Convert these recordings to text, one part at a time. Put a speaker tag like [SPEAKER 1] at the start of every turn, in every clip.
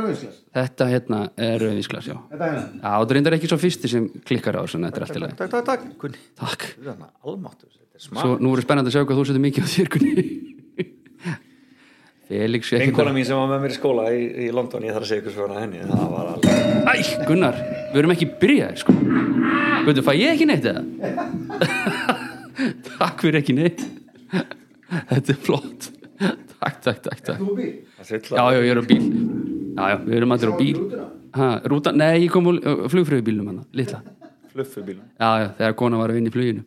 [SPEAKER 1] Rauðinsglas
[SPEAKER 2] Þetta hérna er rauðvísglas, já
[SPEAKER 1] Þetta er hérna
[SPEAKER 2] Já, það er reyndar ekki svo fyrsti sem klikkar á þessu en þetta er allt í lagi
[SPEAKER 3] Takk, takk, takk, Gunni
[SPEAKER 2] Takk
[SPEAKER 3] Þú er hann almáttur, þetta er smá
[SPEAKER 2] Svo nú er spennandi að sjá hvað þú setur mikið á þér, Gunni Felix er
[SPEAKER 3] Vinkona
[SPEAKER 2] ekki
[SPEAKER 3] mín sem var með mér í skóla í, í London ég þarf að segja ykkur svona henni það var alveg
[SPEAKER 2] Æ, Gunnar, við erum ekki byrjaði, sko Veitu, fæ ég ekki neitt eða? takk fyrir ekki neitt Þetta er flott Takk, takk, takk, takk
[SPEAKER 1] Þú býr
[SPEAKER 3] það svitla
[SPEAKER 2] Já, já, ég er á bíl Já, já, við erum allir á bíl ha, rúta, Nei, ég kom á flugfröðubílnum hann, hérna, litla
[SPEAKER 3] fluffubílum
[SPEAKER 2] Já, já, þegar kona var að vinna í fluginu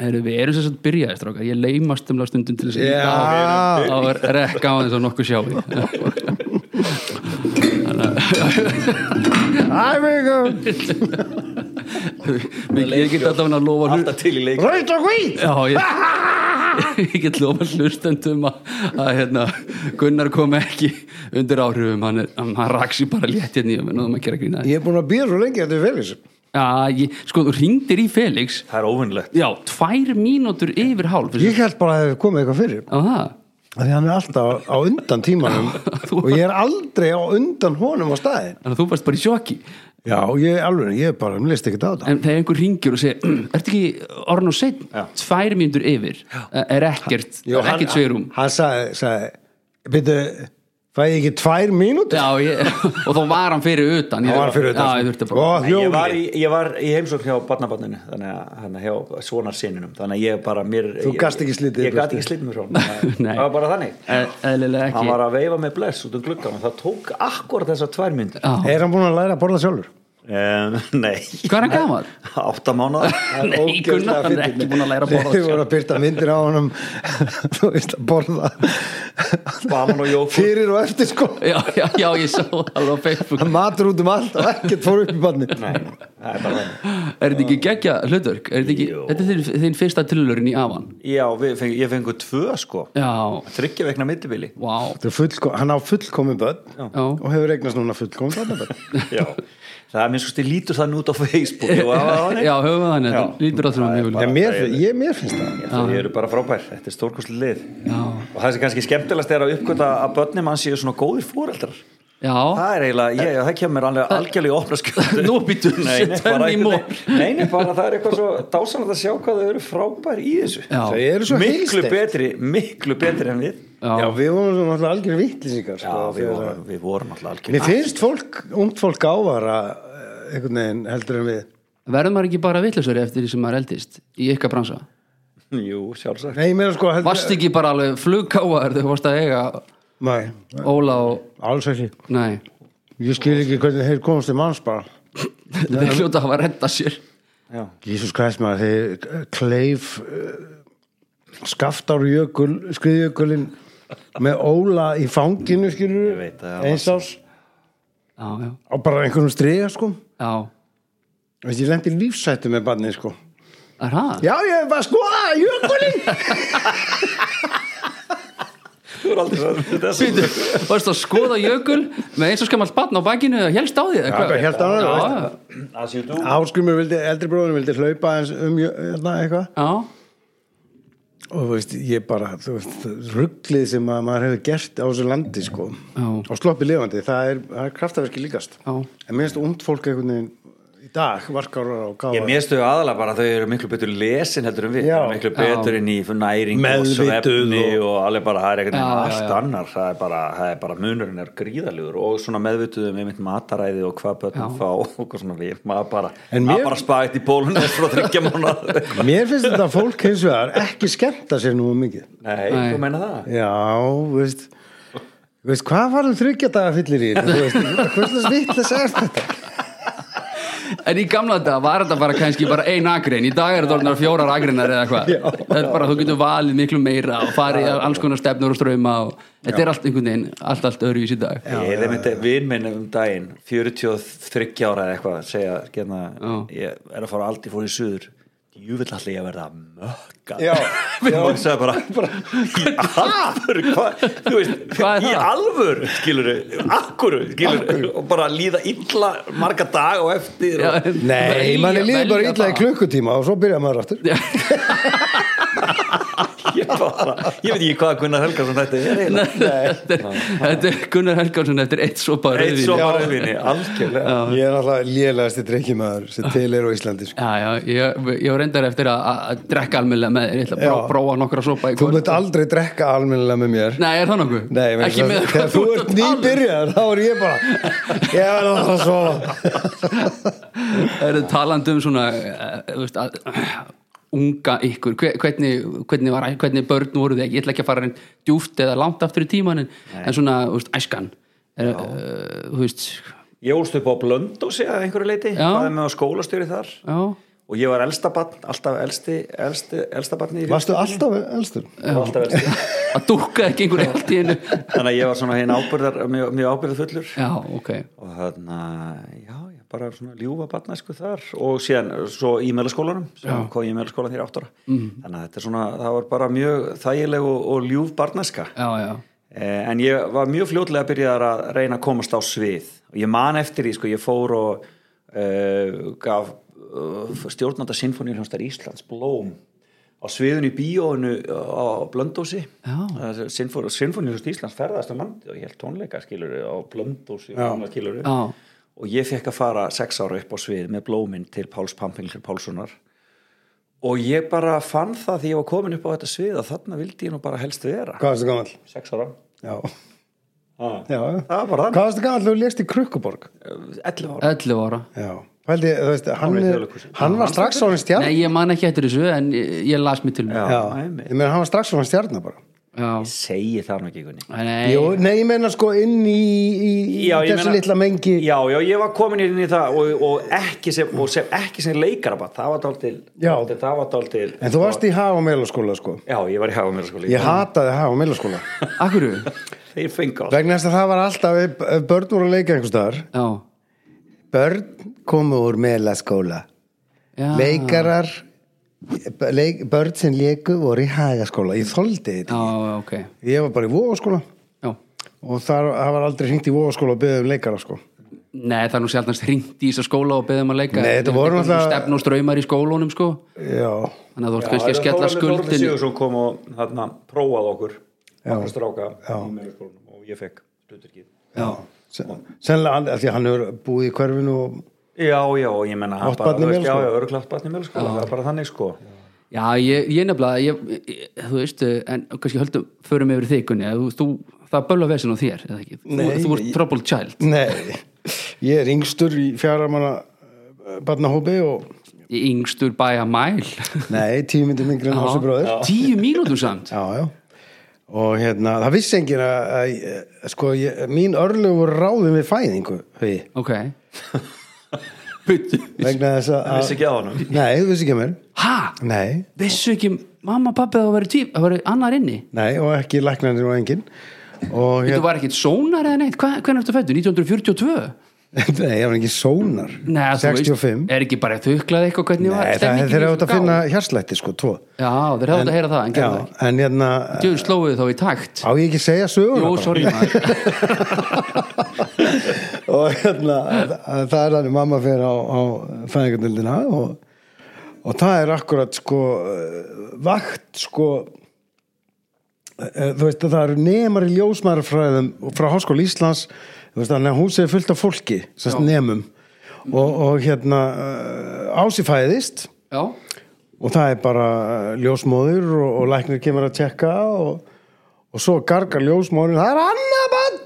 [SPEAKER 2] Heru, Við erum sem sagt byrjaði, strákar Ég leimast um stundum til þess að
[SPEAKER 3] Já.
[SPEAKER 2] Það var rekka á þess að nokkuð sjá
[SPEAKER 1] Æfingu
[SPEAKER 2] Ég get alltaf hann að lofa hlu-
[SPEAKER 3] alltaf til í leik
[SPEAKER 1] Rauðt og hvít
[SPEAKER 2] Já, ég, ég get lofa hlustendum að, að hérna, Gunnar kom ekki undir áhrifum, hann, er- hann raksi bara létt hérna í og náðum að gera grína
[SPEAKER 1] Ég er búin að býða svo lengi Þetta er Felix
[SPEAKER 2] Já, ég, sko, þú ringdir í Felix
[SPEAKER 3] það er óvinnlegt
[SPEAKER 2] Já, tvær mínútur yfir hálf
[SPEAKER 1] Ég held bara að það hefði komið eitthvað fyrir
[SPEAKER 2] Á það
[SPEAKER 1] af Því hann er alltaf á undan tímanum Og ég er aldrei á undan honum á staðin
[SPEAKER 2] Þannig að þú varst bara í sjokki
[SPEAKER 1] Já, ég alveg, ég er bara, mér leist ekki á þetta
[SPEAKER 2] En þegar einhver ringir og segir Ertu ekki orðin og setn? Tvær mínútur yfir eh, Er ekkert,
[SPEAKER 1] Jó, hann-
[SPEAKER 2] ekkert sveirum
[SPEAKER 1] Hann sagði, sagði Byrju, fæ ég ekki tvær mínútur?
[SPEAKER 2] Já, ég, og þá var hann fyrir utan
[SPEAKER 1] Hann var fyrir utan. sko.
[SPEAKER 2] Já, ég þurfti bara
[SPEAKER 1] Ó,
[SPEAKER 3] Nei, ég, var
[SPEAKER 1] hljóðið.
[SPEAKER 3] í, ég var í heimsókn hjá barnabarninu þannig að hérna, hjá svonarsinninum þannig að ég bara mér
[SPEAKER 1] Þú
[SPEAKER 3] ég-
[SPEAKER 1] gast ekki slitið
[SPEAKER 3] ég gat
[SPEAKER 1] burtu.
[SPEAKER 3] ekki slitið mér frá honum.
[SPEAKER 2] Nei.
[SPEAKER 3] það var bara þannig
[SPEAKER 2] E- Eðlilega ekki
[SPEAKER 3] hann var að veifa með bless út um gluggan og það tók akkur þessar tvær myndir
[SPEAKER 2] Já.
[SPEAKER 1] Er hann búin að læra að borða sjálfur?
[SPEAKER 3] um, nei
[SPEAKER 2] Hvað er hann gamall?
[SPEAKER 3] áttamána
[SPEAKER 2] Nei, Gunnar, hann er ekki búin að læra að borða
[SPEAKER 1] Þeir voru að byrta myndir á honum Þú veist að borða
[SPEAKER 3] Baman og jógúrt.
[SPEAKER 1] Fyrir og eftir sko
[SPEAKER 2] Já, já, já, ég sá það alveg á Facebook
[SPEAKER 1] Hann matur út um allt og ekkert fór upp í banni
[SPEAKER 3] nei, það er bara þannig
[SPEAKER 2] Er þetta ekki geggja hlutverk? Er þetta ekki,
[SPEAKER 3] Jú.
[SPEAKER 2] þetta er þinn, þinn fyrsta tillurinn í afan
[SPEAKER 3] já, við feng, ég fengu tvö sko
[SPEAKER 2] Já,
[SPEAKER 3] þryggja vegna mittibili
[SPEAKER 2] vá
[SPEAKER 1] Þetta er fullko- Hann á fullkomin börn
[SPEAKER 2] Já.
[SPEAKER 1] og hefur eignast núna fullkomin barnabörn
[SPEAKER 3] Já, það er minnst skusti lítur þannig út á Facebook og á, á, á,
[SPEAKER 2] Já, höfum við þannig,
[SPEAKER 3] Já.
[SPEAKER 2] þetta lítur á þrjóðum
[SPEAKER 1] Já, mér, fin- ég, mér finnst það
[SPEAKER 3] Þau eru bara frábær, þetta er stórkostlega lið
[SPEAKER 2] Já.
[SPEAKER 3] og það sem kannski skemmtilegast er að uppgöta að börnum hans séu svona góðir fóreldrar
[SPEAKER 2] Já,
[SPEAKER 3] það er eiginlega, ég, það kemur alveg algjörlega í opna skjöldu
[SPEAKER 2] Nú býttu,
[SPEAKER 3] neini,
[SPEAKER 2] tell me more.
[SPEAKER 3] bara það er eitthvað svo dásanlega að sjá hvað þau eru frábær í þessu
[SPEAKER 1] Þau
[SPEAKER 2] já,
[SPEAKER 1] eru svo
[SPEAKER 3] miklu
[SPEAKER 1] heilsteypt.
[SPEAKER 3] betri, miklu betri en við
[SPEAKER 1] Já,
[SPEAKER 2] já
[SPEAKER 1] við vorum svo náttúrulega algjör vittlýsingar
[SPEAKER 3] já,
[SPEAKER 1] sko,
[SPEAKER 3] við
[SPEAKER 1] þegar-
[SPEAKER 3] vorum, við vorum alltaf algjörlega
[SPEAKER 1] Mér finnst fólk, ungt fólk ávara eh, einhvern veginn heldur en við
[SPEAKER 2] Verður maður ekki bara vitlausari eftir því sem maður eldist í ykkar bransa?
[SPEAKER 3] jú, sjálfsagt
[SPEAKER 1] Nei, ég meina sko heldur,
[SPEAKER 2] Varst ekki bara alveg flugkáar þegar þú varst að eiga
[SPEAKER 1] Nei,
[SPEAKER 2] Óla og,
[SPEAKER 1] alls ekki
[SPEAKER 2] nei
[SPEAKER 1] Ég skil ekki hvernig þeir komast til manns bara
[SPEAKER 2] Þeir hljóta að hafa að redda sér
[SPEAKER 3] já.
[SPEAKER 1] Jísus Krist maður, þeir eh, kleif uh, skaftárjökul, skriðjökulinn með óla í fanginu skilur
[SPEAKER 3] veit, það var
[SPEAKER 1] eins ás
[SPEAKER 2] Já, já,
[SPEAKER 1] á bara einhvernum striga sko
[SPEAKER 2] já,
[SPEAKER 1] Veist, ég lendi lífsættu með barnið sko
[SPEAKER 2] er það?
[SPEAKER 1] Já, ég var sko, að skoða jökulinn
[SPEAKER 3] þú eru aldrei svo með þessu
[SPEAKER 2] Býtu, varst að skoða jökul með eins og skamall batn á bakinu eða helst á því? eða
[SPEAKER 1] Já,
[SPEAKER 2] hvað?
[SPEAKER 1] bara hélt á honum,
[SPEAKER 2] Já,
[SPEAKER 1] veist.
[SPEAKER 2] já.
[SPEAKER 3] As you do.
[SPEAKER 1] Áskrumur vildi, eldri bróðin vildi hlaupa eins um jö- hérna eitthvað
[SPEAKER 2] Já,
[SPEAKER 1] og þú veist, ég bara, þú veist, rugglið sem að maður hefur gert á þessu landi, sko
[SPEAKER 2] Já.
[SPEAKER 1] og sloppið lifandi, það er, það er kraftaverki líkast
[SPEAKER 2] Já.
[SPEAKER 1] en mér finnst umt fólk einhvern veginn í dag, varkárar og
[SPEAKER 3] Ég
[SPEAKER 1] gáðar
[SPEAKER 3] mér stöðu aðalega bara að þau eru miklu betur lesin heldur en við,
[SPEAKER 1] Já.
[SPEAKER 3] Þau eru miklu betur inn í næring og
[SPEAKER 1] Meðvituð
[SPEAKER 3] svefni og, alveg bara það er ekkert
[SPEAKER 2] Já, já,
[SPEAKER 3] allt
[SPEAKER 2] já.
[SPEAKER 3] annar það er, bara, það er bara munurinn er gríðalugur og svona meðvituð um einmitt mataræði og hvað bötum fá og hvað svona við maður bara,
[SPEAKER 1] En
[SPEAKER 3] mér...
[SPEAKER 1] mér-
[SPEAKER 3] bara spætt í bólun frá þryggja mánu
[SPEAKER 1] mér finnst þetta fólk hins vegar ekki skemmta sér nú mikið
[SPEAKER 3] Nei,
[SPEAKER 2] Nei.
[SPEAKER 3] þú meina það
[SPEAKER 1] já, þú veist þú veist, hvað varum þryggja daga fyllir í þetta, þú veist, hvernig vittlega sagði þetta
[SPEAKER 2] En í gamla dag var þetta bara kannski bara ein agrein Í dag er þetta orðnar fjórar agreinar eða eitthvað
[SPEAKER 1] Já.
[SPEAKER 2] Þetta er bara, þú getur valið miklu meira og farið að alls konar stefnur og ströma og þetta er allt einhvern veginn, allt, allt öðru í síð dag
[SPEAKER 3] Ég er einmitt vinn minn um daginn 43 ára eða eitthvað segja, gerna, ég er að fara aldrei fór í suður Jú vill allir ég að verða mökka
[SPEAKER 1] Já, já.
[SPEAKER 3] Ég sagði bara, Í alvöru, hvað Þú veist,
[SPEAKER 2] Hvað er
[SPEAKER 3] í
[SPEAKER 2] það?
[SPEAKER 3] alvöru Skilur akkuru Skilur og bara líða illa marga dag og eftir
[SPEAKER 2] Já,
[SPEAKER 3] og,
[SPEAKER 1] nei,
[SPEAKER 2] velja-
[SPEAKER 1] manni líður bara
[SPEAKER 2] velja
[SPEAKER 1] illa í
[SPEAKER 2] það.
[SPEAKER 1] klukkutíma og svo byrja maður aftur
[SPEAKER 3] Ég ég bara, ég veit ekki hvað Gunnar Helgarsson þetta er eiginlega.
[SPEAKER 2] þetta er- þetta er Gunnar Helgarsson eftir eitt sopa af
[SPEAKER 3] Eitt
[SPEAKER 2] rauðvíni.
[SPEAKER 3] svo
[SPEAKER 1] Já.
[SPEAKER 3] bara rauðvinni, algjörlega
[SPEAKER 1] Ég er alltaf lélegasti drikkjumæður sem til er á Íslandi sko.
[SPEAKER 2] Já, já, ég, ég var reyndar eftir að, að- að drekka almennilega með þér, ég ætla að pró-
[SPEAKER 1] Já.
[SPEAKER 2] prófa nokkra sopa í
[SPEAKER 1] Þú munt aldrei drekka almennilega með mér
[SPEAKER 2] Nei, er það nokkuð?
[SPEAKER 1] Nei, ég meina,
[SPEAKER 2] ekki með
[SPEAKER 1] þegar þú ert nýbyrjar þá er ég bara ég er alltaf að sofa
[SPEAKER 2] Er það talandi um svona, eh, þú veist, að, unga ykkur, hve- hvernig, hvernig, var, hvernig börn voru þið, ég ætla ekki að fara einn djúft eða langt aftur í tíman en, en svona, þú veist, æskan, er, uh, þú veist,
[SPEAKER 3] Ég úlst upp á Blöndósi að einhverju leiti
[SPEAKER 2] Já.
[SPEAKER 3] hvað er með á skólastjóri þar
[SPEAKER 2] já,
[SPEAKER 3] og ég var elsta barn, alltaf elsti, elsti elsta barn í
[SPEAKER 1] Varstu alltaf elstur?
[SPEAKER 3] Ég var alltaf elsti
[SPEAKER 2] að dúkka ekki einhver allt í hennu.
[SPEAKER 3] þannig að ég var svona hinn ábyrðar mjög, mjög ábyrðarfullur
[SPEAKER 2] Já, ok,
[SPEAKER 3] og þannig að já, ég bara svona ljúfa barnæsku þar og síðan svo í meðlaskólanum sem kom ég í meðlaskólan þér áttara mm. þannig að þetta er svona, það var bara mjög þægileg og, og ljúf barnæska
[SPEAKER 2] já, já,
[SPEAKER 3] Eh, en ég var mjög fljótlega að byrja að reyna að komast á svið og ég man eftir því, sko, ég fór og uh, gaf uh, stjórnanda sinfoníuljónstar Íslands Blóm á sviðinu í bíóinu á Blöndósi
[SPEAKER 2] Já.
[SPEAKER 3] sinfoníuljónstar Íslands ferðast um land og ég held tónleika skilur á Blöndósi skilur
[SPEAKER 2] já,
[SPEAKER 3] og ég fekk að fara sex ára upp á svið með blóminn til Páls Pampinglir Pálssonar og ég bara fann það því ég var komin upp á þetta svið að þarna vildi ég nú bara helst vera
[SPEAKER 1] Hvað varstu gamall?
[SPEAKER 3] sex ára
[SPEAKER 1] Já,
[SPEAKER 3] ah.
[SPEAKER 1] já
[SPEAKER 3] það var bara
[SPEAKER 1] Hvað varstu gamall og lést í Krukkuborg?
[SPEAKER 3] þannig 11 ára
[SPEAKER 2] 11 ára.
[SPEAKER 1] Já Pældi, þú veist, hann,
[SPEAKER 3] Hann var í
[SPEAKER 1] er,
[SPEAKER 3] Þjóðleikhúsi.
[SPEAKER 1] hann var strax svona stjarn
[SPEAKER 2] Nei, ég man ekki eftir þessu en ég, ég las mér til mér.
[SPEAKER 1] Já,
[SPEAKER 3] einmitt.
[SPEAKER 1] ég meina hann var strax svona stjarnar bara
[SPEAKER 2] Já,
[SPEAKER 3] segi það nú ekki Gunni
[SPEAKER 2] nei,
[SPEAKER 1] Jó, nei, ég meina sko inn í, í, í
[SPEAKER 3] Já, ég
[SPEAKER 1] þessu
[SPEAKER 3] meina-
[SPEAKER 1] litla mengi
[SPEAKER 3] já, já, ég var komin inn í það og, og, ekki, sem, og sem, ekki sem leikara bara. það var dálítil
[SPEAKER 1] Já.
[SPEAKER 3] dálítil- það var dálítil
[SPEAKER 1] En þú varst í hafa meðlaskóla sko
[SPEAKER 3] já, ég var í hafa mér skóli
[SPEAKER 1] Ég hataði hafa meðlaskóla
[SPEAKER 2] akkurru,
[SPEAKER 3] þeir fengi á
[SPEAKER 1] Vegna þess að það var alltaf, ef ef börn voru að leika einhvers staðar
[SPEAKER 2] já,
[SPEAKER 1] Börn komu úr meðlaskóla
[SPEAKER 2] já.
[SPEAKER 1] Leikarar, b- leik, börn sem leiku voru í hagaskóla Ég þoldi
[SPEAKER 2] Já,
[SPEAKER 1] þetta
[SPEAKER 2] ok,
[SPEAKER 1] Ég var bara í vogaskóla
[SPEAKER 2] já.
[SPEAKER 1] Og þar, það var aldrei hringt í vogaskóla og beðið um leikara sko
[SPEAKER 2] Nei, það er nú sjálfnast hringt í þessa skóla og beðum að leika.
[SPEAKER 1] Nei, þetta voru náttúrulega-
[SPEAKER 2] Stefn og ströymar í skólunum, sko.
[SPEAKER 1] Já,
[SPEAKER 2] Þannig að þú ert kannski að skella skuldin.
[SPEAKER 3] Sigur kom og þarna, prófaði okkur
[SPEAKER 1] Já.
[SPEAKER 3] okkur stráka í meðlaskólanum og ég fekk hluturkið
[SPEAKER 2] Já,
[SPEAKER 1] sen- sennilega hann- af því að hann hefur búið í hverfinu og
[SPEAKER 3] já, já, og ég menna
[SPEAKER 1] Átt barn í
[SPEAKER 3] já,
[SPEAKER 1] Melaskóla?
[SPEAKER 3] já, öruglátt barn í meðlaskóla það er bara þannig sko
[SPEAKER 2] já ég, ég nefnilega, ég, ég, þú veist, eh, en kannski höldum, förum yfir þig, Gunni, að þú, þú, það er bölva vesin á þér, eða ekki? Nei. Þú, þú ert troubled child.
[SPEAKER 1] Nei, ég er yngstur í fjara manna eh, barnahópi og
[SPEAKER 2] Í yngstur bæja mæl.
[SPEAKER 1] Nei, tíu myndir mingri en Hási bróður já.
[SPEAKER 2] Tíu mínútur samt.
[SPEAKER 1] já, Og hérna, það vissi enginn að, að, að sko, ég, mín örlög voru ráðum við fæðingu því,
[SPEAKER 2] Ok. Byttu.
[SPEAKER 1] vegna þess að
[SPEAKER 3] það vissi ekki á hann
[SPEAKER 1] Nei, þú vissi ekki að mér
[SPEAKER 2] Hæ?
[SPEAKER 1] Nei,
[SPEAKER 2] vissu ekki mamma og pappi að það væri tvíb, það væri annar inni
[SPEAKER 1] nei, og ekki læknarnir og enginn Og
[SPEAKER 2] þetta
[SPEAKER 1] hérna,
[SPEAKER 2] var ekkit sónar eða neitt, Hva, hvernig ertu fættu? 1942?
[SPEAKER 1] nei, ég var ekki sónar
[SPEAKER 2] Nei, þú
[SPEAKER 1] 65
[SPEAKER 2] veist, er ekki bara þuklaði eitthvað hvernig var
[SPEAKER 1] Nei, það
[SPEAKER 2] stemningin
[SPEAKER 1] þeir
[SPEAKER 2] í
[SPEAKER 1] átt að
[SPEAKER 2] þessum
[SPEAKER 1] finna
[SPEAKER 2] gáum?
[SPEAKER 1] hjarslætti, sko, tvo
[SPEAKER 2] já, þeir hefðu átt að heyra það, en gerðu það
[SPEAKER 1] Já, en hérna,
[SPEAKER 2] ekki djöðu slóið þá í takt
[SPEAKER 1] á ég ekki að segja söguna
[SPEAKER 2] jú,
[SPEAKER 1] bara?
[SPEAKER 2] sorry maður
[SPEAKER 1] og hérna að það er þannig mamma fyrir á, á fæðingatildina og, og það er akkurat sko eh, vakt sko eh, þú veist að það eru nemar í ljósmaðurfræðum frá Háskóla Íslands þú veist þannig að húsið er fullt af fólki sérst nemum og, og hérna ásifæðist
[SPEAKER 2] já,
[SPEAKER 1] og það er bara eh, ljósmóður og, og læknir kemur að tjekka og, og svo gargar ljósmóður það er annað bann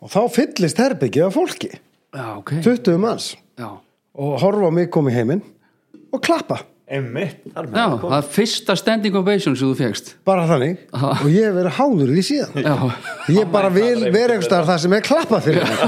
[SPEAKER 1] og þá fyllist herbyggið af fólki
[SPEAKER 2] já, ok
[SPEAKER 1] 20 manns
[SPEAKER 2] já.
[SPEAKER 1] og horfa á mig komið heiminn og klappa,
[SPEAKER 3] emmitt,
[SPEAKER 2] já,
[SPEAKER 3] þar með
[SPEAKER 2] það er fyrsta standing ovation sem þú fegst
[SPEAKER 1] bara þannig og ég hef verið háður í því síðan
[SPEAKER 2] já,
[SPEAKER 1] ég bara vil vera einhvers staðar það sem er klappa fyrir mig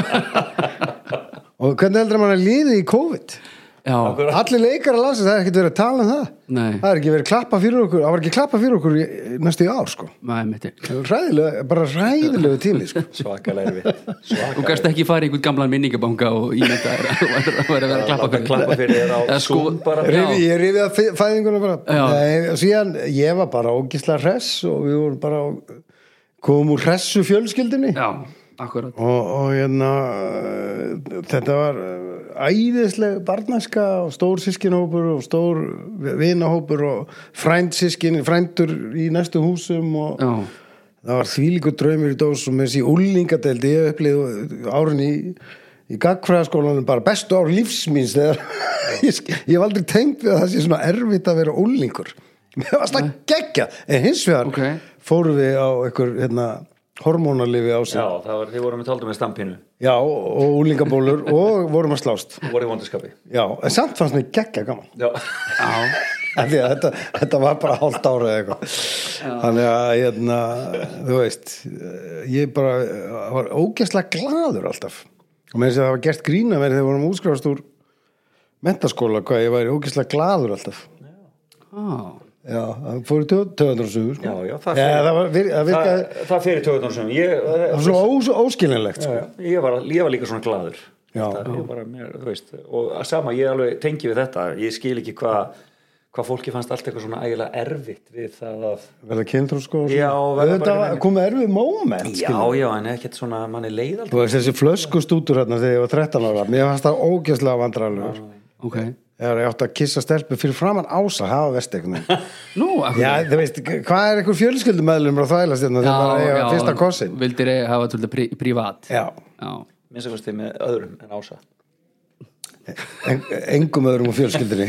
[SPEAKER 1] og hvernig heldur mann að líði í COVID
[SPEAKER 2] já,
[SPEAKER 1] allir leikara landsins, það er ekkert verið að tala um það
[SPEAKER 2] Nei.
[SPEAKER 1] það er ekki verið klappa fyrir okkur það var ekki klappa fyrir okkur í, næstu í ár sko
[SPEAKER 2] maður mitt
[SPEAKER 1] Ræðilega, bara ræðilegu tími sko.
[SPEAKER 3] svakalega erfitt
[SPEAKER 2] þú gæst ekki fara í einhvern gamlan minningabanka og ímynda þér að þú værir að vera að klappa fyrir
[SPEAKER 3] klappa fyrir þér á
[SPEAKER 2] Eða sko-
[SPEAKER 3] Zoom bara.
[SPEAKER 2] Já.
[SPEAKER 1] Rifi, ég rifi að fæ- fæðinguna bara
[SPEAKER 2] Já.
[SPEAKER 1] Nei, og síðan ég var bara ógislega hress og við vorum bara komum úr hressu fjölskyldinni
[SPEAKER 2] já, akkurat
[SPEAKER 1] og, og hérna eh, þetta var eh, æðisleg barnaska og stór sískinhópur og stór vinahópur og frændsískin, frændur í næstu húsum og
[SPEAKER 2] Já.
[SPEAKER 1] það var þvílíkur draumur í dós og með þessi úlingadeldi ég upplið árin í í gagfræðaskólanum bara bestu ár lífsmins þegar ég, sk- ég hef aldrei tengt við að það sé svona erfitt að vera úlingur mér varst að gegja en hins vegar
[SPEAKER 2] Ókei.
[SPEAKER 1] fórum við á einhver hérna, hormónalifi á sig
[SPEAKER 3] Já, það var, þið voru með taldum með stampinu
[SPEAKER 1] Já, og úlingabólur og vorum að slást.
[SPEAKER 3] Þú voru í vondaskapi
[SPEAKER 1] Já, en samt fannst mér geggja gaman.
[SPEAKER 3] Já,
[SPEAKER 2] já,
[SPEAKER 1] Af því að þetta, þetta var bara hálft ára eða eitthvað. Þannig að, hérna, þú veist, ég bara var ógeðslega gladur alltaf. Og með þess að það var gert grína verið þegar við vorum útskrafast úr mentaskóla, hvað ég væri ógeðslega gladur alltaf.
[SPEAKER 2] já
[SPEAKER 1] Já, það fór í töðandur og sögur, sko.
[SPEAKER 3] já, já
[SPEAKER 1] Já, það var, vir- það virkaði,
[SPEAKER 3] það, það fyrir töðunar sem ég,
[SPEAKER 1] það var svo ós, óskilinlegt, sko.
[SPEAKER 3] ég, var, ég var líka svona gladur
[SPEAKER 1] Já.
[SPEAKER 3] það, ég bara, mér, þú veist, og að sama ég alveg tengi við þetta, ég skil ekki hvað hvað fólki fannst allt eitthvað svona ægilega erfitt við það að
[SPEAKER 1] Verða kynþrú, sko.
[SPEAKER 3] Já, og verða bara
[SPEAKER 1] Þetta
[SPEAKER 3] einhvern
[SPEAKER 1] komið erfið moment,
[SPEAKER 3] já, já, en ekkert svona, manni leið
[SPEAKER 1] Þú
[SPEAKER 3] aldrei
[SPEAKER 1] veist þessi flöskustútur hérna þegar ég var 13 ára, mér fannst það ógeðslega vandrarlegur.
[SPEAKER 2] ok,
[SPEAKER 1] Þegar ég átti að kissa stelpu fyrir framann ása, hafa vest eitthvað.
[SPEAKER 2] nú af hverju?
[SPEAKER 1] Já, þú veist, hvað er einhver fjölskyldumæðlum að þvælast hérna þegar bara eiga fyrsta kossin?
[SPEAKER 2] vildir eiga- hafa þetta pri, privat
[SPEAKER 1] Já,
[SPEAKER 2] já,
[SPEAKER 3] minnst að fyrst þið með öðrum en ása
[SPEAKER 1] en, engum öðrum á fjölskyldinni.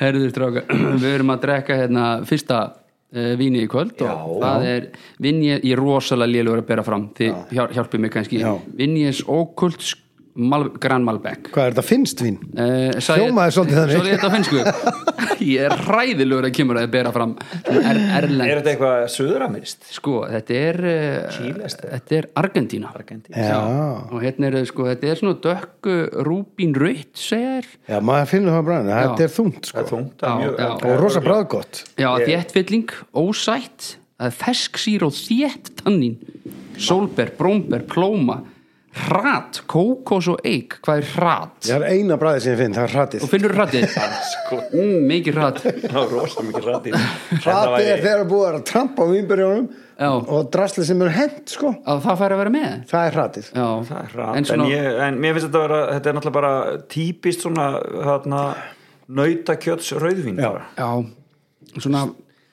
[SPEAKER 2] herðu stráka við erum að drekka hérna fyrsta uh, víni í kvöld og
[SPEAKER 3] Já.
[SPEAKER 2] það er vinje, ég er rosalega lélugur að bera fram þið hjál, hjálpið mér kannski
[SPEAKER 1] Já.
[SPEAKER 2] vinjes ókult mal, Gran Malbec
[SPEAKER 1] Hvað er þetta finnst vín?
[SPEAKER 2] Uh,
[SPEAKER 1] Hljómaði svolítið þannig.
[SPEAKER 2] Svo ég þetta á finnsku Ég er ræðilegur að kemur að bera fram svona er,
[SPEAKER 3] er
[SPEAKER 2] Erlend
[SPEAKER 3] þetta eitthvað söðuramirist?
[SPEAKER 2] Sko, þetta er uh,
[SPEAKER 3] Chile,
[SPEAKER 2] Þetta er Argentína
[SPEAKER 3] Argentín
[SPEAKER 1] Já,
[SPEAKER 2] Og hérna er sko, þetta er svona dökku rúbín rautt, segja þér
[SPEAKER 1] já, maður finnur það bræðinu, þetta er þungt
[SPEAKER 3] það
[SPEAKER 1] sko.
[SPEAKER 3] er þungt, það
[SPEAKER 2] Já,
[SPEAKER 3] er mjög
[SPEAKER 2] já.
[SPEAKER 1] Og rosa bræðgott.
[SPEAKER 2] Já, þéttfylling, ósætt Það er fersk sír og þétt tannín Sólber, brómber, plóma Hrat, kókos og eik Hvað er hrat?
[SPEAKER 1] Ég er eina bræði sem ég finn, það er hratið.
[SPEAKER 2] Og finnur hratið?
[SPEAKER 3] sko,
[SPEAKER 2] Mm, mikið hrat
[SPEAKER 3] það var rosa mikið rætti
[SPEAKER 1] Hratið er þegar búið er að trampa á
[SPEAKER 2] Já.
[SPEAKER 1] vínbyrjónum og drasli sem er hent sko.
[SPEAKER 2] Að það fær að vera með
[SPEAKER 1] Það er hratið.
[SPEAKER 2] Já,
[SPEAKER 3] Það er hratt,
[SPEAKER 2] en
[SPEAKER 3] en,
[SPEAKER 2] svona,
[SPEAKER 3] ég, en mér finnst þetta að vera, þetta er náttúrulega bara típist svona, hérna, nautakjöts rauðvín.
[SPEAKER 1] Já.
[SPEAKER 3] bara.
[SPEAKER 2] já, svona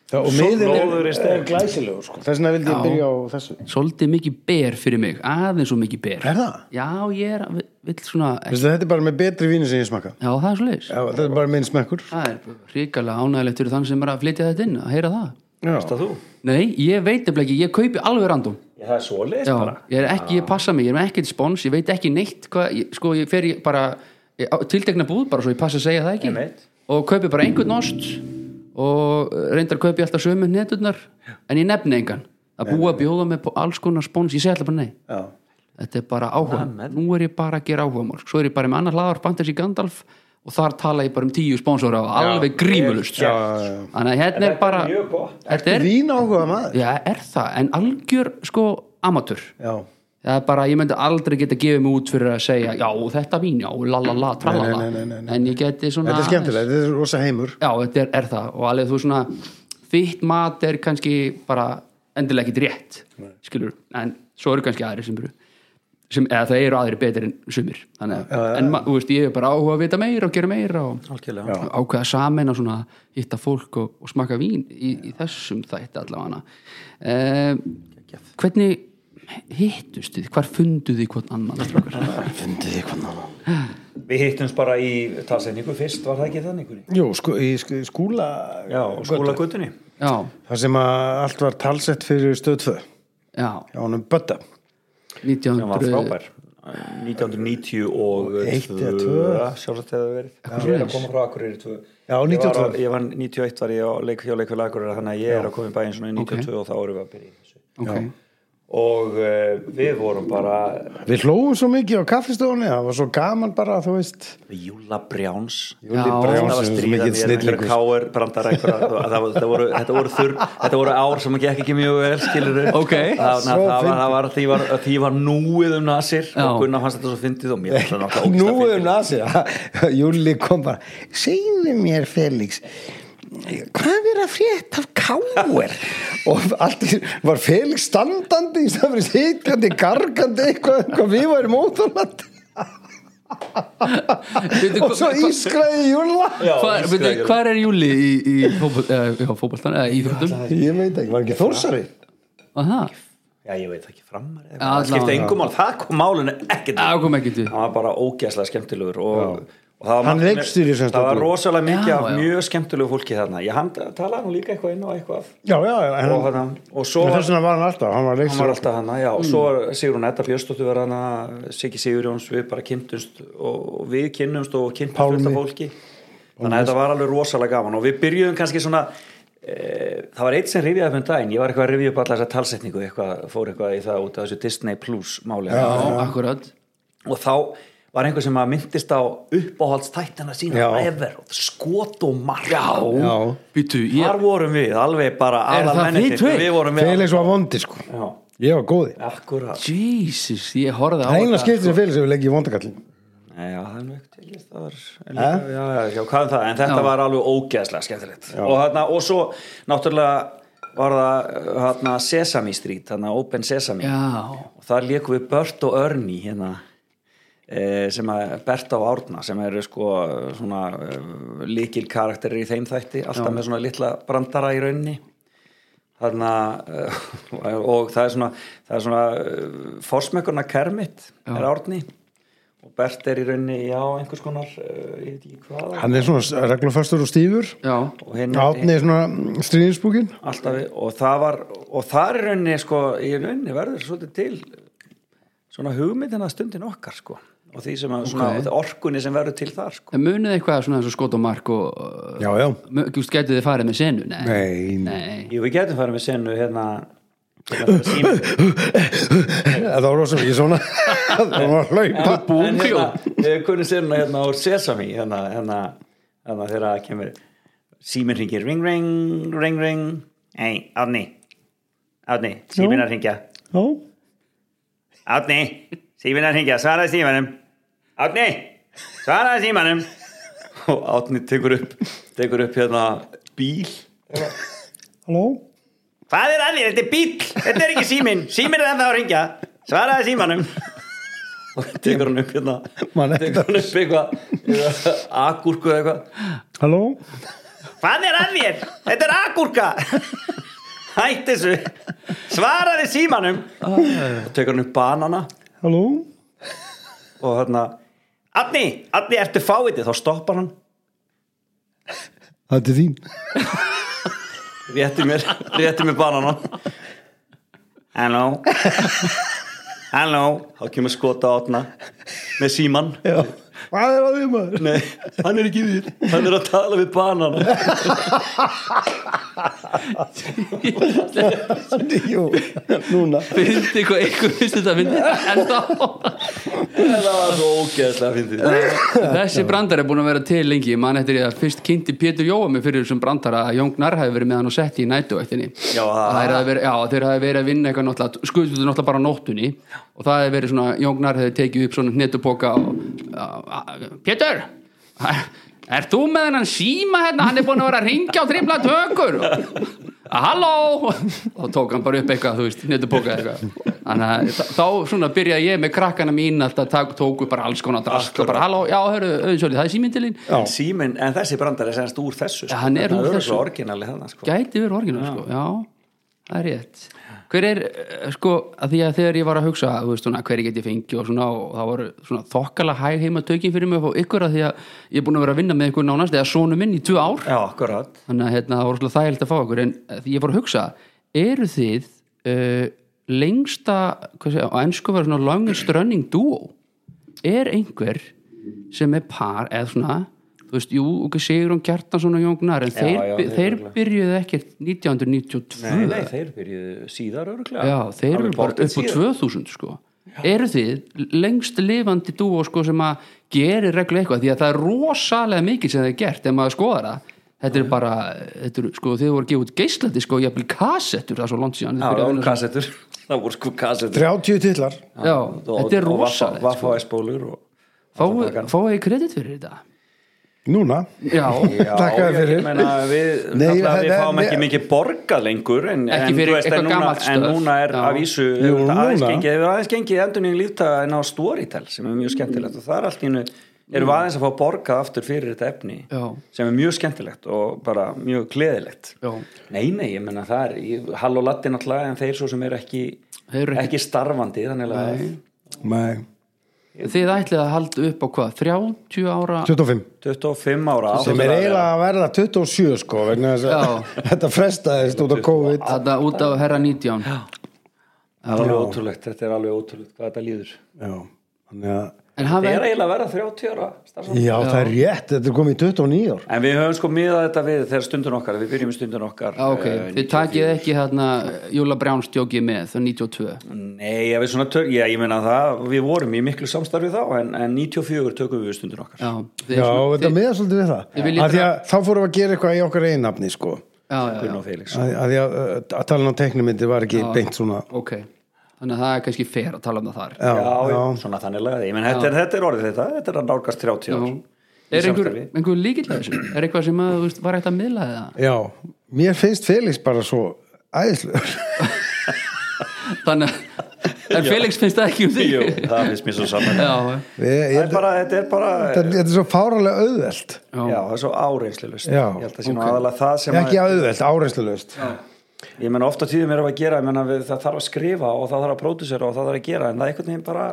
[SPEAKER 1] Já, og
[SPEAKER 3] Svo
[SPEAKER 1] miðin
[SPEAKER 3] blóður
[SPEAKER 1] er,
[SPEAKER 3] er sterk.
[SPEAKER 1] er glæsilegur sko. þess vegna vildi ég byrja á þessu
[SPEAKER 2] svolítið mikið ber fyrir mig, aðeins og mikið ber
[SPEAKER 1] Er það?
[SPEAKER 2] Já, ég er, vi- vill svona
[SPEAKER 1] Vistu, þetta er bara með betri vínu sem ég smakka
[SPEAKER 2] Já, það er svo leiðis
[SPEAKER 1] Já, þetta er bara minn smekkur
[SPEAKER 2] Það er ríkalega ánægilegt fyrir þann sem er að flytja þetta inn að heyra það
[SPEAKER 3] Veist
[SPEAKER 1] Já.
[SPEAKER 3] það þú?
[SPEAKER 2] Nei, ég veit nefnilega ekki, ég kaupi alveg random
[SPEAKER 3] Já, það er svoleiðis
[SPEAKER 2] Já,
[SPEAKER 3] bara.
[SPEAKER 2] ég er ekki, ég passa mig, ég er með ekkert spons ég veit ekki neitt hvað, ég, sko, ég fer ég bara ég, á- tiltekna búð bara svo ég passa að segja það ekki
[SPEAKER 3] Einmitt.
[SPEAKER 2] og kaupi bara einhvern ost og eh, reyndar kaupi alltaf sömu neturnar en ég nefni engan að búa að bjóða með alls konar spons, ég segi alltaf bara nei
[SPEAKER 1] Já.
[SPEAKER 2] þetta er bara áhuga nú er ég bara að gera áhuga mál svo er ég bara með annar hlaðar Fantasy Gandalf og þar tala ég bara um tíu sponsora og alveg grímulust
[SPEAKER 3] Já,
[SPEAKER 2] þannig að hérna er bara
[SPEAKER 3] er mjög gott.
[SPEAKER 2] þetta er,
[SPEAKER 1] Vín áhuga maður
[SPEAKER 2] já, er það, en algjör sko amatör
[SPEAKER 1] Já.
[SPEAKER 2] það er bara, ég myndi aldrei geta gefið mig út fyrir að segja, já þetta mín, já lalala, tralala,
[SPEAKER 1] Nei, nei, nei, nei, nei.
[SPEAKER 2] en ég geti svona
[SPEAKER 1] Þetta er skemmtilegt, þetta er rosa heimur
[SPEAKER 2] já, þetta er, er það, og alveg þú svona þitt mat er kannski bara endilega ekkit rétt skilur, en svo eru kannski aðrir sem eru sem, eða það eru aðrir betur en sumir, þannig að, en ma- þú veist, ég er bara áhuga að vita meira og gera meira og
[SPEAKER 3] Algjörlega.
[SPEAKER 2] ákveða saman að svona hitta fólk og, og smaka vín í, í þessum þætti allavega um, hvernig hittust þið, hvar funduð þið hvort annan strákar?
[SPEAKER 1] Fundið þið hvernig
[SPEAKER 3] Við hittumst bara í talsetningu fyrst, var það ekki þannig? Gunni?
[SPEAKER 1] Jú, sku, í sk- skúla
[SPEAKER 3] Já, og skólagutunni.
[SPEAKER 2] já,
[SPEAKER 1] Það sem að allt var talsett fyrir stöð 2
[SPEAKER 2] já,
[SPEAKER 1] Já, honum Bötta
[SPEAKER 3] Það var
[SPEAKER 2] 1900
[SPEAKER 3] frábær. 1990 og
[SPEAKER 1] Eitt eða
[SPEAKER 3] tvö,
[SPEAKER 1] tvö.
[SPEAKER 3] sjálfsagt hefur verið. Ég er að koma frá Akureyri 2.
[SPEAKER 1] Já, 92.
[SPEAKER 3] Ég var, á- ég var 91 var ég á leikfjó leikfjó Akureyri, þannig að ég er að koma í bæinn svona í 92 og þá erum við að byrja í þessu.
[SPEAKER 2] okay.
[SPEAKER 3] Og uh, við vorum bara
[SPEAKER 1] Við hlófum svo mikið á kaffistofunni Það var svo gaman bara, þú veist
[SPEAKER 3] Júla Brjáns
[SPEAKER 1] Júli
[SPEAKER 2] Já.
[SPEAKER 1] Brjánsson,
[SPEAKER 3] það var
[SPEAKER 1] svo
[SPEAKER 3] stríðan
[SPEAKER 1] mikill
[SPEAKER 3] við einhverja
[SPEAKER 1] snillingur.
[SPEAKER 3] káir brandar einhverja það, var- það voru, þetta, voru þurr, þetta voru ár sem gekk ekki mjög vel skilur
[SPEAKER 2] Ok.
[SPEAKER 3] það,
[SPEAKER 1] Svo
[SPEAKER 3] það, það, var,
[SPEAKER 1] fyndið.
[SPEAKER 3] það var því var, því var núið um nasir
[SPEAKER 2] Já.
[SPEAKER 3] og Gunnar fannst þetta svo fyndið og mér fannst þetta náttúrulega
[SPEAKER 1] Nú
[SPEAKER 3] ógeðslega
[SPEAKER 1] um nasi Júli kom bara Segðu mér Felix Hvað er að frétta af káir? og allt í- var Felix standandi í stafri sitjandi, gargandi eitthvað, eitthvað við værum óþólandi
[SPEAKER 2] Veitu,
[SPEAKER 1] og svo
[SPEAKER 2] hva-
[SPEAKER 1] ískraði júla
[SPEAKER 2] Hvar, veitu, hvar er Júli í, í fótbol- eh, já, fótboltan eða íþróttum?
[SPEAKER 1] ég veit ekki, var ekki þórsari
[SPEAKER 2] Var það?
[SPEAKER 3] Já, ég veit ekki framar
[SPEAKER 2] Allavega.
[SPEAKER 3] eða eitthvað. Það skipta engum mál, það kom málinu ekkert
[SPEAKER 2] Það kom ekki til
[SPEAKER 3] Það var bara ógæslega skemmtilegur og, og það var,
[SPEAKER 1] Hann
[SPEAKER 3] margt-
[SPEAKER 1] leikstýrir sem sagt
[SPEAKER 3] það var
[SPEAKER 1] öllu.
[SPEAKER 3] rosalega mikið
[SPEAKER 2] Já,
[SPEAKER 3] af
[SPEAKER 2] já.
[SPEAKER 3] mjög skemmtilegu fólki þarna Ég hann talaði nú líka eitthvað inn á eitthvað
[SPEAKER 1] já, já, já, en
[SPEAKER 3] og,
[SPEAKER 1] hann,
[SPEAKER 3] hana, og svo
[SPEAKER 1] en
[SPEAKER 3] var,
[SPEAKER 1] þess vegna var hann alltaf hann var
[SPEAKER 3] hann var
[SPEAKER 1] leikstur
[SPEAKER 3] alltaf hana, já, og svo var Sigrun Edda Björnsdóttir var hana, Siggi Sigurjóns við bara kynntumst og, og við kynnumst og kynntumst
[SPEAKER 1] Pálmi.
[SPEAKER 3] fullt af fólki þannig að þetta var alveg rosalega gaman og við byrjuðum kannski svona e, það var eitt sem rifjaði upp um daginn, ég var eitthvað að rifja upp alla þessa talsetningu, eitthvað, fór eitthvað í það út af þessu Disney Plus máli
[SPEAKER 2] Já, akkurat
[SPEAKER 3] og þá var einhver sem að myndist á uppáhaldstættina sína
[SPEAKER 1] Já.
[SPEAKER 3] ever, skot og mark
[SPEAKER 1] já,
[SPEAKER 2] Býtu, ég
[SPEAKER 3] þar vorum við, alveg bara
[SPEAKER 2] Er það
[SPEAKER 3] aðalmennirnir,
[SPEAKER 2] þið tveir?
[SPEAKER 3] við vorum við
[SPEAKER 1] Felix var vondi sko
[SPEAKER 3] Já,
[SPEAKER 1] ég var góði
[SPEAKER 3] akkurat
[SPEAKER 2] Jesus, ég horfði á
[SPEAKER 1] það er eina
[SPEAKER 2] þetta.
[SPEAKER 1] skiptið sem Felix hefur leggið í vondakallin
[SPEAKER 3] Nei, Já, það er nú ekkert ekki það var, en líka, já, já, já, hvað um það, en þetta var alveg ógeðslega skemmtilegt og, þarna, og svo náttúrulega var það hana, Sesame Street, þarna Open Sesame
[SPEAKER 2] Já,
[SPEAKER 3] og þar lékum við Bert og Ernie hérna eh, sem að Bert og Árna sem eru sko svona líkil karakterir í þeim þætti alltaf með svona litla brandara í rauninni þarna eh, og það er svona, það er svona eh, forsmekkurna Kermit er Árni og Bert er í rauninni já einhvers konar eh, ég veit ekki hvað
[SPEAKER 1] hann er svona reglufastur og stífur
[SPEAKER 2] já
[SPEAKER 3] og hérna
[SPEAKER 1] Átni er svona mm, stríðinsbúkin
[SPEAKER 3] alltaf við, og það var og það er rauninni sko í rauninni verður svolítið til svona hugmyndina stundin okkar sko og því sem að svona
[SPEAKER 2] Ok.
[SPEAKER 3] orkunni sem verður til þar sko
[SPEAKER 2] En munið eitthvað svona eins og skot og mark og uh,
[SPEAKER 1] já, já,
[SPEAKER 2] mu- þú veist, gætið þið farið með senu? Nei,
[SPEAKER 1] nei
[SPEAKER 2] Nei.
[SPEAKER 3] Jú, við getum farið með senu hérna hérna, síma.
[SPEAKER 1] það var rosa mikið svona það var að hlaupa
[SPEAKER 3] En hérna, eh, kunni senuna hérna úr Sesami hérna, hérna, hérna þegar það kemur síminn hringir ring ring ring ring ei, Árni Árni, síminn að hringja
[SPEAKER 1] já,
[SPEAKER 3] Átni, síminn er að hringja, svaraði símanum Átni, svaraði símanum og Átni tekur upp tekur upp hérna bíl
[SPEAKER 1] halló
[SPEAKER 3] Hvað er að þér, þetta er bíl, þetta er ekki síminn síminn er ennþá að hringja, svaraði símanum og tekur hann upp hérna
[SPEAKER 1] Man er
[SPEAKER 3] tekur hann upp eitthvað agúrku eða eitthvað
[SPEAKER 1] halló
[SPEAKER 3] Hvað er að þér, þetta er agúrka Hætti þessu svaraði símanum og tekur hann upp banana
[SPEAKER 1] halló
[SPEAKER 3] og hérna Adni, Adni, ertu fávitið? Þá stoppar hann
[SPEAKER 1] það er til þín
[SPEAKER 3] rétti mér, rétti mér banan Halló Halló Þá kemur skota átna með síman
[SPEAKER 1] Já. Hvað er að því maður?
[SPEAKER 3] Nei, hann er ekki við Hann er að tala við banan
[SPEAKER 1] Jú, núna.
[SPEAKER 2] Fyndi eitthvað, eitthvað finnst þetta að fyndi En þá,
[SPEAKER 3] Það var svo ógeðslega fyndið
[SPEAKER 2] þessi brandar er búin að vera til lengi Ég man eftir ég að fyrst kynnti Pétur Jóa mig fyrir þessum brandara að Jóngnar hafi verið með hann og sett í nætuvættinni
[SPEAKER 3] Já, það-
[SPEAKER 2] Þær hafi verið- Já, þeir hafi verið að vinna eitthvað náttúrulega skutuðu náttúrulega bara á nóttunni og það hefði verið svona, Jóngnar hefði tekið upp svona hnetupoka og á- á- Pétur, er þú með hennan síma hérna, hann er búin að vera að ringja á tripla tökur Halló þá tók hann bara upp eitthvað, þú veist, hnetupoka eitthvað þannig að þá- þá svona byrjaði ég með krakkana mín alltaf tak, tóku bara alls konar drask og bara halló, já, hörru, auðvitað, það er símyndilinn
[SPEAKER 1] Já.
[SPEAKER 3] Símin, en þessi brandar er senst úr þessu sko.
[SPEAKER 2] Ja, hann er úr
[SPEAKER 3] Þarna örugglega
[SPEAKER 2] þessu.
[SPEAKER 3] orginali þarna, sko.
[SPEAKER 2] gæti verið orginal sko. já, það er rétt hver er, eh, sko, að því að þegar ég var að hugsa þú veist svona, hver ég geti fengið og svona og það voru svona þokkala hæg heima tökin fyrir mig og ykkur að því að ég er búin að vera að vinna með ykkur nánast eða sonu minn í tvö ár
[SPEAKER 3] Já, akkurat
[SPEAKER 2] þannig að hérna, það voru svona þægild að fá ykkur en eh, ég var að hugsa, eru þið uh, lengsta hvað sé, á ennsku verður svona longest running duo er einhver sem er par eða svona þú veist, jú, ok, Sigurón Kjartansson og Jóngnar en þeir,
[SPEAKER 3] já,
[SPEAKER 2] já,
[SPEAKER 3] þeir
[SPEAKER 2] þeir
[SPEAKER 3] örugglega.
[SPEAKER 2] byrjuðu ekkert 1992
[SPEAKER 3] Nei, nei, þeir byrjuðu síðar örglega
[SPEAKER 2] Mm. já, þeir eru bara upp á 2000 sko eru þið lengst lifandi dúo sko sem að gerir reglu eitthvað því að það er rosalega mikið sem það er gert ef maður skoðar það þetta er bara, þetta er, sko þið voru að gefa út geislandi sko, jafnvel kassettur það er svo langt síðan
[SPEAKER 3] Já,
[SPEAKER 2] Þið
[SPEAKER 3] það
[SPEAKER 2] byrjaðu að
[SPEAKER 3] voru
[SPEAKER 2] vinna-
[SPEAKER 3] kassettur Það voru sko kassettur
[SPEAKER 1] 30 titlar.
[SPEAKER 2] já, þetta er rosalegt
[SPEAKER 3] Vaffaðisbólur og
[SPEAKER 2] sko. fáið fá kredit fyrir þetta
[SPEAKER 1] núna
[SPEAKER 2] já,
[SPEAKER 1] Takk að þér
[SPEAKER 3] ég
[SPEAKER 1] fyrir.
[SPEAKER 3] meina, við,
[SPEAKER 1] Nei,
[SPEAKER 3] Nei,
[SPEAKER 1] það-
[SPEAKER 3] við
[SPEAKER 1] það-
[SPEAKER 3] fáum ekki
[SPEAKER 1] nei.
[SPEAKER 3] mikið borgað lengur en,
[SPEAKER 2] Ekki
[SPEAKER 3] en,
[SPEAKER 2] fyrir
[SPEAKER 3] þú en,
[SPEAKER 2] eitthvað
[SPEAKER 3] núna,
[SPEAKER 2] gamalt
[SPEAKER 3] en
[SPEAKER 2] stöf.
[SPEAKER 3] núna er
[SPEAKER 2] Já.
[SPEAKER 3] af vísu
[SPEAKER 1] Jú,
[SPEAKER 3] hefur þetta aðeins
[SPEAKER 1] núna.
[SPEAKER 3] gengið, hefur aðeins gengið endurning líftað en á Storytel sem er mjög skemmtilegt og það er allt í einu erum við aðeins að fá borgað aftur fyrir þetta efni
[SPEAKER 2] Já.
[SPEAKER 3] sem er mjög skemmtilegt og bara mjög gleðilegt
[SPEAKER 2] já,
[SPEAKER 3] Nei, nei, ég menna það er ég, Hall og Latti náttúrulega en þeir svo sem er ekki
[SPEAKER 2] Þeir eru
[SPEAKER 3] ekki,
[SPEAKER 2] ekki-
[SPEAKER 3] starfandi þannig að
[SPEAKER 1] Nei,
[SPEAKER 2] þið ætlið að halda upp á hvað 30 ára
[SPEAKER 1] 25
[SPEAKER 3] 25 ára
[SPEAKER 1] sem er eiginlega að verða 27 sko vegna þess
[SPEAKER 2] Já.
[SPEAKER 1] að þetta frestaðist út af COVID
[SPEAKER 2] þetta út af herra 19
[SPEAKER 3] alveg ótrúlegt, þetta er alveg ótrúlegt hvað þetta líður
[SPEAKER 1] já, þannig að
[SPEAKER 2] en hafa
[SPEAKER 3] Það er eiginlega að verða 30 ára starfsmann.
[SPEAKER 1] já, það er rétt, þetta er komið í 29 ár
[SPEAKER 3] En við höfum sko miðað þetta við þegar stundun okkar, við byrjum í stundun okkar
[SPEAKER 2] Já, Ah, ok,
[SPEAKER 3] eh,
[SPEAKER 2] þið takið ekki hérna Júla Brjánstjókið með, það 92
[SPEAKER 3] Nei, já, við svona tök, já, ég meina það, við vorum í miklu samstarfi þá en, en 94 tökum við stundun okkar
[SPEAKER 2] Já, þið
[SPEAKER 1] já,
[SPEAKER 2] svona-
[SPEAKER 1] þetta
[SPEAKER 2] þið-
[SPEAKER 1] miða svolítið við
[SPEAKER 2] Þið
[SPEAKER 1] það
[SPEAKER 2] viljið
[SPEAKER 1] að því að þá fórum við að gera eitthvað í okkar einnafni sko
[SPEAKER 2] já, já, já,
[SPEAKER 3] Gunnar og Felix
[SPEAKER 1] að, að því að, uh, að tala á teknimyndir var ekki beint svona
[SPEAKER 2] ok Þannig að það er kannski fer að tala um það þar
[SPEAKER 1] já,
[SPEAKER 3] Já,
[SPEAKER 1] já,
[SPEAKER 3] já, svona þannig lagaði, ég meina þetta, er- þetta er orðið þetta, þetta er að nálgast 30
[SPEAKER 2] Já.
[SPEAKER 3] ára
[SPEAKER 2] Er
[SPEAKER 3] Í
[SPEAKER 2] einhver,
[SPEAKER 3] samstarfi.
[SPEAKER 2] einhver líkilega þessu? Er eitthvað sem að, þú veist, var eitthvað að miðla það?
[SPEAKER 1] já, mér finnst Felix bara svo æðislegur
[SPEAKER 2] Þannig að en Felix finnst það ekki um þig
[SPEAKER 3] Jú, það finnst mér svo saman
[SPEAKER 2] Já,
[SPEAKER 1] Ég-
[SPEAKER 3] Það
[SPEAKER 1] ég-
[SPEAKER 3] er bara, þetta er bara
[SPEAKER 1] þetta þetta er svo fáralega auðvelt
[SPEAKER 2] já,
[SPEAKER 3] Já, það er svo áreinslulegust
[SPEAKER 1] Já,
[SPEAKER 3] Ég held að sé nú aðalega það sem
[SPEAKER 1] ekki auðvelt, áreinslulegust
[SPEAKER 3] að Ég meina ofta tíðum er að gera, ég meina við, það þarf að skrifa og það þarf að pródusera og það þarf að gera en það er einhvern veginn bara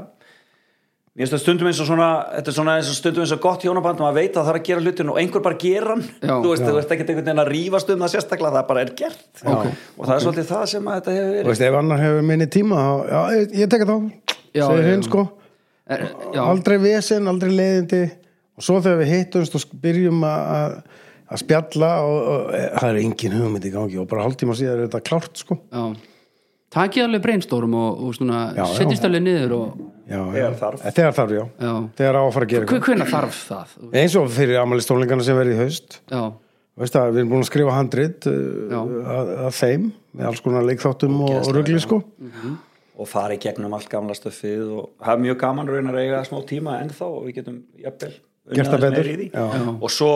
[SPEAKER 3] Mér finnst það stundum eins og svona, þetta er svona eins og stundum eins og gott hjónaband og maður veit að það þarf að gera hlutin og einhver bara gera hann,
[SPEAKER 2] Já.
[SPEAKER 3] þú veist, þú veist ekkert einhvern veginn að rífast um það sérstaklega, það bara er gert já. og það er svolítið það sem að þetta hefur
[SPEAKER 1] Þú
[SPEAKER 3] verið
[SPEAKER 1] veist, ef annar hefur minni tíma þá- já, ég, ég tek það
[SPEAKER 2] Já,
[SPEAKER 1] segir
[SPEAKER 2] já,
[SPEAKER 1] hinn
[SPEAKER 2] já.
[SPEAKER 1] sko
[SPEAKER 2] er, já,
[SPEAKER 1] aldrei vesen, aldrei leiðindi og svo þegar við hittumst og sk- byrjum að- að að spjalla og, og e, það er engin hugmynd í gangi og bara hálftíma síðan er þetta klárt sko
[SPEAKER 2] já Takið alveg brainstorm og, og svona
[SPEAKER 1] Já, já.
[SPEAKER 2] setjist alveg niður og
[SPEAKER 1] já,
[SPEAKER 3] Þegar
[SPEAKER 1] já.
[SPEAKER 3] þarf.
[SPEAKER 1] Eh, þegar þarf, já,
[SPEAKER 2] Já.
[SPEAKER 1] þegar á að fara að gera
[SPEAKER 2] Hve- Hvenær þarf það?
[SPEAKER 1] eitthvað eins og fyrir amalistónleikana sem verið í haust
[SPEAKER 2] Já,
[SPEAKER 1] veist að við erum búin að skrifa handrit uh,
[SPEAKER 2] Já.
[SPEAKER 1] að, að þeim með alls konar leikþáttum og, og rugli sko
[SPEAKER 3] og fara í gegnum allt gamla stöfið og hafa mjög gaman raunar að eiga smá tíma ennþá og við getum jafnvel unnið
[SPEAKER 1] Gert það
[SPEAKER 3] aðeins
[SPEAKER 1] betur,
[SPEAKER 3] meira í því.
[SPEAKER 1] já.
[SPEAKER 2] Já.
[SPEAKER 3] og svo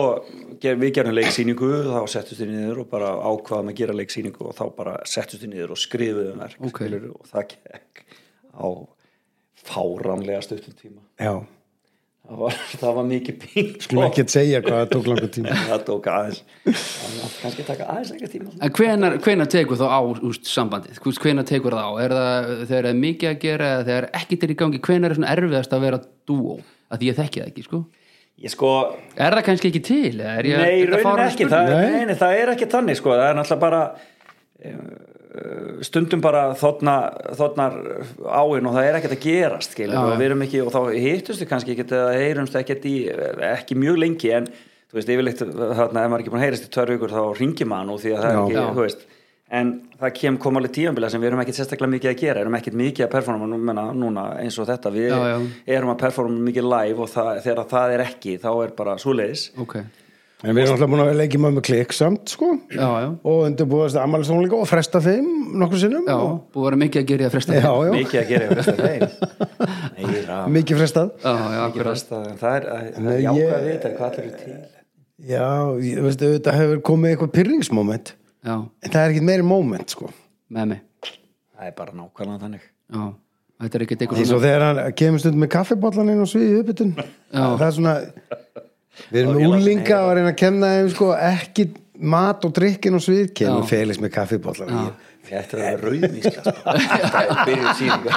[SPEAKER 3] ger, við gerum leiksýningu þá settust við niður og bara ákvaðum að gera leiksýningu og þá bara settust við niður og skrifuðum verk
[SPEAKER 2] Ok.
[SPEAKER 3] skilurðu, og það gekk á fáranlega stuttum tíma
[SPEAKER 1] já,
[SPEAKER 3] það var, það var mikið pink
[SPEAKER 1] skulum ekki að segja hvað það tók langur tíma
[SPEAKER 3] það tók aðeins það kannski taka aðeins lengra tíma
[SPEAKER 2] En hvenar, hvenar tekur þá á úst, sambandið? Hvers- Hvenar tekur það á? Er það þegar það er mikið að gera eða þegar ekkert er í gangi? Hvenar er svona erfiðast að vera dúó? Að því ég þekki það ekki, sko.
[SPEAKER 3] ég sko
[SPEAKER 2] Er það kannski ekki til? eða Er ég,
[SPEAKER 3] Nei,
[SPEAKER 2] þetta
[SPEAKER 3] raunin
[SPEAKER 2] fáránleg
[SPEAKER 3] ekki,
[SPEAKER 2] spurning?
[SPEAKER 3] það,
[SPEAKER 1] Nei.
[SPEAKER 3] nei. Nei, það er ekki þannig sko, það er náttúrulega bara eh, stundum bara þotna, þotnar áin og það er ekkert að gerast skilur,
[SPEAKER 2] Já,
[SPEAKER 3] og,
[SPEAKER 2] já.
[SPEAKER 3] við erum ekki, og þá hittumstu kannski ekkert eða heyrumst ekkert í, ekki mjög lengi en þú veist, yfirleitt þarna, ef maður er ekki búin að heyrast í tvær vikur þá ringir maður nú því að það er
[SPEAKER 1] Já.
[SPEAKER 3] ekki,
[SPEAKER 2] Já.
[SPEAKER 3] þú veist en það kem kom alveg tíðanbila sem við erum ekkert sérstaklega mikið að gera, erum ekkert mikið að performa nú- menna, núna eins og þetta, við
[SPEAKER 2] Já, já.
[SPEAKER 3] erum að performa mikið live og það, þegar það er ekki, þá er bara svoleiðis
[SPEAKER 2] Ok,
[SPEAKER 1] en við erum alltaf búin að leikja maður með klikk samt sko
[SPEAKER 2] já, já.
[SPEAKER 1] og undirbúðast amalistónleika og fresta þeim nokkur sinnum
[SPEAKER 2] Já,
[SPEAKER 1] og,
[SPEAKER 2] búið að vera mikið að gera í að fresta
[SPEAKER 1] já,
[SPEAKER 2] þeim.
[SPEAKER 1] já,
[SPEAKER 3] mikið að gera í fyrsta þeim meira
[SPEAKER 1] mikið frestað
[SPEAKER 2] Já, já,
[SPEAKER 3] mikið
[SPEAKER 2] akkurat.
[SPEAKER 3] fyrsta en það er að
[SPEAKER 1] Nei,
[SPEAKER 3] jáka
[SPEAKER 1] ég-
[SPEAKER 3] við þetta hvað allir er til
[SPEAKER 1] já, ég veist, auðvitað hefur komið eitthvað pyrringsmoment
[SPEAKER 2] Já,
[SPEAKER 1] en það er ekkit meiri moment sko
[SPEAKER 2] með mig.
[SPEAKER 3] það er bara nákvæmlega þannig
[SPEAKER 2] Já, þetta er ekkert eitthvað
[SPEAKER 1] eins og
[SPEAKER 2] svona.
[SPEAKER 1] þegar hann kemur stund með kaffibollan inn og sviði uppbytun það er svona við erum með úlinga og reyna að kenna þeim sko ekki mat og drikkin og svið kemur
[SPEAKER 2] Já.
[SPEAKER 1] Felix með kaffibollan og ég-
[SPEAKER 3] þetta er að vera rauðmísla sko. þetta er byrjuð síning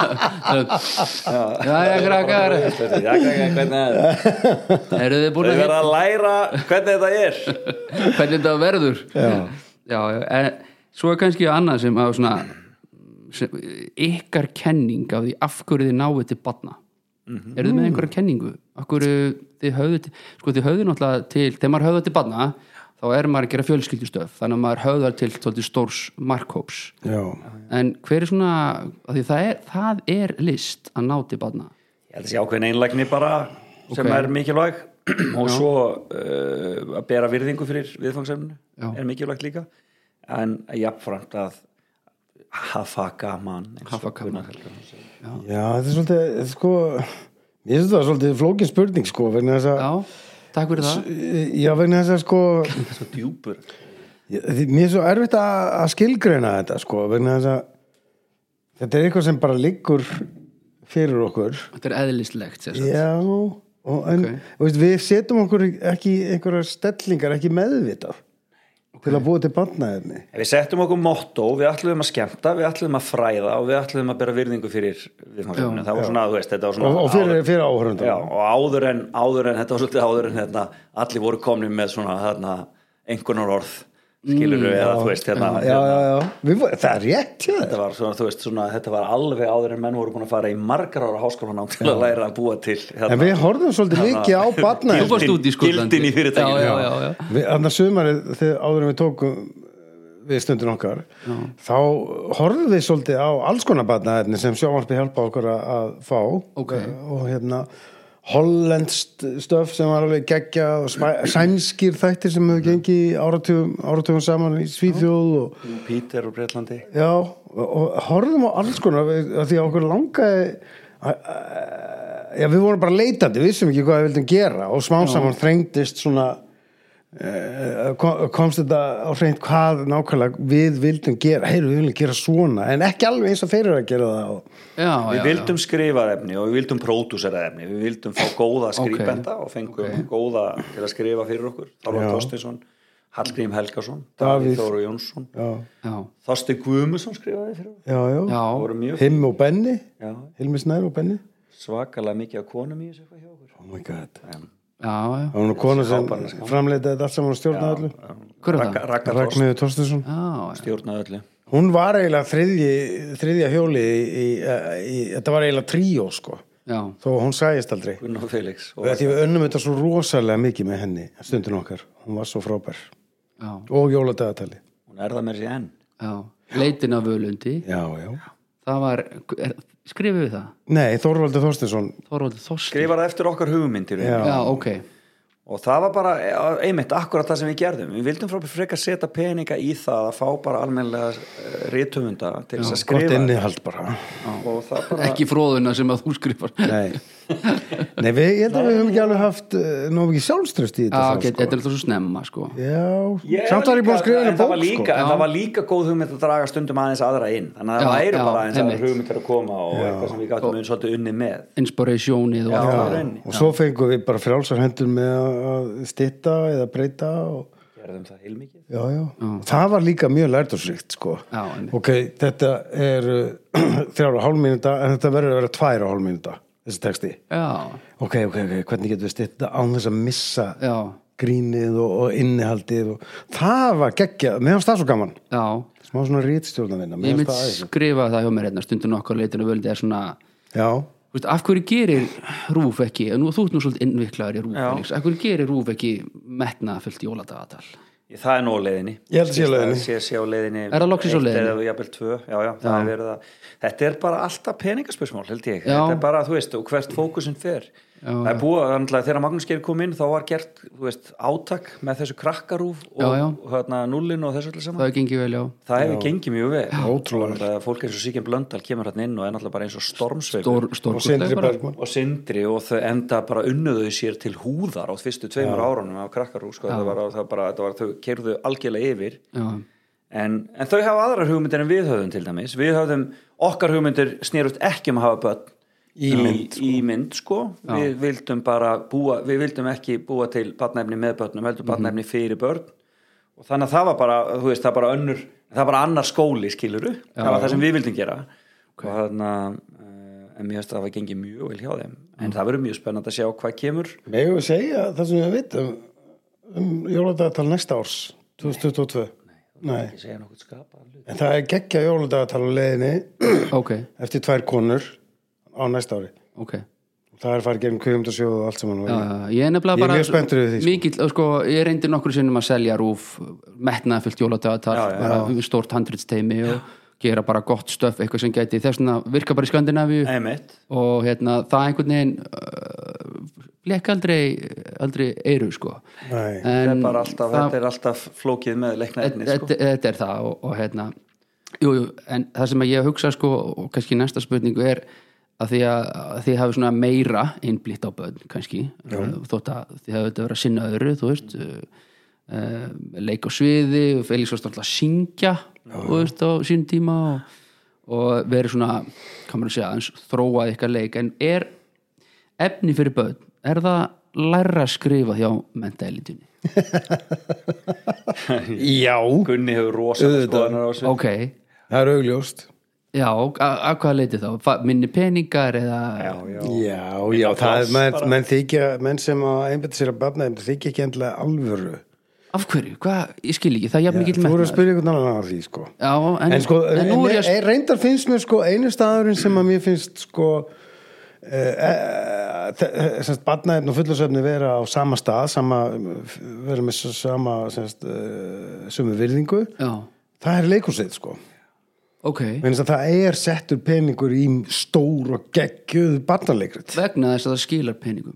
[SPEAKER 2] Já, já, krakkar.
[SPEAKER 3] sko.
[SPEAKER 2] Eru þið búin
[SPEAKER 3] þau
[SPEAKER 2] að
[SPEAKER 3] verða að læra hvernig þetta er
[SPEAKER 2] hvernig þetta verður já, já, en, svo er kannski annað sem að svona sem, ykkar kenning af því af hverju þið náið til batna mm
[SPEAKER 3] Mhm.
[SPEAKER 2] eru þið með einhverja kenningu af hverju þið höfðu til, sko þið höfðu náttúrulega til, þegar maður höfðu til batna þá er maður að gera fjölskyldustöf þannig að maður höfðar til svolítið stórs markhóps
[SPEAKER 1] já,
[SPEAKER 2] en hver er svona af því það er, það er list að ná til batna
[SPEAKER 3] ég held að sé ákveðin einlægni bara sem
[SPEAKER 2] Ok.
[SPEAKER 3] er mikilvæg og svo uh, að bera virðingu fyrir
[SPEAKER 2] Já.
[SPEAKER 3] viðfangsefnu er mikilvægt líka en jafnframt að hafa gaman eins og
[SPEAKER 2] Hafa gaman.
[SPEAKER 3] Gunnar Helgason segir.
[SPEAKER 1] já, þetta er svolítið sko, ég finnst það svolítið flókin spurning sko, vegna þess að
[SPEAKER 2] já, takk fyrir það
[SPEAKER 1] já, vegna þess að sko
[SPEAKER 3] svo djúpur
[SPEAKER 1] ég- því- mér er svo erfitt að, að skilgreina þetta sko, vegna þess að þetta er eitthvað sem bara liggur fyrir okkur
[SPEAKER 2] þetta er eðlislegt sem sagt.
[SPEAKER 1] já, og en
[SPEAKER 2] Ok.
[SPEAKER 1] okay. veist, við setjum okkur ekki í einhverjar stellingar, ekki meðvitað til að búa til barnaðinni
[SPEAKER 3] En Við settum okkur motto, við ætluðum að skemmta, við ætluðum að fræða og við ætluðum að bera virðingu fyrir viðfangsefninu. Það var svona, þú veist, þetta var svona...
[SPEAKER 1] og, og fyrir, fyrir áhörundar
[SPEAKER 3] Já, og áður en, áður en, þetta var svolítið áður en hérna, allir voru komni með svona þarna, einhvernar orð, skilur eða þú veist, hérna,
[SPEAKER 1] Mm, já, já, já, Við vorum- það er rétt já.
[SPEAKER 3] þetta var svona, þú veist, svona, þetta var alveg áður en menn voru búin að fara í margar ára háskólanám til að læra að búa til,
[SPEAKER 1] en
[SPEAKER 3] hérna,
[SPEAKER 1] við horfum svolítið mikið á
[SPEAKER 2] þú
[SPEAKER 1] barnaðinni
[SPEAKER 2] varst út í Skotlandi
[SPEAKER 3] Gildin í
[SPEAKER 2] já,
[SPEAKER 3] fyrirtækinu.
[SPEAKER 2] já, já, já.
[SPEAKER 1] Þannig að sumarið þegar áður en við tókum eh, við stundin okkar þá horfum við svolítið á alls konar barnaðinni sem sjóvarpi hjálpa okkur að, að fá
[SPEAKER 2] Ok.
[SPEAKER 1] og hérna hollendst stöf sem var alveg geggja og sma- sænskir þættir sem hefur gengið í áratugum, áratugum saman í Svíþjóð og,
[SPEAKER 3] Píter og Breitlandi.
[SPEAKER 1] Já, og, og horfðum á alls konar við- af því að okkur langaði að- að- já, við vorum bara leitandi við vissum ekki hvað við vildum gera og smám saman þrengdist svona eh, kom- komst þetta á hreint hvað nákvæmlega við vildum gera heyru, við viljum gera svona, en ekki alveg eins og þeir eru að gera það og,
[SPEAKER 2] Já, já,
[SPEAKER 3] Við
[SPEAKER 2] já.
[SPEAKER 3] vildum skrifarefni og við vildum pródúseraefni, við vildum fá góða skrifbenda og fengum góða til að skrifa fyrir okkur. Þarvar
[SPEAKER 1] Já.
[SPEAKER 3] Þorstinsson, Hallgrím Helgason,
[SPEAKER 1] Davíð.
[SPEAKER 3] Davíð Þóru Jónsson,
[SPEAKER 1] já,
[SPEAKER 2] já,
[SPEAKER 3] Þorsti Guðmusson skrifaði fyrir okkur.
[SPEAKER 1] já, já,
[SPEAKER 2] já.
[SPEAKER 3] Það voru mjög
[SPEAKER 1] Himm og Benni
[SPEAKER 3] já,
[SPEAKER 1] Hilmi Snær og Benni
[SPEAKER 3] svakalega mikið af konum í þessu eitthvað hjá okkur.
[SPEAKER 1] oh my god,
[SPEAKER 2] já, já,
[SPEAKER 1] það var nú kona sem framleitaði þetta allt saman og stjórnaði öllu
[SPEAKER 2] hver er
[SPEAKER 3] Ragga-
[SPEAKER 2] það?
[SPEAKER 3] Ragga Þorst
[SPEAKER 1] Ragnhildur Torstinsson
[SPEAKER 2] já, já,
[SPEAKER 3] stjórnaði öllu.
[SPEAKER 1] Hún var eiginlega þriðji, þriðja hjóli í, í, í, þetta var eiginlega tríó sko,
[SPEAKER 2] já,
[SPEAKER 1] þó að hún sæðist aldrei
[SPEAKER 3] Gunn og Felix. Og,
[SPEAKER 1] Því við önnum þetta svo rosalega mikið með henni stundin okkar, hún var svo frábær
[SPEAKER 2] já,
[SPEAKER 1] og jóladagatali
[SPEAKER 3] hún er það með sér enn.
[SPEAKER 2] já. leitin af völundi
[SPEAKER 1] Já, já
[SPEAKER 2] það var, er, skrifum við það
[SPEAKER 1] Nei, Þorvaldur Þorstinsson
[SPEAKER 2] Þorvaldur Þorsti
[SPEAKER 3] Skrifar það eftir okkar hugmyndir.
[SPEAKER 1] Já.
[SPEAKER 2] já, ok,
[SPEAKER 3] Og það var bara, eh, einmitt, akkurat það sem við gerðum. Við vildum frá frekar setja peninga í það að fá bara almennilega rítufunda til þess
[SPEAKER 1] Gott
[SPEAKER 3] að skrifa.
[SPEAKER 1] innihald bara
[SPEAKER 3] Og það bara...
[SPEAKER 2] ekki fróðuna sem að þú skrifar já,
[SPEAKER 1] Nei, Nei við, ég held að við höfum ekki alveg haft uh, ná ekki sjálfströst í þetta þá,
[SPEAKER 2] ok,
[SPEAKER 1] sko.
[SPEAKER 2] þetta er alltaf svo snemma sko.
[SPEAKER 1] Já,
[SPEAKER 3] Ég
[SPEAKER 1] samt var ég búin að skrifa henni
[SPEAKER 3] en það
[SPEAKER 1] bók
[SPEAKER 3] var líka,
[SPEAKER 1] sko.
[SPEAKER 3] En það var líka góð hugmynd að draga stundum aðeins aðra inn Þannig
[SPEAKER 2] Já,
[SPEAKER 3] að það væri
[SPEAKER 2] já,
[SPEAKER 3] bara aðeins aðra
[SPEAKER 2] einmitt.
[SPEAKER 3] hugmyndir að koma og eitthvað sem við gáttum unni svolítið unni með
[SPEAKER 2] inspirationið og
[SPEAKER 3] Já.
[SPEAKER 2] allt
[SPEAKER 3] Já.
[SPEAKER 2] það.
[SPEAKER 3] rauninni.
[SPEAKER 1] Og svo fengum við bara frjálsar hendur með að- að stitta eða breyta og
[SPEAKER 3] Gerðum það heilmikið
[SPEAKER 1] já, já. það var líka mjög lærdósrikt sko.
[SPEAKER 2] Já, einmitt.
[SPEAKER 1] ok, þetta er uh, þrjára og hálf mínúta en þetta verður að vera tværa og hálf mínúta þessi texti,
[SPEAKER 2] já,
[SPEAKER 1] ok, ok, ok hvernig getum við styrta án þess að missa
[SPEAKER 2] já,
[SPEAKER 1] grínið og, og innihaldið og... það var geggjað, mér fannst það svo gaman
[SPEAKER 2] já
[SPEAKER 1] smá svona rítstjórnavinna
[SPEAKER 2] ég
[SPEAKER 1] mér fannst
[SPEAKER 2] mynd
[SPEAKER 1] það aðeins
[SPEAKER 2] skrifa það hjá mér hérna stundin okkar leitin af völundi er svona
[SPEAKER 1] já,
[SPEAKER 2] þú veist, af hverju gerir Rúf ekki og nú, þú ert nú svolítið innviklaður í Rúf
[SPEAKER 3] Já.
[SPEAKER 2] Felix, af hverju gerir Rúf ekki metna fullt jóladagatal
[SPEAKER 3] Ég- Það er nú á leiðinni
[SPEAKER 1] Ég held að sé á leiðinni.
[SPEAKER 3] Sé, sé á leiðinni
[SPEAKER 2] Er það loksins á
[SPEAKER 3] Eitt
[SPEAKER 2] leiðinni?
[SPEAKER 3] Eða jafnvel tvö, já, já, það er verið að Þetta er bara alltaf peningaspursmál, held ég
[SPEAKER 2] Já.
[SPEAKER 3] Þetta er bara, þú veist, og hvert fókusin fer Það er búið, þannig þegar Magnús Geir kom inn þá var gert, þú veist, átak með þessu krakkarúf og,
[SPEAKER 2] Já, já.
[SPEAKER 3] og hérna, nullin og þessu öllu saman
[SPEAKER 2] það gengið vel já,
[SPEAKER 3] Það hefur gengið mjög vel
[SPEAKER 1] Ótrúlega vel.
[SPEAKER 3] Það er Fólk eins og Sýkjum Blöndal kemur hann inn og er náttúrulega bara eins og stormsveif
[SPEAKER 2] stór,
[SPEAKER 1] og
[SPEAKER 2] stór
[SPEAKER 1] Sindri Bergman
[SPEAKER 3] og sindri og þau enda bara unnuðu sér til húðar á fyrstu tveimur árunum af krakkarú sko, það var, það bara, það var, þau kerðu algjörlega yfir
[SPEAKER 2] já,
[SPEAKER 3] en, en þau hafa aðrar hugmyndir en við höfðum til dæmis við höfðum, okkar hugmyndir snerust ekki um að hafa börn í mynd, í, mynd sko. við vildum bara búa, við vildum ekki búa til barnæfni með börnum, heldur barnæfni fyrir börn og þannig að það var bara, þú veist, það var bara önnur það var bara annar skóli skiluru það var það sem við vildum gera og þannig að en mér finnst að það var gengið mjög vel hjá þeim en það verður mjög spennand að sjá hvað kemur
[SPEAKER 1] megum við segja það sem við vitum um jóladagatal næsta árs 2022 Nei.
[SPEAKER 3] ekki segja nokkuð skapa
[SPEAKER 1] En það er geggja jóladagatal á leiðinni
[SPEAKER 2] ok,
[SPEAKER 1] eftir tvær konur á næsta ári.
[SPEAKER 2] ok
[SPEAKER 1] Það er farið gegn kveimundasjóð og allt saman.
[SPEAKER 2] Já, já, já. ég er
[SPEAKER 1] Ég
[SPEAKER 2] nefnilega
[SPEAKER 1] er
[SPEAKER 2] bara
[SPEAKER 1] mjög spenntur yfir því, sko.
[SPEAKER 2] mikill, sko, ég reyndi nokkur sinnum að selja rúf metnaði fullt jóladagatal bara stórt handritsteimi og gera bara gott stöf eitthvað sem gæti þess að virka bara í Skandinavíu
[SPEAKER 3] Einmitt.
[SPEAKER 2] og hérna, það einhvern veginn uh, leka aldrei aldrei eiru sko
[SPEAKER 1] Nei.
[SPEAKER 2] en
[SPEAKER 3] bara alltaf, þetta er alltaf flókið með leikna efni sko.
[SPEAKER 2] þetta, þetta er það og, og hérna jú, jú, en það sem að ég hugsa sko og kannski næsta spurningu er að því að, að þið hafi svona meira innblýtt á börn kannski eh, þótt að þið hafi þetta verið að sinna öðru þú veist uh, leik á sviði, Felix var alltaf að syngja þú veist á sínum tíma og, og verið svona kannar að segja aðeins þróað ykkar leik en er efni fyrir börn er það læra að skrifa hjá mentaelitinni?
[SPEAKER 1] Já,
[SPEAKER 3] Gunni hefur rosalega skoðanar á þessu
[SPEAKER 2] Ok,
[SPEAKER 1] það er augljóst
[SPEAKER 2] já, a- að hvað leiti þá? Fa- Minni peningar eða
[SPEAKER 3] já,
[SPEAKER 1] Já, já, það er, menn, menn þykja menn sem að einbæta sér að barna þykja ekki endilega alvöru
[SPEAKER 2] af hverju? Hvað? Ég skil ekki, það er jafn
[SPEAKER 1] Þú
[SPEAKER 2] mikið
[SPEAKER 1] voru að spyrja einhvern annan að því sko
[SPEAKER 2] Já, en,
[SPEAKER 1] en sko, en,
[SPEAKER 2] nú er ég að
[SPEAKER 1] en, reyndar finnst mér sko einu staðurinn sem að mér finnst sko e, e, e, barnaefn og fullasöfni vera á sama stað sama, vera með s- sama semst, e, sömu virðingu
[SPEAKER 2] Já,
[SPEAKER 1] það er leikursið sko
[SPEAKER 2] ok
[SPEAKER 1] Minnst að það er settur peningur í stór og geggjuð barnaleikrit
[SPEAKER 2] vegna þess að það skilar peningum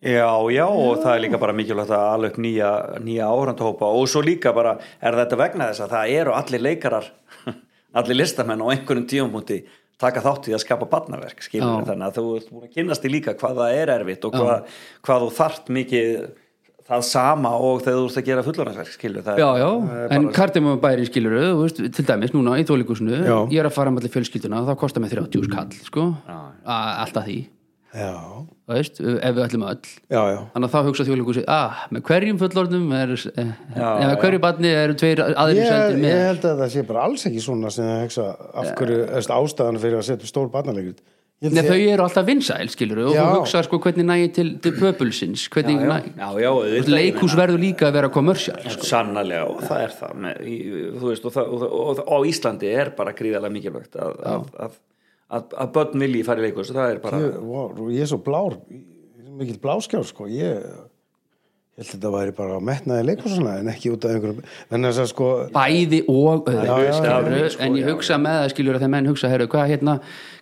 [SPEAKER 3] já, já, og það er líka bara mikilvægt að ala upp nýja, nýja árandhópa og svo líka bara, er þetta vegna þess að það eru allir leikarar allir listamenn á einhverjum tíumúti taka þátt í að skapa barnaverk skilur
[SPEAKER 2] Já.
[SPEAKER 3] þannig að þú ert búin að kynnast því líka hvað það er erfitt og hvað, hvað þú þart mikið það sama og þegar þú ert að gera fullorðansverk skilur það
[SPEAKER 2] Já,
[SPEAKER 3] er-
[SPEAKER 2] já,
[SPEAKER 3] það er
[SPEAKER 2] en
[SPEAKER 3] bara-
[SPEAKER 2] kardimum bæri skilur þú veist, til dæmis núna í þólikusinu
[SPEAKER 1] Já.
[SPEAKER 2] ég er að fara með allir fjölskylduna og það kostar mig 30 skall, sko A- alltaf því,
[SPEAKER 1] Já,
[SPEAKER 2] þú veist, ef við ætlum öll
[SPEAKER 1] já, já
[SPEAKER 2] þannig að þá hugsa þjóðleikusið, ah, með hverjum fullorðnum er, eh, eh, með hverju barni eru tveir aðrir
[SPEAKER 1] Ég,
[SPEAKER 2] sendir
[SPEAKER 1] ég
[SPEAKER 2] með
[SPEAKER 1] held að það sé bara alls ekki svona sem að hugsa af hverju yeah. ástæðan fyrir að setja stór barnaleikrit Ég held
[SPEAKER 2] Nei,
[SPEAKER 1] að
[SPEAKER 2] þau eru alltaf vinsæl, skilur og
[SPEAKER 1] Já.
[SPEAKER 2] þú hugsa sko hvernig nægir til, til pöpulsins hvernig
[SPEAKER 3] já,
[SPEAKER 2] nægir
[SPEAKER 3] já, já, auðvitað, ég
[SPEAKER 2] leikús
[SPEAKER 3] meina.
[SPEAKER 2] verður líka að vera kommersial sko.
[SPEAKER 3] sannlega og það er það með, í, þú veist og, það, og, og, og á Íslandi er bara gríðarlega mikilvægt að, að, að, að, að börn vilji fara í leikus það er bara
[SPEAKER 1] Ég, wow, ég er svo blár, ég er mikill bláskjár sko, ég ég held að þetta væri bara að metnaði leikursuna en ekki út af einhverjum, en þess að sko
[SPEAKER 2] bæði og öðru,
[SPEAKER 1] já, já,
[SPEAKER 2] skilur
[SPEAKER 3] já, sko,
[SPEAKER 2] en ég
[SPEAKER 3] já,
[SPEAKER 2] hugsa með það, skilur, þegar menn hugsa herru, hvað hérna,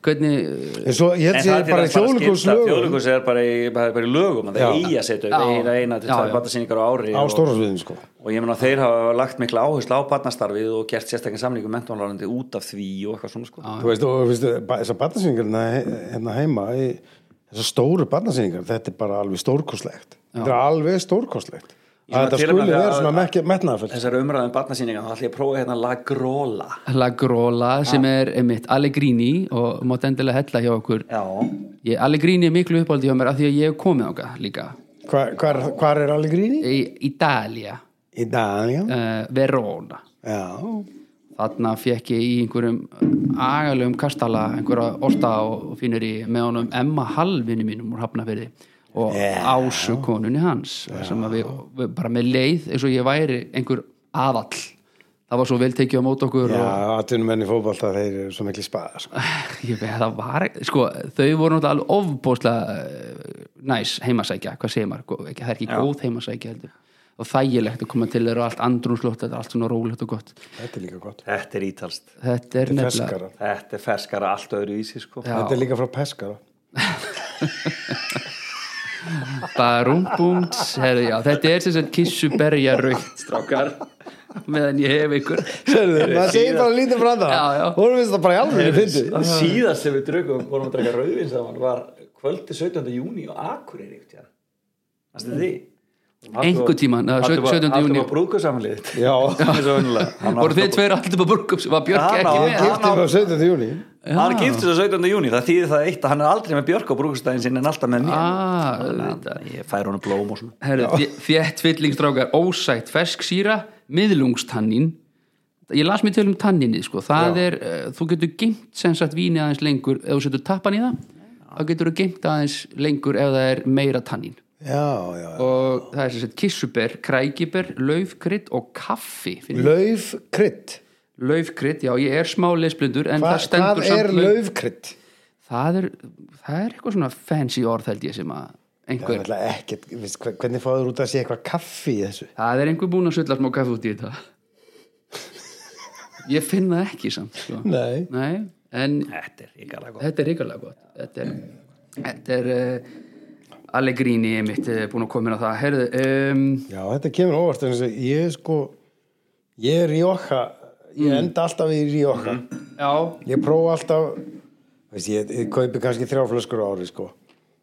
[SPEAKER 2] hvernig
[SPEAKER 1] en svo ég held að
[SPEAKER 3] það
[SPEAKER 1] það er bara þjóðlíkurslögum
[SPEAKER 3] þjóðlíkus er bara í, bara, bara í lögum að það
[SPEAKER 1] Já.
[SPEAKER 3] eigi að setja
[SPEAKER 2] Já.
[SPEAKER 3] upp eina, eina til
[SPEAKER 2] Já,
[SPEAKER 3] tvær
[SPEAKER 2] já.
[SPEAKER 3] barnasýningar á ári
[SPEAKER 1] á
[SPEAKER 3] og,
[SPEAKER 1] stórasviðin sko
[SPEAKER 3] og ég meina þeir hafa lagt mikla áherslu á barnastarfið og gert sérstaklega samlíku mentónlárandi út af því og eitthvað svona sko
[SPEAKER 1] þú veist, og veist, þessar barnasýningar hérna heima, í- þessar stóru barnasýningar, þetta er bara alveg stórkoslegt þetta er alveg stórkoslegt
[SPEAKER 3] Ég
[SPEAKER 1] að þetta
[SPEAKER 3] meina, til og
[SPEAKER 1] skuli
[SPEAKER 3] með
[SPEAKER 1] vera
[SPEAKER 3] að-
[SPEAKER 1] svona metnaðafell
[SPEAKER 3] þessar umræðum barnasýningar þá ætlum ég að prófa hérna La Grola
[SPEAKER 2] Lagrola eh, sem er einmitt Allegrini og mátt endilega hella hjá okkur
[SPEAKER 3] já,
[SPEAKER 2] ég, Allegrini er miklu uppáldi hjá mér af því að ég hef komið áka líka
[SPEAKER 1] hvað er alveg gríni?
[SPEAKER 2] í Ídalia,
[SPEAKER 1] í Dania
[SPEAKER 2] uh, Verona
[SPEAKER 1] já,
[SPEAKER 2] þarna fekk ég í einhverjum agalum kastala, einhverja orta og og finnur í með honum Emma Hallvinni mínum úr Hafnafyrði og Ásu konunni hans sem að við, við bara með leið eins og ég væri einhver aðall það var svo vel tekið á mót okkur og
[SPEAKER 1] Já, atvinnumenn í fótbolta, þeir eru svo miklu spaðar. sko.
[SPEAKER 2] ég veit það var sko, þau voru náttúrulega alveg ofbóðslega eh, næs heimasækja, hvað segir maður Gó- ekki, það er ekki góð heimasækja heldur og þægilegt að koma til þeirra og allt andrúnslótt þetta er allt svona rólegt og gott
[SPEAKER 1] Þetta er líka gott.
[SPEAKER 3] þetta er ítalst
[SPEAKER 2] þetta er nefnilega
[SPEAKER 1] Peskara.
[SPEAKER 3] þetta er ferskara allt öðru í sig sko
[SPEAKER 2] Já.
[SPEAKER 1] Þetta er líka frá Peskara.
[SPEAKER 2] barúmbúms herri, já, þetta er sem sagt kissuberja raukt strákar meðan ég hef ykkur
[SPEAKER 1] Það segir bara lítið frá það.
[SPEAKER 2] Já, já.
[SPEAKER 1] Hún finnst það bara í alveg fyndið.
[SPEAKER 3] Það síðast sem við drögum vorum að draka rauðvin saman var kvöldi 17. júni og Akureyri eftir Það stuði því
[SPEAKER 2] Mm. Einhvern tímann, eða 17. júní.
[SPEAKER 3] Haldum að brúka samanliðið
[SPEAKER 1] Já,
[SPEAKER 2] voru þið tveir alltaf bara burkum sem var Björk
[SPEAKER 3] Já,
[SPEAKER 2] ekki
[SPEAKER 3] já,
[SPEAKER 2] með
[SPEAKER 3] ég-
[SPEAKER 1] giftið frá 17. júni.
[SPEAKER 3] Hann giftur svo 17. júni Það þýðir það eitt að hann er aldrei með Björk á brúkustæðin sinni en alltaf með mér
[SPEAKER 2] Ah,
[SPEAKER 3] Þannig að Ég fær honum blóm og svona
[SPEAKER 2] herri, þé- þétt fyllingstrákar ósætt fesksýra, miðlungstannin ég las mér til um tanninni sko. það er, uh, þú getur geimt sem sagt víni aðeins lengur ef þú setur tappan í það þá getur þú geimt aðeins lengur ef það er meira tannin
[SPEAKER 1] Já, já.
[SPEAKER 2] og það er sem sagt kissuber, krækiber, laufkrydd og kaffi finn
[SPEAKER 1] Lauf krydd.
[SPEAKER 2] Laufkrydd, já ég er smá lesblindur en það
[SPEAKER 1] Hva-
[SPEAKER 2] stendur
[SPEAKER 1] Hvað er
[SPEAKER 2] samt lauf-
[SPEAKER 1] lauf krydd?
[SPEAKER 2] það er, það er eitthvað svona fancy orð held ég sem að
[SPEAKER 1] Það er
[SPEAKER 2] einhver,
[SPEAKER 1] alltaf ekkert, veist, hve- hvernig fáður út að sé eitthvað kaffi í þessu?
[SPEAKER 2] það er einhver búin að sulla smá kaffi út í þetta ég finn það ekki samt sko.
[SPEAKER 1] Nei.
[SPEAKER 2] Nei, en
[SPEAKER 3] Þetta er ríkala góð
[SPEAKER 2] þetta er ríkulega gott þetta er, þetta er uh, Allegrini mitt uh, búin að koma inn á það Herðu, um,
[SPEAKER 1] Já, þetta kemur óvart en þess að ég sko,
[SPEAKER 2] Mm.
[SPEAKER 1] ég er í okka, ég enda alltaf í okka.
[SPEAKER 2] já,
[SPEAKER 1] Ég prófa alltaf veist, ég, ég kaupi kannski þrjáflöskur á ári sko.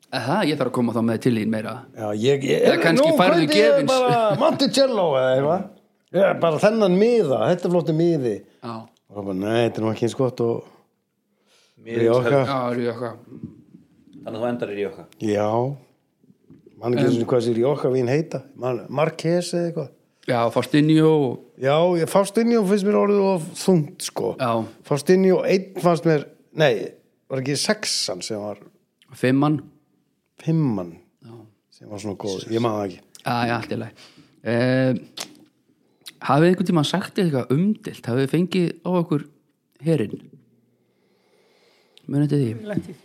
[SPEAKER 2] Eh, Það, ég þarf að koma þá með til þín meira
[SPEAKER 1] Já, ég, ég,
[SPEAKER 2] Eða kannski
[SPEAKER 1] nú
[SPEAKER 2] færðu
[SPEAKER 1] kaupi ég
[SPEAKER 2] gefins.
[SPEAKER 1] bara Monticello eða eitthvað Ég, bara þennan miða, þetta er flóttu miði
[SPEAKER 2] Já,
[SPEAKER 1] og það bara, nei, þetta er nú ekki eins gott og
[SPEAKER 3] Miðin
[SPEAKER 1] Rjóka.
[SPEAKER 2] já, er ég eitthvað
[SPEAKER 3] Þannig að þú endar í Rjóka
[SPEAKER 1] já mann ekki eins og hvað sér Jóka vín heita Man- Marques eða eitthvað
[SPEAKER 2] Já, fórst inn í og
[SPEAKER 1] Já, ég fást inn í og finnst mér orðið of þungt sko.
[SPEAKER 2] Já.
[SPEAKER 1] Fást inn í og einn fannst mér, nei, var ekki sexan sem var
[SPEAKER 2] fimmann
[SPEAKER 1] fimman Já. sem var svona góð, ég maður ekki.
[SPEAKER 2] Já, já, allt í lagi eh, Hafið einhvern tímann sagt þér eitthvað umdilt Hafið þið fengið á okkur herinn Munið þetta því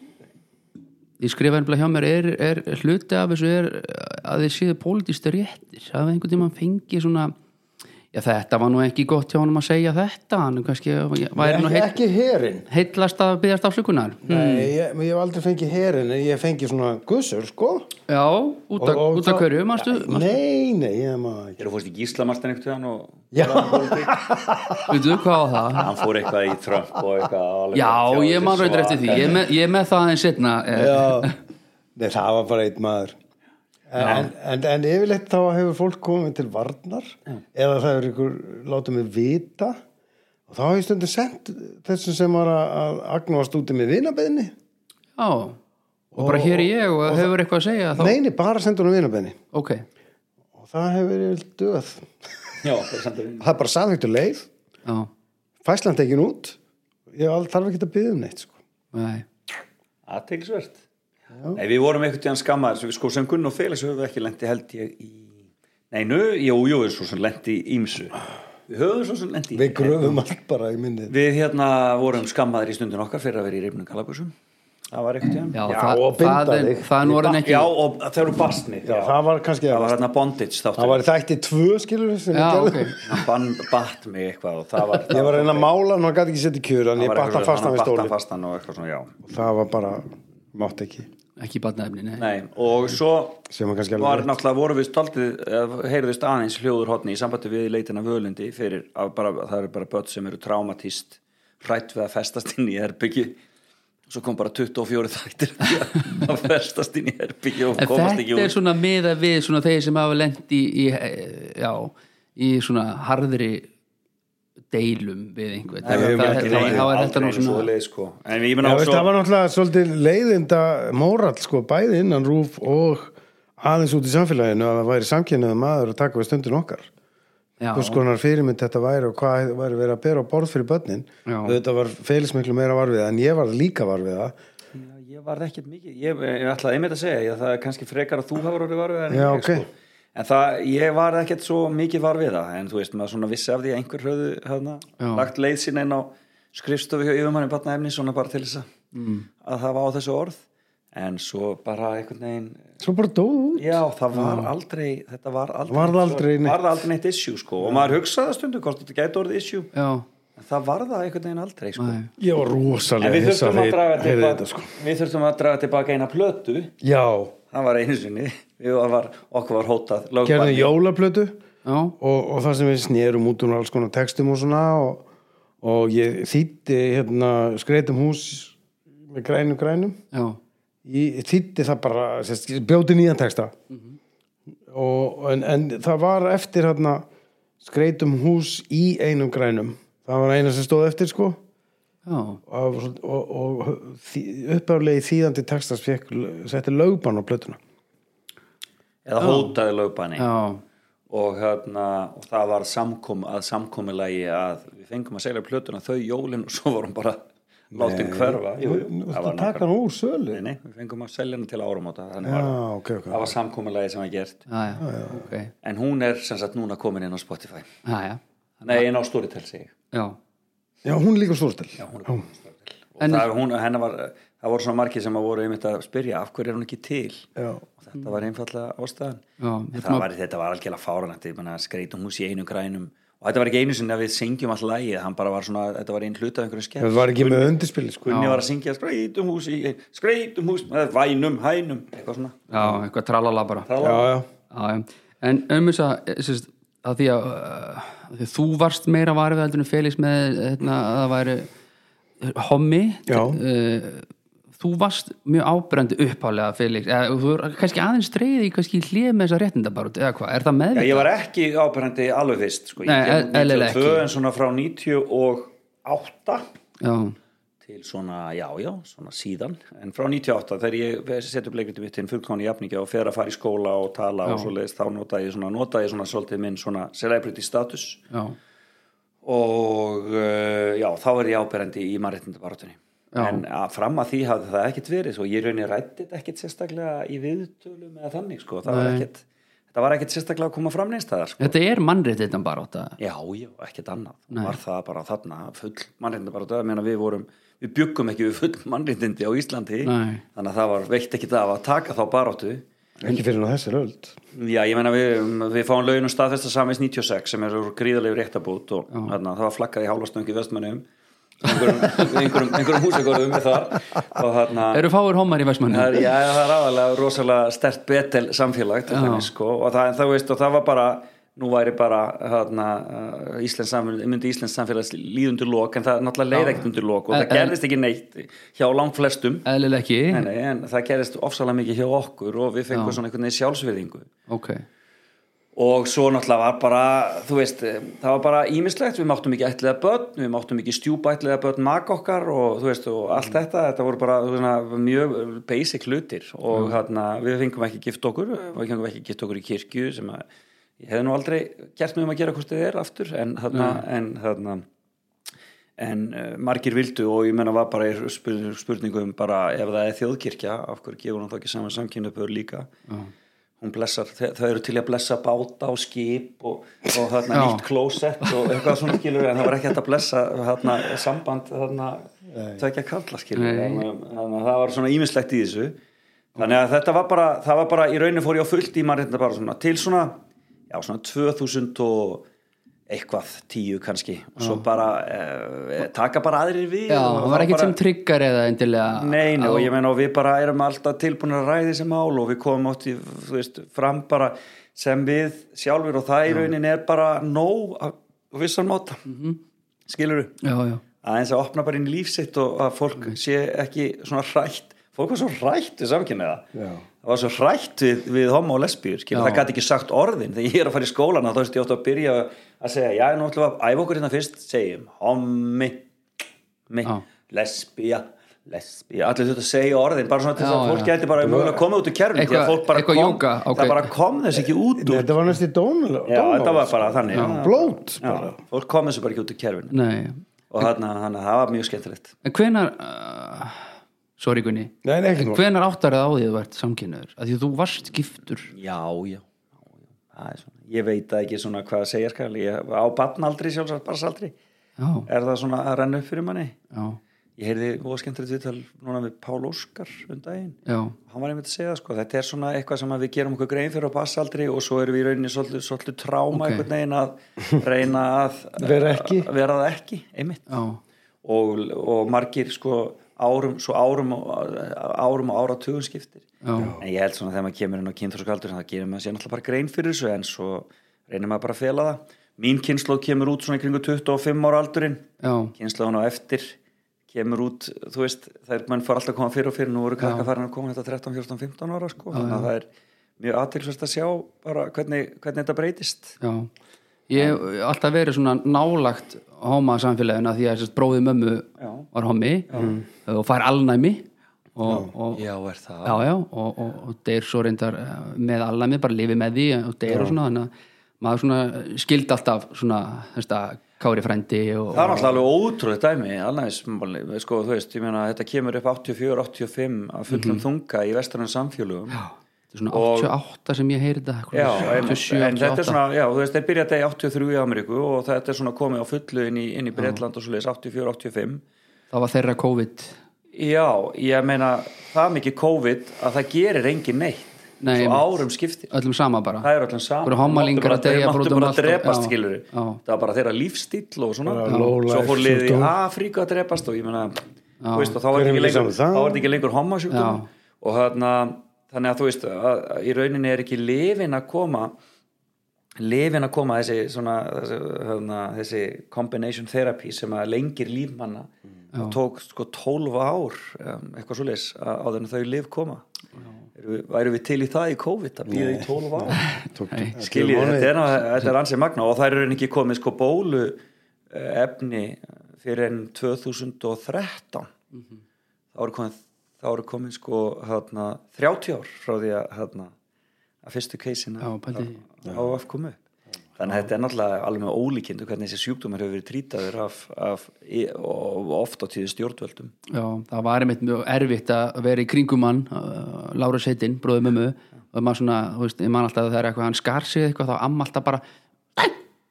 [SPEAKER 2] Ég skrifaði nefnilega hjá mér er, er hluti af þessu er að þið séu pólitískt réttir Hafið einhvern tímann fengið svona Já, þetta var nú ekki gott hjá honum að segja þetta Hann kannski væri nú
[SPEAKER 1] Ekki,
[SPEAKER 2] heill, Hmm.
[SPEAKER 1] ekki herin.
[SPEAKER 2] heillast að byggast afsökunar
[SPEAKER 1] Nei, ég, ég hef aldrei fengið herin en ég hef fengið svona gussur, sko.
[SPEAKER 2] Já, út af-
[SPEAKER 1] Og- og
[SPEAKER 2] út af
[SPEAKER 1] þá-
[SPEAKER 2] hverju, manstu?
[SPEAKER 1] Nei, nei, ég maður ekki.
[SPEAKER 3] Þegar þú fórst í Gíslamartin einhvern tíðan og
[SPEAKER 1] Já.
[SPEAKER 2] Veitu hvað á það?
[SPEAKER 3] hann fór eitthvað í Trump og eitthvað alveg-
[SPEAKER 2] Já, ég man reyndar
[SPEAKER 3] svaka.
[SPEAKER 2] eftir því Ég er með, ég er með það eh, eins setna
[SPEAKER 1] Já. Nei, það var bara einn maður. En, en, en yfirleitt þá hefur fólk komið til varnar eða það er ykkur látið mig vita og þá hef ég stundum sendt þessum sem var að, að agnúast úti með vinabeðni.
[SPEAKER 2] Já, og bara hér er ég og hefur eitthvað að segja þá
[SPEAKER 1] Neini, bara sendur hún vinabeðni
[SPEAKER 2] Ok,
[SPEAKER 1] og það hefur yfirleitt döð.
[SPEAKER 3] Já, það er samt að-
[SPEAKER 1] það er bara samþyktu leið,
[SPEAKER 2] já,
[SPEAKER 1] fæslan tekin út, ég al- þarf ekki að byggja um neitt sko.
[SPEAKER 2] nei
[SPEAKER 3] Aðteglisvert Nei, við vorum einhvern tíðan skammaðir svo við sko sem Gunn og Félix höfum við ekki lendi held ég í Nei, nú, jú, jú, við svo sem lendi í ímsu Við höfum svo sem lendi í
[SPEAKER 1] Við gröfum allt bara í minni.
[SPEAKER 3] Við hérna vorum skammaðir í stundin okkar fyrir að vera í reyfnum galabúsum Það var
[SPEAKER 2] Já,
[SPEAKER 3] einhvern tíðan Já,
[SPEAKER 2] það,
[SPEAKER 1] og binda
[SPEAKER 2] það, er,
[SPEAKER 1] þig.
[SPEAKER 2] það er nú orðin ekki
[SPEAKER 3] já og það eru bastnið
[SPEAKER 1] Já, það var kannski,
[SPEAKER 3] Það var hérna bondage
[SPEAKER 1] það
[SPEAKER 3] þáttur
[SPEAKER 1] var í þætti tvö skilur sem
[SPEAKER 2] Já,
[SPEAKER 1] ég gerði.
[SPEAKER 2] ok
[SPEAKER 3] Hann bann, batt mig eitthvað og það var
[SPEAKER 1] Ég var að reyna að mála hann og hann gæti ekki setja kjur en
[SPEAKER 3] það
[SPEAKER 1] ég
[SPEAKER 3] var
[SPEAKER 1] batt
[SPEAKER 3] eitthvað
[SPEAKER 1] hann fastan við
[SPEAKER 3] svona, Batt hann
[SPEAKER 1] stóli
[SPEAKER 3] fastan og eitthvað svona, já
[SPEAKER 1] það var bara, mátt ekki
[SPEAKER 2] Ekki batnaefni, nei
[SPEAKER 3] Nei, og svo
[SPEAKER 1] Sem er kannski alveg
[SPEAKER 3] var
[SPEAKER 1] rétt.
[SPEAKER 3] náttúrulega voru við stoltið, eða heyrðist aðeins hljóður hotni í sambandi við leitina völundi fyrir að bara, það eru bara börn sem eru traumatist hrætt við að festast inn í herbyggi svo kom bara 24 þættir af því að festast inn í herbyggi og
[SPEAKER 2] En
[SPEAKER 3] komast ekki
[SPEAKER 2] þetta er
[SPEAKER 3] út
[SPEAKER 2] svona miða við svona þeir sem hafa lent í, í eh, já, í svona harðri deilum við einhvern
[SPEAKER 3] Nei, við höfum
[SPEAKER 2] Það-
[SPEAKER 3] ekki
[SPEAKER 2] það-
[SPEAKER 3] neinu,
[SPEAKER 2] þá er þetta
[SPEAKER 3] aldrei
[SPEAKER 2] nú
[SPEAKER 3] einu
[SPEAKER 2] svona
[SPEAKER 3] svoleiðis, sko. en ég
[SPEAKER 1] Já,
[SPEAKER 3] meina
[SPEAKER 1] veist,
[SPEAKER 3] svo
[SPEAKER 1] það var náttúrulega svolítið leiðinda mórall sko, bæði innan rúf og aðeins út í samfélaginu að það væri samkynnaði maður að taka við stundin okkar
[SPEAKER 2] Já,
[SPEAKER 1] hvers konar fyrirmynd þetta væri og hvað væri verið að bera á borð fyrir börnin
[SPEAKER 2] Já.
[SPEAKER 1] þetta var félis miklu meira var við það en ég var líka var við það
[SPEAKER 3] Já, ég var ekkert mikið, ég, ég ætlaði einmitt að segja ég, það er kannski frekar að þú hafur orðið varfið en,
[SPEAKER 1] Já,
[SPEAKER 3] ég,
[SPEAKER 1] ok.
[SPEAKER 3] sko. en það, ég var ekkert svo mikið varfið það en þú veist, maður svona vissi af því að einhver höfðu hana,
[SPEAKER 2] Já.
[SPEAKER 3] lagt leið sín inn á skrifstofu hjá yfirmanni batnaefni svona bara til þess að,
[SPEAKER 1] Mm.
[SPEAKER 3] að það var á þessu orð en svo bara einhvern veginn
[SPEAKER 1] svo bara dóðu út
[SPEAKER 3] já, það var aldrei þetta var aldrei,
[SPEAKER 1] Varð aldrei neitt.
[SPEAKER 3] neitt, varð aldrei neitt issue sko, og maður hugsaði það stundum hvort þetta gæti orðið issue
[SPEAKER 2] já,
[SPEAKER 3] en það var það einhvern veginn aldrei sko.
[SPEAKER 2] nei
[SPEAKER 1] ég var
[SPEAKER 3] en
[SPEAKER 1] rosalega
[SPEAKER 3] við
[SPEAKER 1] hissa
[SPEAKER 3] þurftum að
[SPEAKER 1] þegar
[SPEAKER 3] draga
[SPEAKER 1] ég heyrði
[SPEAKER 3] tilbaka
[SPEAKER 1] þetta sko
[SPEAKER 3] við þurftum að draga tilbaka eina plötu
[SPEAKER 1] já,
[SPEAKER 3] Það var einu sinni, við var, okkur var hótað
[SPEAKER 1] gerðum
[SPEAKER 3] lögbanni.
[SPEAKER 1] jólaplötu
[SPEAKER 2] Já,
[SPEAKER 1] og, og það sem við snérum út úr alls konar textum og svona og, og ég þýtti hérna skreitum hús með grænum grænum
[SPEAKER 2] já,
[SPEAKER 1] ég þýtti það bara sérst, bjóti nýjan texta
[SPEAKER 3] Mhm.
[SPEAKER 1] og, en, en það var eftir hérna skreitum hús í einum grænum það var eina sem stóð eftir sko
[SPEAKER 2] já
[SPEAKER 1] og, og, og uppaflegi þýðandi textas fekk, setti lögbann á plötuna
[SPEAKER 3] Eða hótaði lögbanni.
[SPEAKER 2] Já,
[SPEAKER 3] Og, hérna, og það var samkom, að samkomulagi að við fengum að segja plötuna þau jólin og svo var hún bara látin hverfa. Jú, jú,
[SPEAKER 1] Þú
[SPEAKER 3] það
[SPEAKER 1] veist
[SPEAKER 3] var
[SPEAKER 1] að taka hann úr sölu
[SPEAKER 3] Nei, nei, við fengum að selja hana til áramóta. Þannig
[SPEAKER 1] já,
[SPEAKER 3] var það.
[SPEAKER 1] ok, ok
[SPEAKER 3] Það var samkomulagi sem var gert.
[SPEAKER 2] já, já, ok
[SPEAKER 3] En hún er sem sagt núna komin inn á Spotify.
[SPEAKER 2] Já, já,
[SPEAKER 3] Nei, inn á Storytel segi ég.
[SPEAKER 2] já
[SPEAKER 1] já, hún er líka stórtel
[SPEAKER 3] Já, hún er komin á Storytel. Og
[SPEAKER 2] En-
[SPEAKER 3] það, hún, hennar var, það voru svona margir sem að voru einmitt að spyrja af hverju er hún ekki til?
[SPEAKER 1] já
[SPEAKER 3] og þetta var einfallega ástæðan
[SPEAKER 2] Já,
[SPEAKER 3] En
[SPEAKER 2] þetta
[SPEAKER 3] það var, þetta var algjörlega fáranætt ég menna skreitum hús í einu grænum og þetta var ekki einu sinni að við syngjum all lagið hann bara var svona, þetta var einn hluta af
[SPEAKER 1] Það
[SPEAKER 3] einhverjum skemmt
[SPEAKER 1] var ekki með undirspili sko.
[SPEAKER 3] Gunni var að syngja skreitum hús í skreitum hús með vænum, hænum eitthvað svona
[SPEAKER 2] Já, eitthvað tralala bara já,
[SPEAKER 1] Já, já.
[SPEAKER 2] já. En um þess að, sérst, að því að, uh, að því að þú varst meira varfið heldur en Félix með hérna, að það væri eh, hommi
[SPEAKER 1] Já.
[SPEAKER 2] uh, þú varst mjög ábyrjandi upphálega Felix, eða þú er kannski aðeins streyði kannski hlið með þessa réttindabarut eða hvað, er það
[SPEAKER 3] Já,
[SPEAKER 2] meðvitað?
[SPEAKER 3] ég var ekki ábyrgandi alveg fyrst sko.
[SPEAKER 2] Nei,
[SPEAKER 3] ég
[SPEAKER 2] e- eðlilega ekki.
[SPEAKER 3] en svona frá 98
[SPEAKER 2] Já,
[SPEAKER 3] til svona, já, já, svona síðan en frá 98 þegar ég set upp leikritum mitt inn fullkáni jafningja og fer að fara í skóla og tala og svoleiðis, þá nota ég svona, nota ég svona svolítið minn svona celebrity status
[SPEAKER 2] já,
[SPEAKER 3] og uh, já, þá er ég ábyrgandi í mannréttindabarátunni
[SPEAKER 2] Já.
[SPEAKER 3] en að fram að því hafði það ekkit verið og ég raunir rættið ekkit sérstaklega í viðtölum eða þannig, sko, það var
[SPEAKER 2] Nei.
[SPEAKER 3] ekkit það var ekkit sérstaklega að koma fram neins það, sko
[SPEAKER 2] þetta er mannréttindabarut
[SPEAKER 3] Já, já, ekkert annað.
[SPEAKER 2] Nei.
[SPEAKER 3] Var það bara þarna full mannréttindi bara það, meina við vorum, við byggum ekki við full mannréttindi á Íslandi,
[SPEAKER 2] Nei.
[SPEAKER 3] þannig að það var veitt ekki það að taka þá baróttu.
[SPEAKER 1] ekki fyrir nú þessar öld
[SPEAKER 3] Já, ég meina við, við fáum lögin um staðfesta samins 96 sem er úr gríðalegu réttabút og þarna, það var flakkað í hálfastöngi vestmennum, einhverjum, einhverjum, einhverjum húsakóruðum með þar og þarna...
[SPEAKER 2] Eru fáir homar í Vestmanni?
[SPEAKER 3] Það er, já, það er aðalega rosalega stert betel samfélag til
[SPEAKER 2] Já.
[SPEAKER 3] þannig sko og það, það, veist, og það var bara, nú væri bara hana, Íslands samfélag, myndi Íslands samfélags líðundur lok en það náttúrulega leið ekkert undir lok og það
[SPEAKER 2] En- en-
[SPEAKER 3] gerðist ekki neitt hjá langflestum
[SPEAKER 2] Eðlilega ekki?
[SPEAKER 3] nei, nei, en það gerðist ofsalega mikið hjá okkur og við fengum svona einhvern veginn sjálfsverðingu
[SPEAKER 2] Ok,
[SPEAKER 3] og svo náttúrulega var bara þú veist, eh, það var bara ímislegt við máttum ekki ætliða börn, við máttum ekki stjúpa ætliða börn mak okkar og þú veist og allt þetta, þetta voru bara þú veist, svona, mjög basic hlutir og þarna við fengum ekki gift okkur við fengum ekki gift okkur í kirkju sem að ég hefði nú aldrei gert mig um að gera hvort þið er aftur en þarna, en þarna en uh, margir vildu og ég menna var bara í spurning, spurningum bara ef það er þjóðkirkja af hverju gefur hún þá ekki saman samkynnaupur líka Já. hún blessar, þau, þau eru til að blessa báta og skip og, og þarna
[SPEAKER 2] Já.
[SPEAKER 3] nýtt klósett og eitthvað svona skilur en það var ekki hægt að blessa þarna samband þarna tvekja kalla skilur
[SPEAKER 2] Nei.
[SPEAKER 3] þannig að- þannig að það var svona ímislegt í þessu þannig að þetta var bara, það var bara í rauninu fór ég á fullt í mannréttina bara svona til svona já svona 2000 og eitthvað, tíu kannski og svo bara eh, taka bara aðrir við
[SPEAKER 2] já,
[SPEAKER 3] og
[SPEAKER 2] það var
[SPEAKER 3] þá
[SPEAKER 2] ekkert
[SPEAKER 3] bara-
[SPEAKER 2] sem tryggar eða endilega
[SPEAKER 3] Nei, nei, og ég meina og við bara erum alltaf tilbúin að ræði þessi mál og við komum átt í, þú veist, fram bara sem við sjálfur og það í raunin er bara nóg á á vissan máta mm
[SPEAKER 2] Mhm.
[SPEAKER 3] -hmm. skilur við
[SPEAKER 2] Já, já,
[SPEAKER 3] aðeins að opna bara inn í lífsitt og að fólk
[SPEAKER 2] Mm.
[SPEAKER 3] sé ekki svona hrætt fólk var svo hrætt við samkynniða
[SPEAKER 1] Já.
[SPEAKER 3] það var svo hrætt við, við homo og lesbíur
[SPEAKER 2] Já.
[SPEAKER 3] skilur, það gæti ekki sagt orðin þegar ég er að fara í skólan þá veist ég ofta að byrja að segja já, nú ætlum við að æfa okkur hérna fyrst segjum hommi, mi,
[SPEAKER 2] Já.
[SPEAKER 3] lesbía lesbía, allir þetta segja orðin bara svona til
[SPEAKER 2] Já,
[SPEAKER 3] þess að fólk
[SPEAKER 2] já.
[SPEAKER 3] gæti bara mögulega komið út úr kerfum því að
[SPEAKER 2] Eitthvað-
[SPEAKER 3] fólk bara
[SPEAKER 2] eitthvað
[SPEAKER 3] kom,
[SPEAKER 2] jóga, ok.
[SPEAKER 3] það bara kom þess ekki út úr
[SPEAKER 1] þetta var næstu dónal
[SPEAKER 3] já, þetta var bara þannig
[SPEAKER 1] blót
[SPEAKER 3] já, fólk kom þessu bara ekki út úr kerfinu
[SPEAKER 2] nei
[SPEAKER 3] og þarna, þannig að það var mjög skemmtilegt
[SPEAKER 2] En hvenar uh, Sorry Gunni
[SPEAKER 1] Nei, nei, ekki nú.
[SPEAKER 2] Hvenar áttar það á því að þú ert samkynnaður? Af Því að þú varst giftur
[SPEAKER 3] Já, já, já, já. Það er svona, ég veit það ekki svona hvað að segja skal, ég á batnaldri sjálfsagt barnsaldri,
[SPEAKER 2] Já,
[SPEAKER 3] er það svona að renna upp fyrir manni?
[SPEAKER 2] já,
[SPEAKER 3] Ég heyrði óskendrið viðtal núna við Pál Óskar um daginn,
[SPEAKER 2] já
[SPEAKER 3] hann var einmitt að segja það sko, þetta er svona eitthvað sem að við gerum okkur grein fyrir á barnsaldri og svo erum við í rauninni svolítið, svolítið tráma
[SPEAKER 2] Ok.
[SPEAKER 3] einhvern veginn að reyna að
[SPEAKER 1] Vera ekki.
[SPEAKER 3] að vera það ekki, einmitt
[SPEAKER 2] Já,
[SPEAKER 3] og, og margir sko árum, svo árum og árum og áratugum skiptir
[SPEAKER 2] Já.
[SPEAKER 3] en ég held svona þegar maður kemur inn á kynþróskaldur það gerir maður sér náttúrulega bara grein fyrir þessu en svo reynir maður bara að fela það mín kynnslóð kemur út svona í kringu 25 ára aldurinn
[SPEAKER 2] já,
[SPEAKER 3] kynnslóðan á eftir kemur út, þú veist, það er mann fór alltaf að koma fyrir og fyrir, nú voru kakkafarinn að koma hérna þetta 13, 14, 15 ára sko, þannig að það er mjög aðtilsvæst að sjá bara hvernig, hvernig þetta breytist
[SPEAKER 2] já Ég hef alltaf verið svona nálagt Hóma samfélagina því að sérst bróði mömmu
[SPEAKER 3] Já.
[SPEAKER 2] Var hommi Og fær alnæmi Og, og,
[SPEAKER 3] Mm. Já, er það
[SPEAKER 2] já, já, og, og, og deyr svo reyndar eh, með alnæmi, bara lifi með því og deyr og svona, þannig að maður svona skild alltaf svona, þetta Kári frændi og,
[SPEAKER 3] Það er náttúrulega alveg ótrúlega dæmi alveg, sko, þú veist, ég meina þetta kemur upp 84-85 að fullum
[SPEAKER 2] Mhm.
[SPEAKER 3] þunga í vestrænum samfélugum já,
[SPEAKER 2] þetta er svona
[SPEAKER 3] og-
[SPEAKER 2] 88 sem ég heyri þetta eitthvað svona
[SPEAKER 3] en,
[SPEAKER 2] 87,
[SPEAKER 3] en þetta er
[SPEAKER 2] 88.
[SPEAKER 3] svona, já, þú veist, þeir byrjaði í 83 í Ameríku og þetta er svona komið á fullu inn í, inn í Bretland og svo leiðis 84-85
[SPEAKER 2] það var þeirra COVID
[SPEAKER 3] Já, ég meina það mikið COVID að það gerir engin neitt
[SPEAKER 2] Nei,
[SPEAKER 3] svo
[SPEAKER 2] einmitt.
[SPEAKER 3] árum skiptir
[SPEAKER 2] öllum sama bara
[SPEAKER 3] það er allan saman
[SPEAKER 2] Voru hommalingar
[SPEAKER 3] Máttu bara-
[SPEAKER 2] að deyja bara út
[SPEAKER 3] máttu
[SPEAKER 2] um
[SPEAKER 3] bara
[SPEAKER 2] allt og-
[SPEAKER 3] að drepast
[SPEAKER 2] já,
[SPEAKER 3] skilur
[SPEAKER 2] já.
[SPEAKER 3] það var bara þeirra lífstíll og svona
[SPEAKER 1] Bara low
[SPEAKER 3] svo
[SPEAKER 1] life
[SPEAKER 3] fór liðið í
[SPEAKER 1] sjúkdóm.
[SPEAKER 3] Afríku að drepast og ég meina þú veist, og þá var
[SPEAKER 1] Hver hefur
[SPEAKER 3] þetta ekki
[SPEAKER 1] hugsað
[SPEAKER 3] lengur,
[SPEAKER 1] um það?
[SPEAKER 3] þá var þetta ekki lengur hérna, hommasjúkdóm og þarna, þannig að þú veist að, að, í rauninni er ekki lifin að koma lifin að koma þessi, svona, þessi, hana, þessi combination therapy sem að lengir lífmanna og tók sko 12 ár um, eitthvað svo leis á þennan þau lif koma Eru- væru við til í það í COVID að býða í 12 ár
[SPEAKER 1] tók,
[SPEAKER 2] Nei.
[SPEAKER 1] ellefu
[SPEAKER 3] skiljið,
[SPEAKER 1] mánuði.
[SPEAKER 3] þetta er, ná- þetta er ansið magna og það eru ekki komið sko bólu eh, efni fyrir enn 2013 þá eru komið þá eru komið sko hérna, 30 ár frá því að, hérna, að fyrstu keisina
[SPEAKER 2] Já, pældi því.
[SPEAKER 3] á að komu upp þannig að þetta er náttúrulega alveg með ólíkindu hvernig þessi sjúkdómar hefur verið trýtaður af, af, í- og oft á tíðu stjórnvöldum
[SPEAKER 2] Já, það var einmitt mjög erfitt að vera í kringum hann uh, Lára Seitin, bróðið mömmu og maður svona, þú veist, ég man alltaf að það er eitthvað hann skar sig eitthvað, þá amma alltaf bara Nei,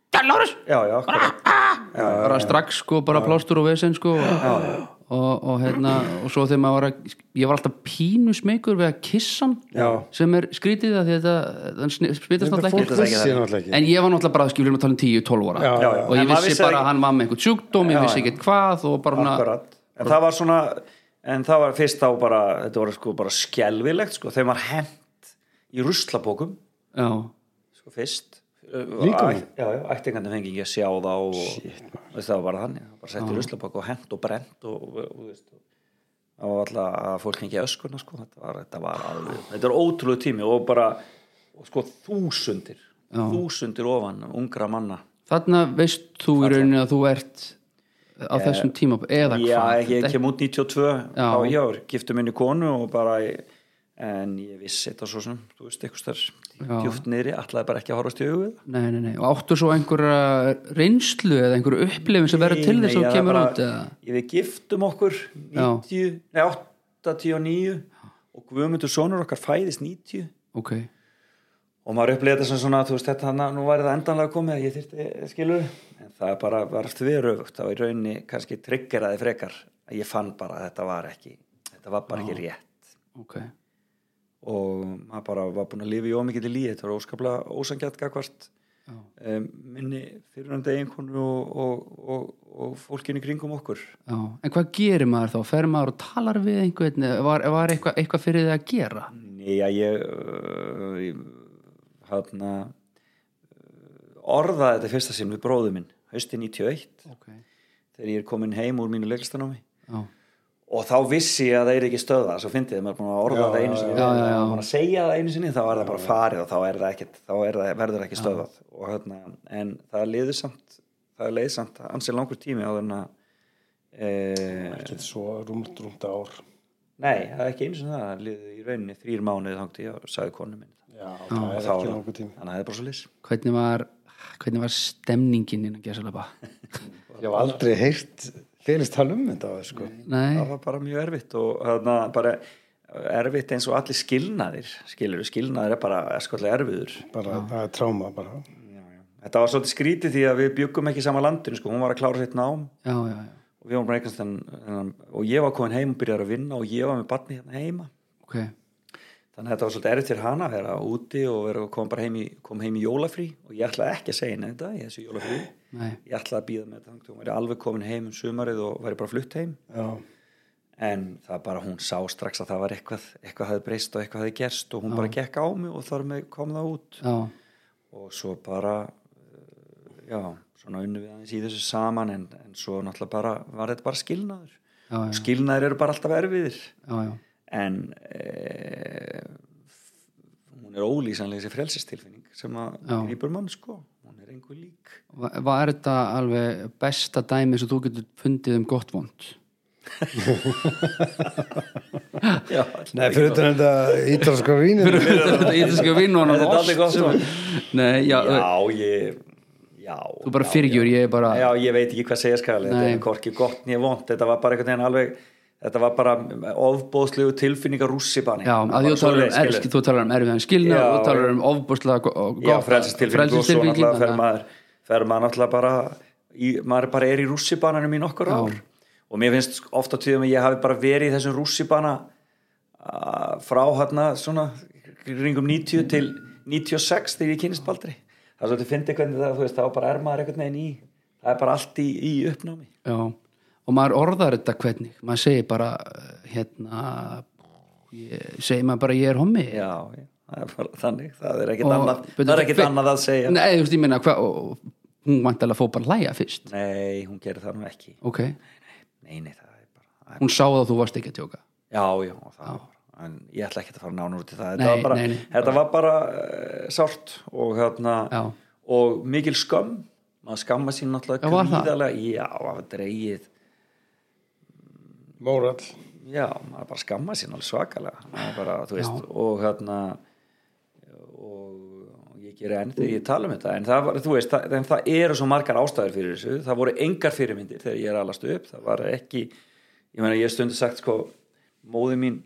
[SPEAKER 2] það er Lárus
[SPEAKER 3] já, já, akkurat
[SPEAKER 2] bara strax sko, bara plástur og vesen sko og, og, og hérna og svo þegar maður var að, ég var alltaf pínu smekur við að kissa hann
[SPEAKER 1] Já.
[SPEAKER 2] sem er skrítið að því þetta hann sni- smitast
[SPEAKER 1] þetta
[SPEAKER 2] alltaf
[SPEAKER 1] fólk
[SPEAKER 2] ekki
[SPEAKER 1] vissi náttúrulega ekki
[SPEAKER 2] En ég var náttúrulega bara að skilja um að tala um 10-12 ára
[SPEAKER 1] Já, já, já.
[SPEAKER 2] og ég
[SPEAKER 3] En maður
[SPEAKER 2] vissi
[SPEAKER 3] vissi
[SPEAKER 2] bara
[SPEAKER 3] ekki-
[SPEAKER 2] að hann var með einhvern sjúkdóm ég
[SPEAKER 3] Já,
[SPEAKER 2] vissi
[SPEAKER 3] já.
[SPEAKER 2] ekkert hvað og bara svona
[SPEAKER 3] Akkurat. En það var svona, en það var fyrst þá bara, þetta var sko bara skelvilegt sko, þeim var hent í ruslapókum,
[SPEAKER 2] Já,
[SPEAKER 3] sko fyrst.
[SPEAKER 1] Líka
[SPEAKER 3] Æ- Já, já, ættingandi fengi ekki að sjá þá og, og það var bara þannig, bara sett í ruslapók og hent og brent og, og, og, veist, og það var alltaf að fólk hengi öskuna sko, þetta var, þetta var alveg, þetta var ótrúlega tími og bara, og sko þúsundir, þúsundir ofan ungra manna.
[SPEAKER 2] þarna veist þú í rauninni að þú ert á þessum tíma eða
[SPEAKER 3] Eh, Já,
[SPEAKER 2] hvað
[SPEAKER 3] ég kem út 92
[SPEAKER 2] Já.
[SPEAKER 3] þá ég var giftu minni konu og bara en ég vissi þetta svo sem þú veist,
[SPEAKER 2] Já.
[SPEAKER 3] eitthvað starf djúft niðri, ætlaði bara ekki að horfast í augu við það.
[SPEAKER 2] Nei, nei, nei, og áttu svo einhverja reynslu eða einhverju upplifin sem verður til
[SPEAKER 3] Nei,
[SPEAKER 2] þess að
[SPEAKER 3] ég
[SPEAKER 2] þú
[SPEAKER 3] var
[SPEAKER 2] kemur
[SPEAKER 3] bara-
[SPEAKER 2] út eða?
[SPEAKER 3] Ég við giftum okkur 90, nei, 89 og Guðmundur sonur okkar fæðist 90
[SPEAKER 2] Ok,
[SPEAKER 3] og maður upplýði þetta sem svona, þú veist, þetta hann nú var það endanlega komið, ég þyrfti skilur en það bara var þveröfugt það var í rauninni kannski triggeraði frekar að ég fann bara að þetta var ekki þetta var bara ekki rétt
[SPEAKER 2] ok
[SPEAKER 3] og maður bara var búin að lifa í ómikið líði, þetta var óskaplega ósangjart gagvart
[SPEAKER 2] Já.
[SPEAKER 3] um, minni fyrirhandi eiginkonu og, og, og, og fólkinu í kringum okkur
[SPEAKER 2] Já, en hvað gerir maður þá? Fer maður og talar við einhvern? eða Var, var eitthvað, eitthvað fyrir þið að gera?
[SPEAKER 3] Nei, já, ég, uh, ég hana, orðaði þetta í fyrsta sinn við bróðu minn, haustin 91
[SPEAKER 2] Ok,
[SPEAKER 3] þegar ég er komin heim úr mínu leiklistanámi
[SPEAKER 2] já,
[SPEAKER 3] og þá vissi ég að það er ekki stöða svo fyndið, maður er búin að orða það einu sinni
[SPEAKER 2] já, já, já.
[SPEAKER 3] maður er búin að segja það einu sinni þá er það bara farið og þá, er það ekkit, þá er það, verður það ekki stöðað og, hérna, en það liður samt það er leið samt ansið langur tími á þenn að e,
[SPEAKER 1] Ekkert svo rúmt, rúmt ár
[SPEAKER 3] nei, það er ekki einu sinni það það liður í rauninni þrýr mánuði þangt ég og sagði konu minn
[SPEAKER 1] já, það er
[SPEAKER 3] þá var
[SPEAKER 1] ekki
[SPEAKER 3] það.
[SPEAKER 1] langur tími
[SPEAKER 3] þannig að það er bara svo lis
[SPEAKER 2] hvernig var, hvernig var stemningin innan gesalaba?
[SPEAKER 1] ég hef aldrei heyrt félist tala um þetta áður, sko.
[SPEAKER 2] Nei,
[SPEAKER 3] það var bara mjög erfitt og þarna bara erfitt eins og allir skilnaðir skilur, skilnaðir er bara skoðlega erfiður
[SPEAKER 1] bara, það er tráma bara
[SPEAKER 3] Þetta var svolítið skrítið því að við byggum ekki í sama landinu sko, hún var að klára sitt nám
[SPEAKER 2] já, já, já,
[SPEAKER 3] og við vorum bara eignast en, og ég var komin heim og byrjaði að vinna og ég var með barni hérna heima
[SPEAKER 2] ok,
[SPEAKER 3] þannig að þetta var svolítið erfitt fyrir hana að vera úti og vera, kom bara heim í, kom heim í jólafrí og ég ætlaði ekki að segja henni þetta í þessu jólafrí
[SPEAKER 2] nei,
[SPEAKER 3] ég ætlaði að býða með þetta þangað til hún væri alveg komin heim um sumarið og væri bara flutt heim
[SPEAKER 1] já,
[SPEAKER 3] en það bara hún sá strax að það var eitthvað eitthvað hafði breyst og eitthvað hafði gerst og hún bara gekk á mig og þar með kom það út
[SPEAKER 2] já,
[SPEAKER 3] og svo bara eh, já, svona unnu við aðeins í þessu saman en, en svo náttúrulega bara var þetta bara skilnaður
[SPEAKER 2] já, já,
[SPEAKER 3] skilnaður eru bara alltaf erfiðir
[SPEAKER 2] já, já,
[SPEAKER 3] en e, hún er ólýsanlega þessi frelsistilfinning sem að
[SPEAKER 2] Já.
[SPEAKER 3] grýpur mann sko hún er einhver lík
[SPEAKER 2] Va- var þetta alveg besta dæmi sem þú getur fundið um gott vond?
[SPEAKER 3] já,
[SPEAKER 1] nei, fyrir utan þetta ítalska vínin
[SPEAKER 2] Þetta ítalska vinn og hann
[SPEAKER 3] Þetta er aldrei gott vond.
[SPEAKER 2] Nei, já,
[SPEAKER 3] já, ég já,
[SPEAKER 2] þú bara
[SPEAKER 3] já,
[SPEAKER 2] fyrirgjur, ég er bara
[SPEAKER 3] Já, ég veit ekki hvað segja skal, þetta
[SPEAKER 2] Nei.
[SPEAKER 3] er hvorki gott nýja vond, þetta var bara einhvern veginn alveg, þetta var bara ofbóðslegu tilfinningar rússipanning.
[SPEAKER 2] Já, að því þú talar um erski, þú talar um erfiðan skilna
[SPEAKER 3] Já,
[SPEAKER 2] og þú talar um ofbúslega gott
[SPEAKER 3] Já, frelsistilfinning og svo
[SPEAKER 2] frelsistilfinning,
[SPEAKER 3] náttúrulega fer
[SPEAKER 2] þannig að-
[SPEAKER 3] maður, fer maður náttúrulega bara, í, maður bara er í rússipananum í nokkur ár. Og mér finnst ofta tíðum að ég hafi bara verið í þessum rússipana a, frá hérna svona ringum 90 til 96 þegar ég kynist baldri. Það er svolítið fyndið hvernig það, þú veist, þá bara er maður einhvern veginn í, það er bara allt í, í uppnámi.
[SPEAKER 2] Já, og maður orðar þetta hvernig maður eh, segir bara, hérna ég, segir maður bara ég er hommi
[SPEAKER 3] Já, já, það það er bara þannig, það er ekkit
[SPEAKER 2] Og-
[SPEAKER 3] annað
[SPEAKER 2] betur-
[SPEAKER 3] það er ekkit
[SPEAKER 2] hver-
[SPEAKER 3] annað að segja nei,
[SPEAKER 2] Nei, þú veist, ég meina, hva, og- hún vantalega fór bara að hlæja fyrst
[SPEAKER 3] hún gerir það nú ekki
[SPEAKER 2] Ok,
[SPEAKER 3] nei, nei, það er bara, það er,
[SPEAKER 2] hún sá það að þú varst ekki að tjóka
[SPEAKER 3] já, já, og það var bara en ég ætla ekki að fara nánur út í það þetta
[SPEAKER 2] Nei,
[SPEAKER 3] var bara,
[SPEAKER 2] nei, nei.
[SPEAKER 3] þetta var bara uh, sárt og hérna
[SPEAKER 2] Já.
[SPEAKER 3] og mikil skömm maður skamma sín náttúrulega
[SPEAKER 2] Já, var það?
[SPEAKER 3] gríðarlega já, það var dreigið
[SPEAKER 1] Mórall
[SPEAKER 3] já, maður bara skamma sín alveg svakalega maður bara, þú veist, og hérna og ég gerir enn þegar ég tala um þetta en það, var, þú veist, það, en það eru svo margar ástæður fyrir þessu, það voru engar fyrirmyndir þegar ég er allast upp, það var ekki ég meina, ég hef stundu sagt sko móði mín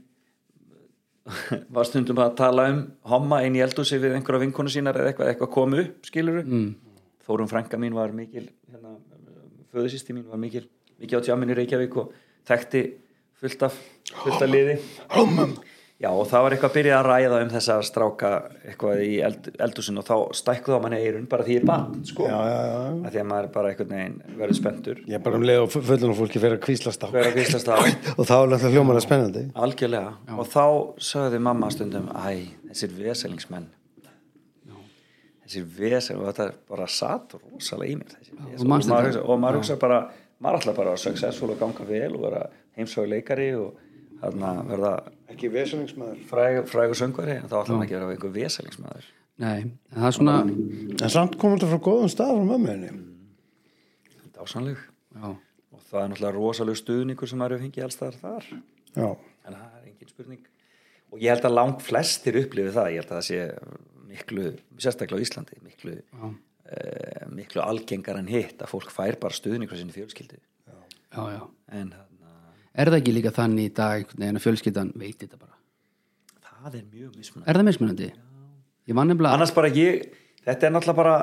[SPEAKER 3] var stundum að tala um homma einn í eldhúsi við einhverja vinkonu sínar eða eitthvað, eitthvað kom upp, skilur mm. Þórun frænka mín var mikil hérna, föðusýsti mín var mikil mikil á tjáminn í Reykjavík og þekkti fullt af, fullt af liði hommum Já og það var eitthvað að byrja að ræða um þessa stráka eitthvað í eld, eldhúsin og þá stækkuð á manni eirun bara því ég er bann sko
[SPEAKER 1] Já, já, já.
[SPEAKER 3] að því að maður bara einhvern veginn verður spendur
[SPEAKER 1] Ég er bara um leið og fullunum fólki fyrir að kvíslast á
[SPEAKER 3] hver að kvistast það
[SPEAKER 1] og þá er náttúrulega hljómar að spennandi
[SPEAKER 3] Algjörlega og þá sagði mamma stundum Æ, þessir veselingsmenn Þessir vesel og þetta er bara satt rosalega í mér þessir vesel.
[SPEAKER 2] þú
[SPEAKER 3] og,
[SPEAKER 2] manst þetta.
[SPEAKER 3] maður hugsa- og maður hugsa bara maður ætla bara að successful og ganga vel og vera heimsögu leikari og þarna verða
[SPEAKER 1] Ekki vesuningsmaður
[SPEAKER 3] fræg, frægur söngvari en þá ætla maður ekki að vera einhver veselingsmaður
[SPEAKER 2] Nei, en það er svona
[SPEAKER 1] En samt komur þetta frá góðum stað frá mömmu henni
[SPEAKER 3] Þetta er ásannleg
[SPEAKER 2] já,
[SPEAKER 3] og það er náttúrulega rosalega stuðningur sem maður hefur fengið alls þar þar
[SPEAKER 1] Já,
[SPEAKER 3] en það er engin spurning og ég held að lang flestir upplifi það ég held að það sé miklu sérstaklega á Íslandi miklu, uh, miklu algengar en hitt að fólk fær bara stuðningur sinni fjölskyldi
[SPEAKER 2] já, já
[SPEAKER 3] en þarna,
[SPEAKER 2] Er það ekki líka þannig í dag einhvern veginn að fjölskyldan veit þetta bara
[SPEAKER 3] það er mjög mismunandi
[SPEAKER 2] Er það mismunandi? Ég var nefnilega,
[SPEAKER 3] annars bara ég, þetta er náttúrulega bara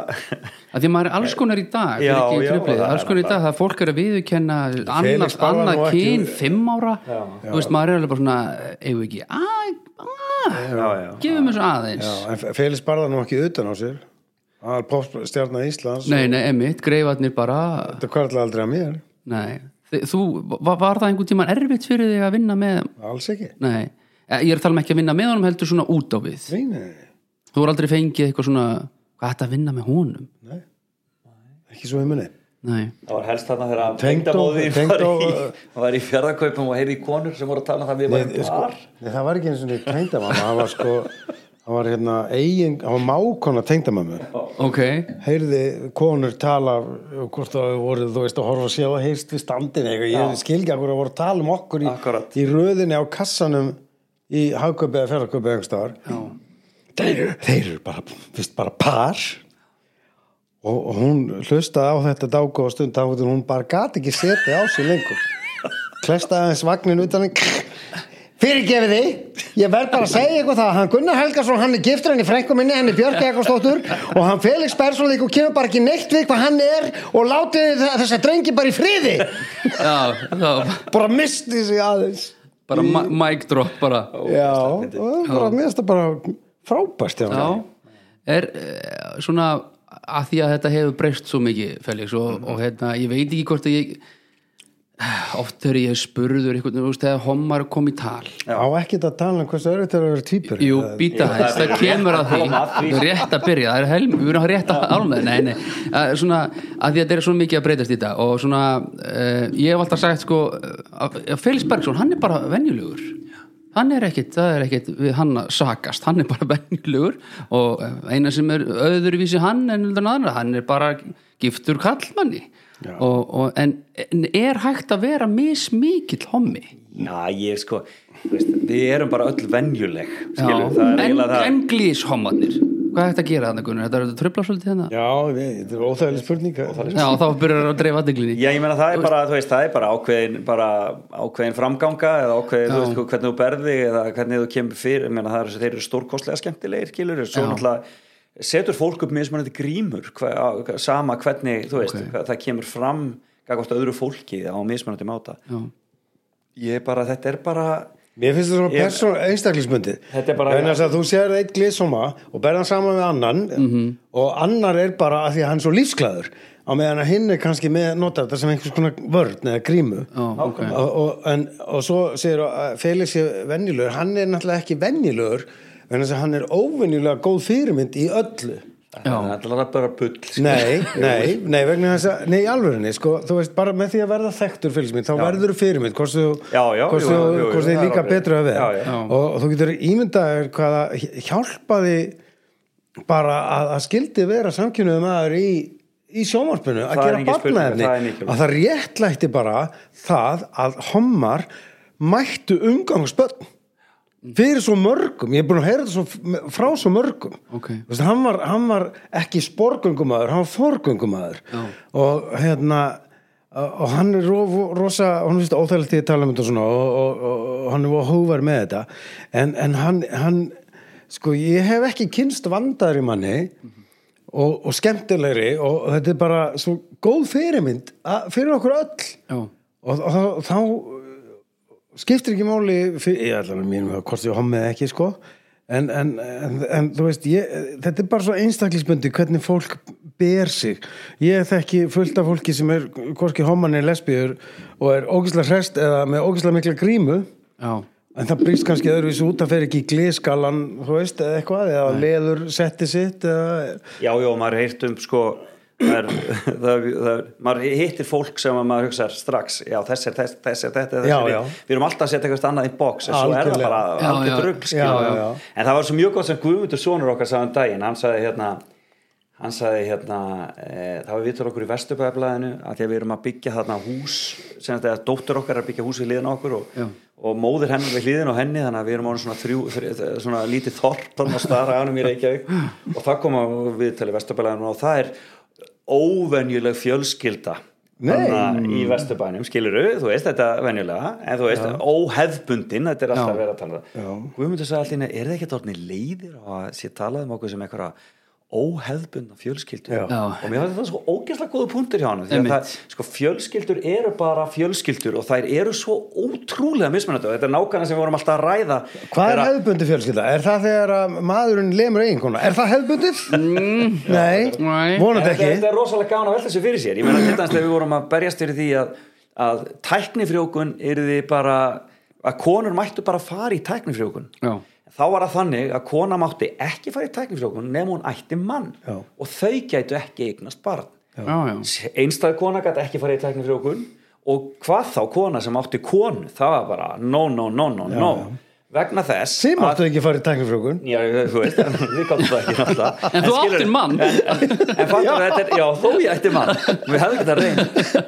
[SPEAKER 2] að því maður er alls konar í dag
[SPEAKER 3] Já,
[SPEAKER 2] já, já,
[SPEAKER 3] já,
[SPEAKER 2] truflið,
[SPEAKER 3] það er
[SPEAKER 2] alls konar í
[SPEAKER 3] bara-
[SPEAKER 2] dag það er fólk er að viðurkenna annað,
[SPEAKER 1] bara
[SPEAKER 2] annað
[SPEAKER 1] nú ekki-
[SPEAKER 2] kyn fimm ára, þú veist maður er alveg bara svona eigum við ekki, að
[SPEAKER 3] já, já.
[SPEAKER 2] gefum þessu aðeins
[SPEAKER 1] já en Félix barða nú ekki utan á sér Það er popstjarnar Íslands
[SPEAKER 2] Nei, nei, emitt, greifarnir bara
[SPEAKER 1] Þetta kvarla aldrei að mér
[SPEAKER 2] Nei, Þi- þú, var, var það einhvern tímann erfitt fyrir þig að vinna með
[SPEAKER 1] Alls ekki
[SPEAKER 2] Nei, Eh, ég er að tala um ekki að vinna með honum heldur svona út á við
[SPEAKER 1] Nei, nei, nei.
[SPEAKER 2] Þú voru aldrei fengið eitthvað svona hvað þetta að vinna með honum
[SPEAKER 1] nei. Ekki svo í munni
[SPEAKER 2] Nei,
[SPEAKER 3] það var helst þarna þegar
[SPEAKER 1] Tengdó-
[SPEAKER 3] tengdamóðin var
[SPEAKER 1] tengdó-
[SPEAKER 3] í, var í fjörðarkaupum og heyrði í konur sem voru að tala um það við varum
[SPEAKER 1] sko,
[SPEAKER 3] par
[SPEAKER 1] nei, það var ekki eins og neitt tengdamamma Það var sko Það var hérna eigin Það var mákona tengdamamma
[SPEAKER 2] ok
[SPEAKER 1] heyrði konur tala um hvort það voru, þú veist, að horfa að sjá að heyrst við standin eitthvað, ég skilgi að voru að tala um okkur í,
[SPEAKER 3] Akkúrat.
[SPEAKER 1] í röðinni á kassanum í hagköpi eða ferðarköpi eða einhverstaðar þeir, eru- þeir eru bara, fyrst bara par og, og hún hlustaði á þetta dágóða stund þá hún hún bara gat ekki setið á sig lengur klesta aðeins vagnin utan fyrirgefi því ég verð bara að segja eitthvað það hann Gunnar Helgason, hann er giftur henni frænku minni henni Björk Ekkarsdóttur og hann Felix Bersson og kemur bara ekki neitt við hvað hann er og látið þið þessa drengi bara í friði
[SPEAKER 2] Já, þá,
[SPEAKER 1] bara misti sig aðeins
[SPEAKER 2] bara ma- mic drop bara
[SPEAKER 1] já, og það var mér finnst það bara frábært hjá
[SPEAKER 2] Já,
[SPEAKER 1] hann
[SPEAKER 2] er eh, svona að því að þetta hefur breyst svo mikið Felix og, og hérna, ég veit ekki hvort að ég eh, oft þegar ég er spurður einhvern veginn, þú veist, þegar homar kom í tal
[SPEAKER 1] á ekkert að tala um hversu örfitt er að vera týpur
[SPEAKER 2] Jú, býta hægt, það kemur að
[SPEAKER 3] koma að
[SPEAKER 2] því
[SPEAKER 3] því.
[SPEAKER 2] rétt að byrja, það er helm, við erum að rétt að álma nei, nei, að, svona, að því að þetta er svo mikið að breytast í þetta og svona uh, ég hef alltaf sagt sko að, að Felix Bergson, hann er bara venjulegur hann er ekkit, það er ekkit við hann að sakast, hann er bara venjulegur og eh, eina sem er öðruvísi hann en heldur en aðra, hann er bara giftur kallmanni og, og, en, en er hægt að vera mismikill hommi
[SPEAKER 3] Já, ég sko, þú veist, við erum bara öll venjuleg,
[SPEAKER 2] Já,
[SPEAKER 3] skilur, það er
[SPEAKER 2] en,
[SPEAKER 3] eiginlega það.
[SPEAKER 2] en glíshommarnir hvað er þetta að gera þannig Gunnar? Þetta er að tröfla svolítið þannig
[SPEAKER 1] já, ég- þetta er óþægileg spurning
[SPEAKER 2] Já, þá byrjar það að dreifa aðdeglinni
[SPEAKER 3] Já, ég meina það er bara, þú veist, það er bara ákveðin, bara ákveðin framganga eða ákveðin, þú veist, hvernig þú berði eða hvernig þú kemur fyrir, ég meina það er, þeir eru stórkostlega skemmtilegir, skilur, svo náttúrulega setur fólk upp mismunandi grímur hva, á- sama hvernig, þú veist, hvað, það kemur fram gagvart öðru fólki á mismunandi máta.
[SPEAKER 2] Já,
[SPEAKER 3] Ég er bara, þetta er bara,
[SPEAKER 1] Mér finnst þetta svona
[SPEAKER 3] Ég-
[SPEAKER 1] persón einstaklismundið
[SPEAKER 3] Þetta er bara-
[SPEAKER 1] þess að þú sér eitt glissóma og berða hann saman við annan
[SPEAKER 3] Mhm.
[SPEAKER 1] og annar er bara að því að hann er svo lífsklaður á meðan að hinn er kannski með nota þetta sem einhvers konar vörn eða grímu
[SPEAKER 3] Ah,
[SPEAKER 2] já, ok
[SPEAKER 1] og, og, en, og svo segir að Felix er venjulegur hann er náttúrulega ekki venjulegur en þess að hann er óvenjulega góð fyrirmynd í öllu
[SPEAKER 3] Það er alltaf bara bull sko.
[SPEAKER 1] Nei, nei, nei, vegna þess að, nei, í alvörinni, sko, þú veist, bara með því að verða þekktur fylgsmynd, þá verður þú fyrirmynd, hvort þú,
[SPEAKER 3] Já, já,
[SPEAKER 1] hvort
[SPEAKER 3] jú,
[SPEAKER 1] þú,
[SPEAKER 3] jú, jú,
[SPEAKER 1] hvort
[SPEAKER 3] það
[SPEAKER 1] þið
[SPEAKER 3] er
[SPEAKER 1] líka
[SPEAKER 3] alveg.
[SPEAKER 1] betra að vera
[SPEAKER 3] Já, já.
[SPEAKER 1] Og, og þú getur ímyndaðir hvaða hjálpaði bara að, að skildi vera samkynnuðu maður í, í sjónvarpinu að
[SPEAKER 3] Það er
[SPEAKER 1] gera
[SPEAKER 3] engin spurning,
[SPEAKER 1] barnaefni,
[SPEAKER 3] það er mikilvægt.
[SPEAKER 1] að það réttlætti bara það að homar mættu umgangsbönn fyrir svo mörgum, ég er búin að heyra þetta svo, frá svo mörgum
[SPEAKER 2] Ok.
[SPEAKER 1] Þú veist, hann, var, hann var ekki sporgöngumadur hann var forgöngumadur
[SPEAKER 2] Já.
[SPEAKER 1] og hérna og hann er ro, rosa, hann finnst óþægilegt í að tala um þetta og svona og, og, og, og hann er voða hóvar með þetta en, en hann, hann sko ég hef ekki kynst vandaðri manni og, og skemmtilegri og þetta er bara svo góð fyrirmynd að, fyrir okkur öll
[SPEAKER 2] já,
[SPEAKER 1] og, og, þá- þá uh, skiptir ekki máli fyrir, ég ætla að mínum að hvort ég hommið eða ekki sko en, en, en, en þú veist ég, þetta er bara svo einstaklisbundi hvernig fólk ber sig ég þekki fullt af fólki sem er hvorki homman er lesbíður og er ógislega hrest eða með ógislega mikla grímu
[SPEAKER 2] já,
[SPEAKER 1] en það brýst kannski öðruvísi út það fer ekki í gleskalan þú veist eða eitthvað eða leður setti sitt eða
[SPEAKER 3] Já, já, maður heirt um sko það er, það er, það er, maður hittir fólk sem að maður hugsa strax já, þess er, þess, þess er, þetta er,
[SPEAKER 1] Já,
[SPEAKER 3] þess er
[SPEAKER 1] já.
[SPEAKER 3] við erum alltaf að setja eitthvað annað í box en svo er það
[SPEAKER 1] Algjörlega.
[SPEAKER 3] bara
[SPEAKER 2] Já, já.
[SPEAKER 3] algjör drugg
[SPEAKER 1] Já,
[SPEAKER 3] skilur.
[SPEAKER 1] já, já.
[SPEAKER 3] sko. en það var svo mjög gott sem Guðmundur Sónur okkar sagði um daginn, hann sagði hérna hann sagði hérna e, það var vitur okkur í Vesturbæðablaðinu að því að við erum að byggja þarna hús sem þetta er að dóttur okkar er að byggja hús við hliðin á okkur og,
[SPEAKER 2] Já.
[SPEAKER 3] og móðir hennar við hliðin á henni þannig að við erum ánum svona, þrjú, þrjú, svona lítið þorp þannig að stara ánum í Reykjavík og það kom að við til Vesturbæðablaðinu og það er óvenjuleg fjölskylda
[SPEAKER 1] Nei. Mm.
[SPEAKER 3] þarna í Vesturbænum, skilur þú veist þetta venjulega, en þú veist óhefbundin, þetta er alltaf
[SPEAKER 2] Já.
[SPEAKER 3] verið að tala um það.
[SPEAKER 1] Já.
[SPEAKER 3] Guðmundur sagði allir, er það ekki orðinni leiðir á að sé talað um okkur sem einhverja óhefbundna fjölskyldur
[SPEAKER 1] Já.
[SPEAKER 2] Já.
[SPEAKER 3] og mér finnst það sko ógeðslega góða punktur hjá hann því að
[SPEAKER 2] Einmitt.
[SPEAKER 3] það, sko, fjölskyldur eru bara fjölskyldur og þær eru svo ótrúlega mismunandi og þetta er nákvæmna sem við vorum alltaf að ræða
[SPEAKER 1] Hvað er
[SPEAKER 3] Þegar-
[SPEAKER 1] hefðbundið fjölskylda? Er það þegar að maðurinn lemur eiginkona? Er það hefðbundið? Mm, Nei,
[SPEAKER 2] Nei.
[SPEAKER 1] vonandi
[SPEAKER 3] En Þetta,
[SPEAKER 1] ekki
[SPEAKER 3] þetta er rosalega gaman að velta þessu fyrir sér. Ég meina, til dæmis þegar við vorum að berjast fyrir því að, að tæknifrjókun yrði bara, að konur mættu bara fara í tæknifrjókun.
[SPEAKER 2] já
[SPEAKER 3] Þá var það þannig að kona mátti ekki fara í tæknifrjókun nema hún ætti mann
[SPEAKER 1] Já.
[SPEAKER 3] og þau gætu ekki eignast barn.
[SPEAKER 2] já, já,
[SPEAKER 3] Einstæð kona gæti ekki fara í tæknifrjókun og hvað þá kona sem átti konu, það var bara no, no, no, no, no. Vegna þess
[SPEAKER 1] Sem áttu ekki að fara í tæknifrjókun
[SPEAKER 3] Já, þú veist, við gáttum það ekki náttúrulega
[SPEAKER 2] En þú
[SPEAKER 3] skilurðu-
[SPEAKER 2] áttir mann.
[SPEAKER 3] En, en fattur þetta er, já, þó ég ætti mann Við hefðum ekki það reynd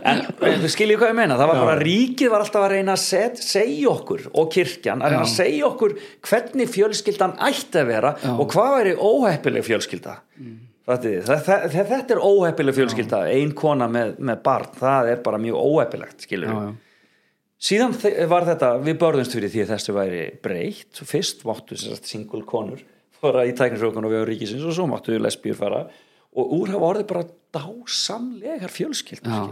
[SPEAKER 3] En, en þú skiljið hvað ég meina, það var bara ríkið var alltaf að reyna að set, segja okkur og kirkjan að reyna að segja okkur hvernig fjölskyldan ætti að vera og hvað væri óheppileg fjölskylda Þetta, þetta, þetta er óheppileg fjölskylda ein kona með, með barn, það er bara mjög óheppilegt skilur
[SPEAKER 2] já, já.
[SPEAKER 3] síðan þe- var þetta, við börðumst fyrir því að þessu væri breytt fyrst máttu sérst single konur fara í tæknisrökun og við á ríkisins og svo máttu lesbíur fara og úr hafa orðið bara dásamlegar fjölskyld
[SPEAKER 2] Já.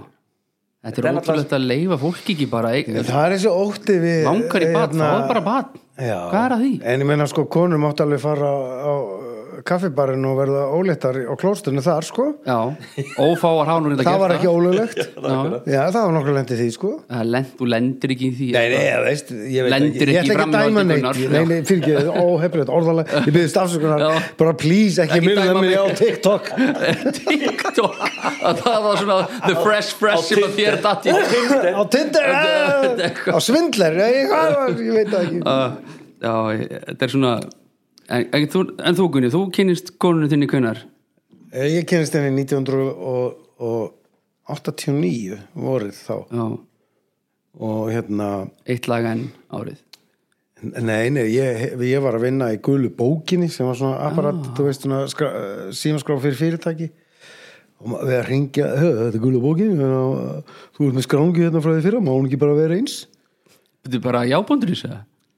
[SPEAKER 2] Þetta
[SPEAKER 3] Þetta
[SPEAKER 2] er
[SPEAKER 3] er
[SPEAKER 2] ótrúlegt að leifa fólki ekki bara eig-
[SPEAKER 1] Það er þessi ótti við
[SPEAKER 2] langar í bat,
[SPEAKER 1] hérna-
[SPEAKER 2] það er bara bat
[SPEAKER 1] Já.
[SPEAKER 2] Hvað er að því?
[SPEAKER 1] En ég meina sko, konur máttu alveg fara á uh, kaffibarinn og verða óléttar á klóstunni þar sko
[SPEAKER 2] Já, ófáar hánur reynda
[SPEAKER 1] Það
[SPEAKER 2] gert
[SPEAKER 1] var ekki ólulegt
[SPEAKER 2] Já.
[SPEAKER 1] Já, það var nokkuð lendið því sko
[SPEAKER 2] Það er lent, þú lendir ekki í því
[SPEAKER 1] Nei, nei, ég veist, ég veit
[SPEAKER 2] Lendir
[SPEAKER 1] ekki,
[SPEAKER 2] ekki
[SPEAKER 1] ég ætla ekki að
[SPEAKER 2] fram í
[SPEAKER 1] dæma
[SPEAKER 2] höndin,
[SPEAKER 1] neitt,
[SPEAKER 2] Gunnar.
[SPEAKER 1] nei, nei, fyrir ekki, óhefnilegt orðalega, ég byrðist afsökunar,
[SPEAKER 2] Já.
[SPEAKER 1] bara please, ekki,
[SPEAKER 2] Ekki
[SPEAKER 1] ekki minna
[SPEAKER 2] dæma
[SPEAKER 1] mig á
[SPEAKER 2] mig.
[SPEAKER 1] TikTok.
[SPEAKER 2] TikTok að það var svona the fresh fresh sem að þér datt í
[SPEAKER 1] á Tinder
[SPEAKER 2] Þetta-
[SPEAKER 1] eh, á Svindler ég, ég, ég veit það ekki
[SPEAKER 2] Uh, Já, ég- þetta er svona En, en, þú, en þú Gunni, þú kynnist konunni þinni kunnar
[SPEAKER 1] Eh, ég kynist henni 1989 vorið þá
[SPEAKER 2] Já,
[SPEAKER 1] og hérna
[SPEAKER 2] eitt lag enn árið
[SPEAKER 1] nei, nei, ég, ég var að vinna í gulu bókinni sem var svona apparat
[SPEAKER 2] Ah.
[SPEAKER 1] þú veist, svona skra, símaskráf fyrir fyrirtæki og ma- við að ringja þetta er gulu bókinni hérna, þú ert með skrangi hérna frá því fyrra, má hún ekki bara vera eins
[SPEAKER 2] Þetta er bara jábundur í sig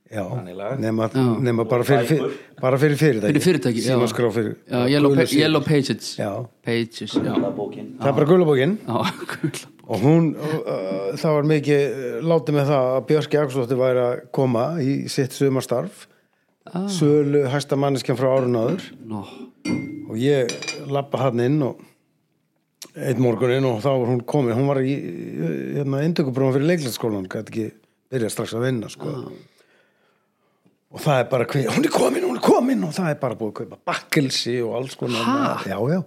[SPEAKER 1] Já,
[SPEAKER 3] lagað.
[SPEAKER 1] nema, nema bara, fyrir, fyrir, bara fyrir fyrirtæki
[SPEAKER 2] Fyrir fyrirtæki, já.
[SPEAKER 1] símaskrá fyrir
[SPEAKER 2] Já, Yellow,
[SPEAKER 1] gulu
[SPEAKER 2] pa
[SPEAKER 1] síma.
[SPEAKER 2] yellow Pages
[SPEAKER 1] Já.
[SPEAKER 2] Pages, já, já
[SPEAKER 3] bókin
[SPEAKER 1] það er bara gulu bókin
[SPEAKER 2] gula.
[SPEAKER 1] og hún uh, það var mikið uh, látið með það að Björki Aksdóttir væri að koma í sitt sumarstarf sölu hæsta manneskjan frá árun áður
[SPEAKER 2] Nó,
[SPEAKER 1] og ég lappa hann inn og einn morguninn og þá var hún komin hún var í uh, hérna, indökubrófum fyrir leiklætsskólan gæti ekki byrja strax að vinna sko. og það er bara hver, hún er komin, hún er komin komin og það er bara búið að kaupa bakkelsi og alls konar mat. já, já,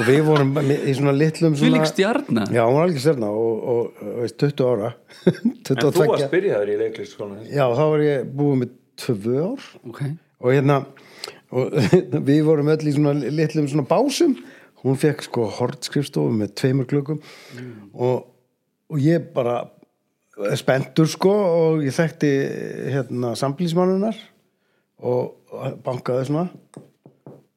[SPEAKER 1] og við vorum í svona litlum svona
[SPEAKER 2] Þvílík stjarna.
[SPEAKER 1] já, hún var alveg stjarna og, og, og veist, 20 ára 22.
[SPEAKER 3] En þú varst byrjaður í hérna, leiklistskólan
[SPEAKER 1] já, þá var ég búið með tvö ár
[SPEAKER 2] ok,
[SPEAKER 1] og hérna og, við vorum öll í svona litlum svona básum hún fekk sko hortskrifstofu með tveimur klukkum
[SPEAKER 3] Mm.
[SPEAKER 1] og, og ég bara spenntur sko og ég þekkti hérna sambílismannunar og og bankaði svona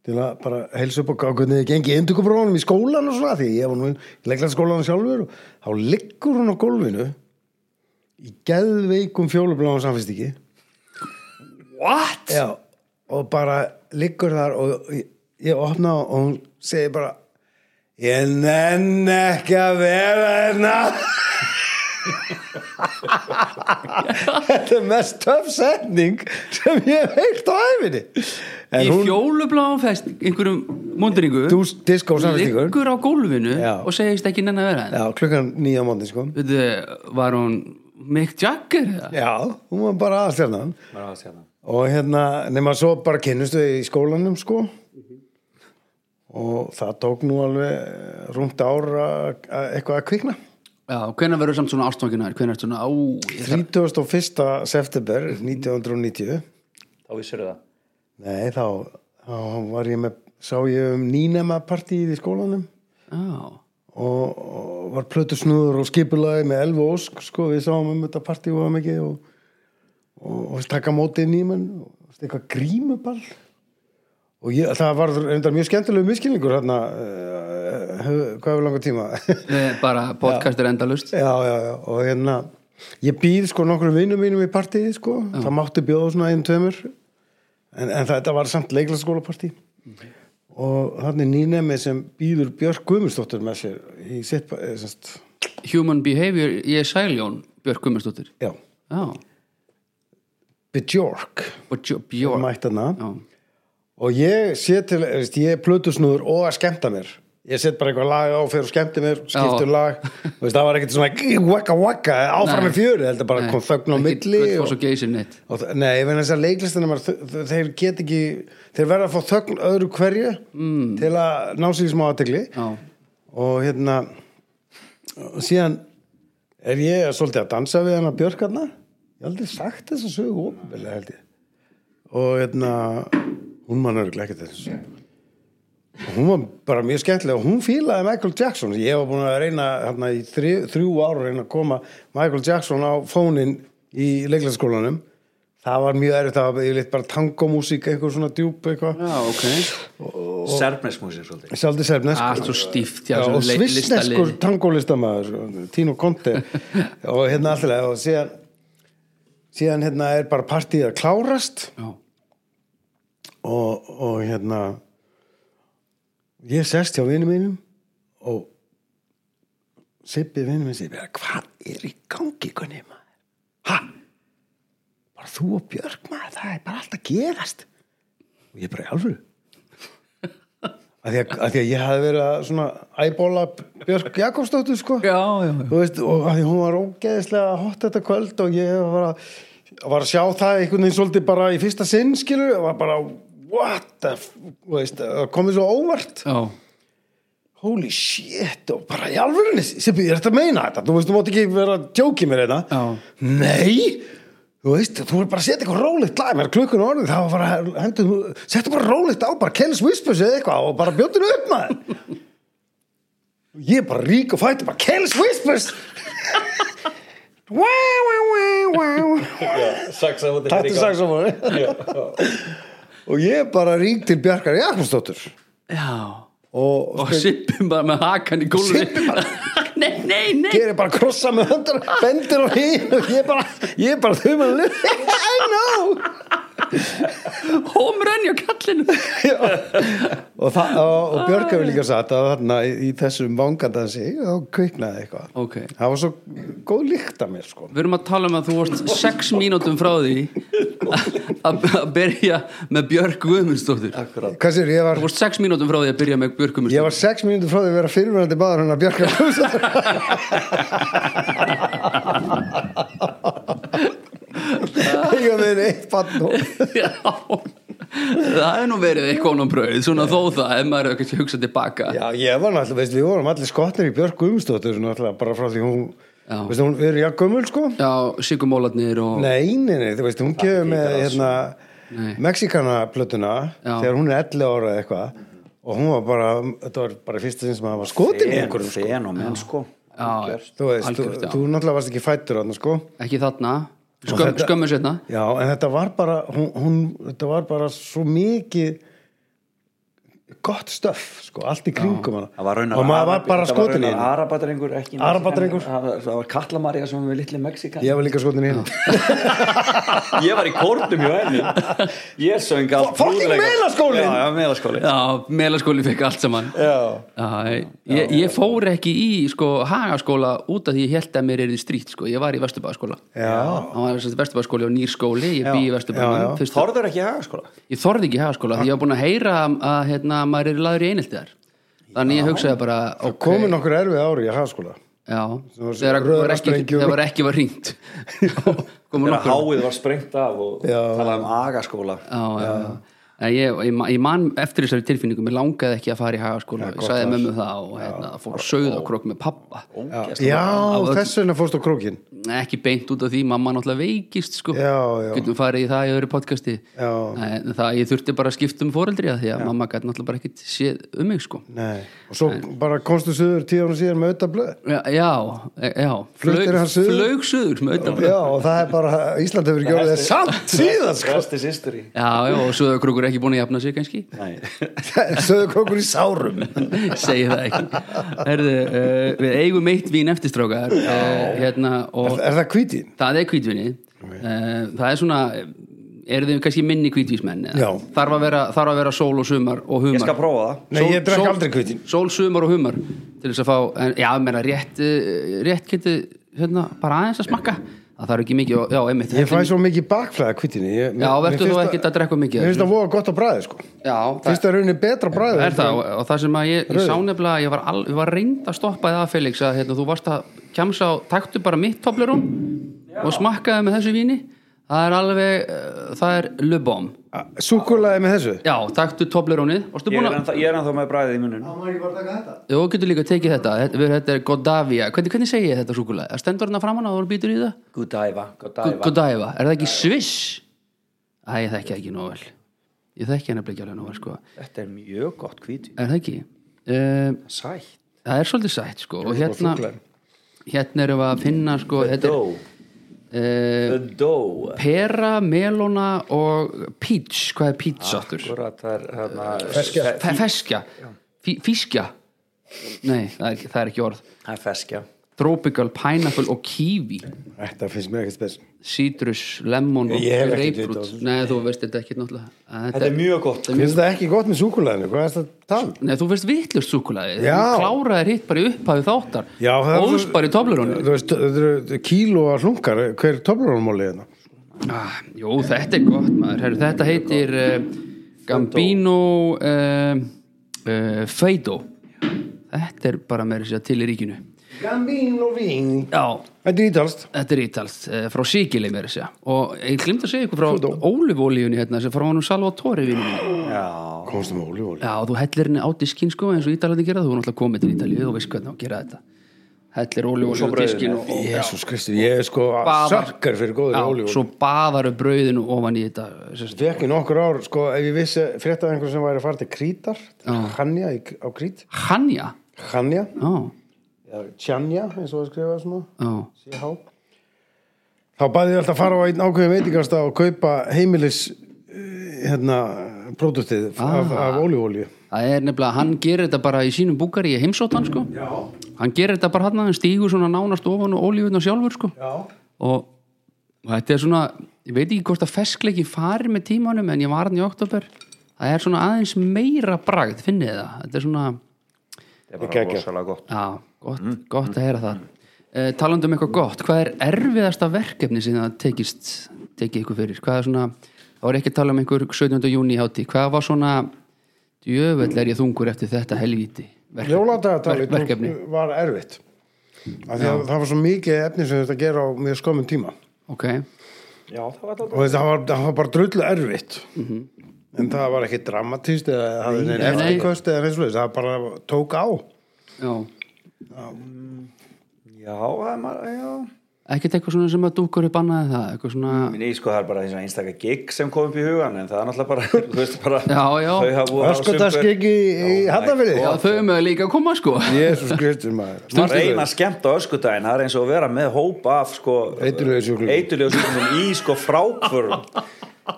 [SPEAKER 1] til að bara helsa upp og gá hvernig þið gengi indugubrónum í skólan og svona því ég var nú í leiklega skólan sjálfur og þá liggur hún á gólfinu í geðveikum fjólubláðum samfélstíki
[SPEAKER 3] What?
[SPEAKER 1] Já, og bara liggur þar og ég, ég opna og hún segir bara ég nenn ekki að vera hérna Þetta er mest töff setning sem ég hef heilt á æfinni
[SPEAKER 2] í
[SPEAKER 1] En hún,
[SPEAKER 2] fjólubláum fest einhverjum mondringu
[SPEAKER 1] dús- disco samfélstíkur
[SPEAKER 2] liggur á gólfinu
[SPEAKER 1] Já.
[SPEAKER 2] og segist ekki nenni að vera
[SPEAKER 1] Já, klukkan nýja móndi sko
[SPEAKER 2] Veitu, var hún Mick Jagger eða?
[SPEAKER 1] Já, hún var bara aðstjarnan
[SPEAKER 3] Bara að segja það.
[SPEAKER 1] og hérna, nema svo bara kynnustu í skólanum sko og það tók nú alveg rúmt ára eitthvað að kvikna
[SPEAKER 2] Já, hvenær verður samt svona ástfanginar hvenær svona, á, ég þarf
[SPEAKER 1] 31. september 1990
[SPEAKER 3] Þá vissirðu það.
[SPEAKER 1] nei þá, þá var ég með sá ég um nýnema partíð í skólanum
[SPEAKER 2] já,
[SPEAKER 1] og, og var plötusnúður og skipulagi með elfu ósk sko, við sáum um þetta partíð og mikið og, og, og taka mótið nýmenn og eitthvað grímuball og ég, það var reyndar mjög skemmtilegu miskilningur hérna uh, hvað hefur langar tíma
[SPEAKER 2] Nei, Eh, bara podcast er endalust
[SPEAKER 1] já, já, já, og hérna ég býð sko nokkrum vinnum mínum í partíði sko, það mátti bjóða svona einn tveimur en, en þetta var samt leiklasskólapartí og þannig nýnemi sem býður Björk Guðmundsdóttir með sér í sitt, eh, semst,
[SPEAKER 2] Human Behavior, ég er Sæljón Björk Gummarsdóttir
[SPEAKER 1] já
[SPEAKER 2] Já,
[SPEAKER 1] Björk,
[SPEAKER 2] og Jo- Björk
[SPEAKER 1] mætt hana
[SPEAKER 2] Já,
[SPEAKER 1] og ég sé til, eh, veist, ég er plötusnúður og að skemmta mér ég set bara eitthvað lag á fyrir og skemmti mér skiptu
[SPEAKER 2] Já.
[SPEAKER 1] lag, Þú veist, það var ekkert svona waka waka, áfram
[SPEAKER 2] Nei.
[SPEAKER 1] með fjöri þetta bara kom þögn á milli
[SPEAKER 2] Eh, Ekki
[SPEAKER 1] og-
[SPEAKER 2] Gullfoss og Geysir neitt
[SPEAKER 1] Og þa- Nei, ég vegna þess að leiklistanemar þ- þ- þeir get ekki, þeir verða að fá þögn öðru hverju mm. til að ná sér í smá aðtegli
[SPEAKER 2] Já,
[SPEAKER 1] og hérna og síðan er ég svolítið að dansa við hana Björk hérna ég hef aldrei sagt þess að sögu ofinbeglega held ég og hérna hún mann örgulega ekki þess og hún var bara mjög skemmtilega og hún fílaði Michael Jackson ég var búin að reyna hérna í þrjú, þrjú ára reyna að koma Michael Jackson á fónin í leiklæðskólanum það var mjög erfitt það var yfirleitt bara tangomúsík einhver svona djúp eitthvað
[SPEAKER 2] já ok
[SPEAKER 3] Serbnesmúsið svolítið.
[SPEAKER 1] Sjaldi Sefnesk
[SPEAKER 2] Allt svo stíft já,
[SPEAKER 1] Já,
[SPEAKER 2] svona
[SPEAKER 1] og
[SPEAKER 2] le-
[SPEAKER 1] svissneskur
[SPEAKER 2] listaliði.
[SPEAKER 1] tangólistamæður Tino Conte og hérna alltaf og síðan, síðan hérna er bara partíð að klárast
[SPEAKER 2] Já,
[SPEAKER 1] og, og hérna ég sest hjá vinum mínum og Sippi vinum minn segir mér hvað er í gangi kunni maður ha bara þú og Björk maður það er bara allt að gerast og ég bara í alvöru að því að, að því að ég hafði verið að svona æbóla Björk Jakobsdóttur sko
[SPEAKER 2] já, já, já.
[SPEAKER 1] þú veist, og að því hún var ógeðislega hot þetta kvöld og ég var að, var að sjá það einhvern veginn svolítið bara í fyrsta sinn, skilur, og var bara what the, f- þú veist, það komið svo óvart
[SPEAKER 2] já
[SPEAKER 1] holy shit, og bara í alvörunni Sippi, ég er þetta að meina þetta, þú veist, þú mátt ekki vera að djóki mér þetta,
[SPEAKER 2] Já.
[SPEAKER 1] nei þú veist, þú er bara að setja eitthvað rólegt lag mér klukkun orðið, það var bara hendur, setja bara rólegt á, bara Kellis Whispers eða eitthvað og bara bjóttinu upp maður og ég bara rík og fætti bara Kellis Whispers wow, wow, wow, wow
[SPEAKER 3] Saksa hóttir.
[SPEAKER 1] Tættu saksófóni og ég bara rík til Bjarkar Jakobsdóttur
[SPEAKER 2] Já,
[SPEAKER 1] og,
[SPEAKER 2] og Sippi bara með hakan í gólfi
[SPEAKER 1] Sibbi bara-
[SPEAKER 2] Nei, nei, nei
[SPEAKER 1] gerir bara krossa með höndur bendir á hinn og ég bara ég er bara þau með I know
[SPEAKER 2] Hómrönni á kallinu
[SPEAKER 1] Já. og, það, og, og Björk hefur líka sagt að þarna í, í þessum vangandansi og kviknaði eitthvað
[SPEAKER 2] Ok
[SPEAKER 1] það var svo góð líkt að mér sko
[SPEAKER 2] Við erum að tala um að þú varst sex mínútum frá því að að byrja með Björk Guðmundsdóttur
[SPEAKER 3] Akkurat.
[SPEAKER 1] hvað sér, ég var,
[SPEAKER 2] Þú varst sex mínútum frá því að byrja með Björk
[SPEAKER 1] ég
[SPEAKER 2] Guðmundsdóttur
[SPEAKER 1] var sex mínútur frá því að vera fyrirverandi maður hennar Björk Jakobsdóttur. ég var með einn eitt bann og
[SPEAKER 2] Já það er nú verið eitthvað ánum brauð svona þó það, ef maður er ekki hugsað tilbaka
[SPEAKER 1] Já, ég var náttúrulega, veist, við vorum allir skotnir í Björk Guðmundsdóttur náttúrulega bara frá því hún
[SPEAKER 2] Já.
[SPEAKER 1] veist, hún er jakkumul sko
[SPEAKER 2] já, sigumólarnir og
[SPEAKER 1] Nei, nei, nei, þú veist, hún kefur með hérna, Mexikana plötuna
[SPEAKER 2] sko. Já.
[SPEAKER 1] þegar hún er 11 ára eða eitthvað og hún var bara, þetta var bara fyrsta sinn sem hann var skotin í einhverjum sko.
[SPEAKER 3] fenomen sko
[SPEAKER 2] já,
[SPEAKER 1] þú veist, þú,
[SPEAKER 2] algjört, já.
[SPEAKER 1] þú náttúrulega varst ekki fættur þarna sko
[SPEAKER 2] ekki þarna Skömm,
[SPEAKER 1] þetta-
[SPEAKER 2] skömmu setna
[SPEAKER 1] Já, en þetta var bara hún, hún, þetta var bara svo mikið gott stöf, sko, allt í kringum hana
[SPEAKER 3] Það var raunar
[SPEAKER 1] og maður var
[SPEAKER 3] Arabi-
[SPEAKER 1] bara
[SPEAKER 3] það var
[SPEAKER 1] skotin í
[SPEAKER 3] raunar
[SPEAKER 1] henni
[SPEAKER 3] Arabadrengur, ekki
[SPEAKER 1] Arabadrengur.
[SPEAKER 3] Mexíkan. Það var- Það var Kallamarja sem var með litli Mexikan
[SPEAKER 1] Ég var líka skotin í henni
[SPEAKER 3] Ég var í kórnum hjá henni Ég söng allt
[SPEAKER 1] Fucking
[SPEAKER 3] brúðuleika-
[SPEAKER 1] melaskólinn!
[SPEAKER 3] Já, já, melaskólin
[SPEAKER 2] já, melaskóli fekk allt saman
[SPEAKER 1] Já
[SPEAKER 2] já, ég, ég fór ekki í sko, hagaskóla út af því ég held að mér er í strýtt sko. ég var í vesturbæðaskóla
[SPEAKER 1] Já,
[SPEAKER 2] hann var í vesturbæðaskóli og nýr skóli ég bý í
[SPEAKER 1] já,
[SPEAKER 2] vesturbæðanum
[SPEAKER 1] já.
[SPEAKER 2] fyrst-
[SPEAKER 3] Þorður ekki í hagaskóla
[SPEAKER 2] ég þorði ekki hagaskóla því ég var búin að heyra að, að hérna, maður er laður í eineltiðar þannig ég hugsaði bara ok,
[SPEAKER 1] komin nokkur erfið ári í hagaskóla
[SPEAKER 2] já,
[SPEAKER 1] Svo-
[SPEAKER 2] þegar var ekki,
[SPEAKER 1] röðarsprengjur.
[SPEAKER 2] þegar var ekki var hringt komin
[SPEAKER 3] Þegar
[SPEAKER 2] nokkur já,
[SPEAKER 3] háið var sprengt af og
[SPEAKER 1] Já.
[SPEAKER 3] talaði um agaskóla
[SPEAKER 2] já, já. En Ég, ég, ma- ég man eftir þessari tilfinningu mér langaði ekki að fara í hagaskóla ég sagði mömmu það og hérna, fór sögðakrok með pappa
[SPEAKER 1] Já, já þess vegna fórst á krókin
[SPEAKER 2] ekki beint út af því mamma náttúrulega veikist sko.
[SPEAKER 1] Já, já.
[SPEAKER 2] getum farið í það í öðru podcasti
[SPEAKER 1] Já.
[SPEAKER 2] en það ég þurfti bara að skipta um fóreldri af því að mamma gæti náttúrulega bara ekkit séð um mig sko.
[SPEAKER 1] Nei. og svo bara komstu söður tíu ára síðan með auðvitað blöð
[SPEAKER 2] já, já, e- já.
[SPEAKER 1] Fluttir hann suður?
[SPEAKER 2] flaugsuður með auðvitað
[SPEAKER 1] já og það er bara, Ísland hefur gjörð það samt síðan sko
[SPEAKER 3] Rest is history
[SPEAKER 2] já, já, og söðakrúkur ekki búin að jafna sig kannski
[SPEAKER 3] Nei.
[SPEAKER 1] söður krókur í sárum
[SPEAKER 2] segi það ekki Herðu, uh, við eigum eitt vín eftirstrákar uh, hérna,
[SPEAKER 1] er,
[SPEAKER 2] og
[SPEAKER 1] er það hvítin?
[SPEAKER 2] það er hvítvinni uh, það er svona eru þið kannski minni hvítvísmenn eða?
[SPEAKER 1] Já.
[SPEAKER 2] þarf að vera, þarf að vera sól og sumar og humar
[SPEAKER 3] Ég skal prófa það
[SPEAKER 1] Nei,
[SPEAKER 2] Sól-
[SPEAKER 1] ég drekk
[SPEAKER 2] sól-
[SPEAKER 1] aldrei hvítin
[SPEAKER 2] Sól, sumar og humar til þess að fá, en, já, meina rétt eh, rétt geti, hérna, bara aðeins að smakka það þarf ekki mikið, og- já, einmitt
[SPEAKER 1] ég fæ svo mikið bakflæða hvítinni ég,
[SPEAKER 2] Já,
[SPEAKER 1] mér-
[SPEAKER 2] vertu
[SPEAKER 1] mér
[SPEAKER 2] þú
[SPEAKER 1] finnst
[SPEAKER 2] ekkert að drekka mikið
[SPEAKER 1] mér finnst það voða gott á bræði sko
[SPEAKER 2] Já, það
[SPEAKER 1] finnst það rauninni betra bræði
[SPEAKER 2] er það, og, og það sem að ég, ég sá nefnilega að ég var, al, ég var reynd að stoppa það Felix að hérna, þú varst að kemsa og taktu bara mitt toblerón og smakkaði með þessu víni það er alveg, eh, það er lubom,
[SPEAKER 1] súkulaði með þessu
[SPEAKER 2] já, taktu toblerónið varstu
[SPEAKER 3] Ég
[SPEAKER 2] búin
[SPEAKER 3] er
[SPEAKER 2] að,
[SPEAKER 3] ennþá, ég er ennþá með bræðið í munun
[SPEAKER 2] þú getur líka tekið þetta þetta, þetta er Godavia, hvernig, hvernig segi ég þetta súkulega, stendur hérna framan og þú býtur í það
[SPEAKER 3] Godiva
[SPEAKER 2] Gu-
[SPEAKER 3] Godiva
[SPEAKER 2] Godiva, er það ekki Sviss? Æ, ég þekki það ekki nóg vel Ég þekki hann ekki alveg nóg vel sko
[SPEAKER 3] Þetta er mjög gott hvíti
[SPEAKER 2] Er það ekki? Um,
[SPEAKER 3] Sætt
[SPEAKER 2] það er svolítið sætt sko Og hérna, hérna erum við að finna sko Þetta er
[SPEAKER 3] Dough
[SPEAKER 2] uh,
[SPEAKER 3] The dough
[SPEAKER 2] pera, melóna og peach Hvað er peach
[SPEAKER 1] Ah, sko,
[SPEAKER 2] áttur?
[SPEAKER 3] Akkurat, það er hérna Feskja
[SPEAKER 2] Fe- Feskja, Fí- fískja Nei, það er, ekki, það er ekki orð
[SPEAKER 3] Það er feskja
[SPEAKER 2] Tropical, pineapple og kiwi
[SPEAKER 1] þetta finnst mér ekkert spes
[SPEAKER 2] Citrus, lemon og
[SPEAKER 1] Ég hef ekkert vit á
[SPEAKER 2] grapefruit Nei, þú veist þetta ekki náttúrulega Þetta,
[SPEAKER 3] Þetta er mjög gott
[SPEAKER 1] finnst það ekki gott með súkulaðinu hvað er það að tala? um?
[SPEAKER 2] Nei, þú finnst vitlust súkulaði Þú
[SPEAKER 1] Já.
[SPEAKER 2] kláraðir hitt bara í upphæðu þáttar
[SPEAKER 1] Já, það-
[SPEAKER 2] Óðs bara í toblerónu
[SPEAKER 1] þú veist, þetta eru kílóa hlunkar hver toblerunmóli hérna
[SPEAKER 2] ah, Jú, þetta er gott maður Heru, Þetta heitir uh, Gambino uh, uh, Feido Þetta er bara með þess að segja til í ríkinu
[SPEAKER 1] Gambino vín
[SPEAKER 2] Já,
[SPEAKER 1] Þetta er ítalst
[SPEAKER 2] þetta er ítalst uh, frá Sigili með þess að og ég glimt að segja ykkur frá ólifólíunni hérna sem frá hann um Salvatore vinni
[SPEAKER 3] Já
[SPEAKER 1] Komstu með olífóli
[SPEAKER 2] Já, þú hellir henni á diskinn sko eins og Ítalandi gera þú er náttúrulega komið til Ítalíu þú veist hvernig á að gera þetta hellir ólifólíunni á
[SPEAKER 3] brauðinu.
[SPEAKER 2] diskinn og, og
[SPEAKER 1] Jésús Kristi, ég er sko
[SPEAKER 2] Baðar.
[SPEAKER 1] sökkar fyrir góður
[SPEAKER 2] Já,
[SPEAKER 1] olífóli
[SPEAKER 2] svo baðaru brauðinu ofan í þetta sem sagt,
[SPEAKER 1] Fekk í nokkur ár, sko, ef ég vissi fréttaði einhver sem væri að fara til Krítar Hanja í- á Krít
[SPEAKER 2] hanja
[SPEAKER 1] Hanja,
[SPEAKER 2] já,
[SPEAKER 1] Tjanja, eins og það skrifa svona
[SPEAKER 2] já,
[SPEAKER 1] CH Þá bæði ég alltaf að fara á einn ákveðum veitingasta og kaupa heimilis eh, hérna, próduktið
[SPEAKER 2] Ah.
[SPEAKER 1] af, af olífóli
[SPEAKER 2] það er nefnilega hann gerir þetta bara í sínum búkari í heimsóttan sko já. hann gerir þetta bara hann hann stígur svona nánast ofan og ólífuna sjálfur sko
[SPEAKER 1] Já
[SPEAKER 2] og, og þetta er svona ég veit ekki hvort að feskleiki fari með tímanum en ég var hann í oktober það er svona aðeins meira bragð finnið þið það, þetta er svona
[SPEAKER 3] Þetta er
[SPEAKER 1] Ekki
[SPEAKER 3] bara
[SPEAKER 1] ekki.
[SPEAKER 3] rosalega gott
[SPEAKER 2] já, gott,
[SPEAKER 3] Mm,
[SPEAKER 2] gott að heyra það uh, talandi um eitthvað gott, hvað er erfiðasta verkefni sem það tekist tekið ykkur fyrir, hvað er svona þá er ég ekki að tala um einhver 17. júni hátti hvað var svona, djöfell er ég þungur eftir þetta helvíti verkefni,
[SPEAKER 1] Jóladagatalið
[SPEAKER 2] Ver- verkefni.
[SPEAKER 1] tók- var erfitt Af því að það var svo mikið efni sem þetta gera á mjög skömmun tíma
[SPEAKER 2] ok,
[SPEAKER 3] Já, það var þetta
[SPEAKER 1] og þetta var, það var bara drullu erfitt en það var ekki dramatist eða hafði neinn
[SPEAKER 2] Mhm. nei, nei.
[SPEAKER 1] eftirkost eða neins leis, það bara tók á
[SPEAKER 2] já,
[SPEAKER 3] já, það er maður, já
[SPEAKER 2] ekkert eitthvað svona sem að dúkur upp annað en það, eitthvað svona
[SPEAKER 3] minni, sko, það er bara eins og einstaka gig sem kom upp í hugan en það er náttúrulega bara, þú veist, bara
[SPEAKER 2] Já, já.
[SPEAKER 3] þau hafa búið á
[SPEAKER 1] öskutask
[SPEAKER 3] sumber-
[SPEAKER 1] ekki í hattafili
[SPEAKER 2] já, þau mögðu líka að koma sko
[SPEAKER 1] Jésús Kristur maður
[SPEAKER 3] Maður reyna að skemmta öskudaginn, það er eins og að vera með hópa af sko
[SPEAKER 1] Eiturlyfjasjúklingum.
[SPEAKER 3] eiturljóðsjúklingum í sko frákvörum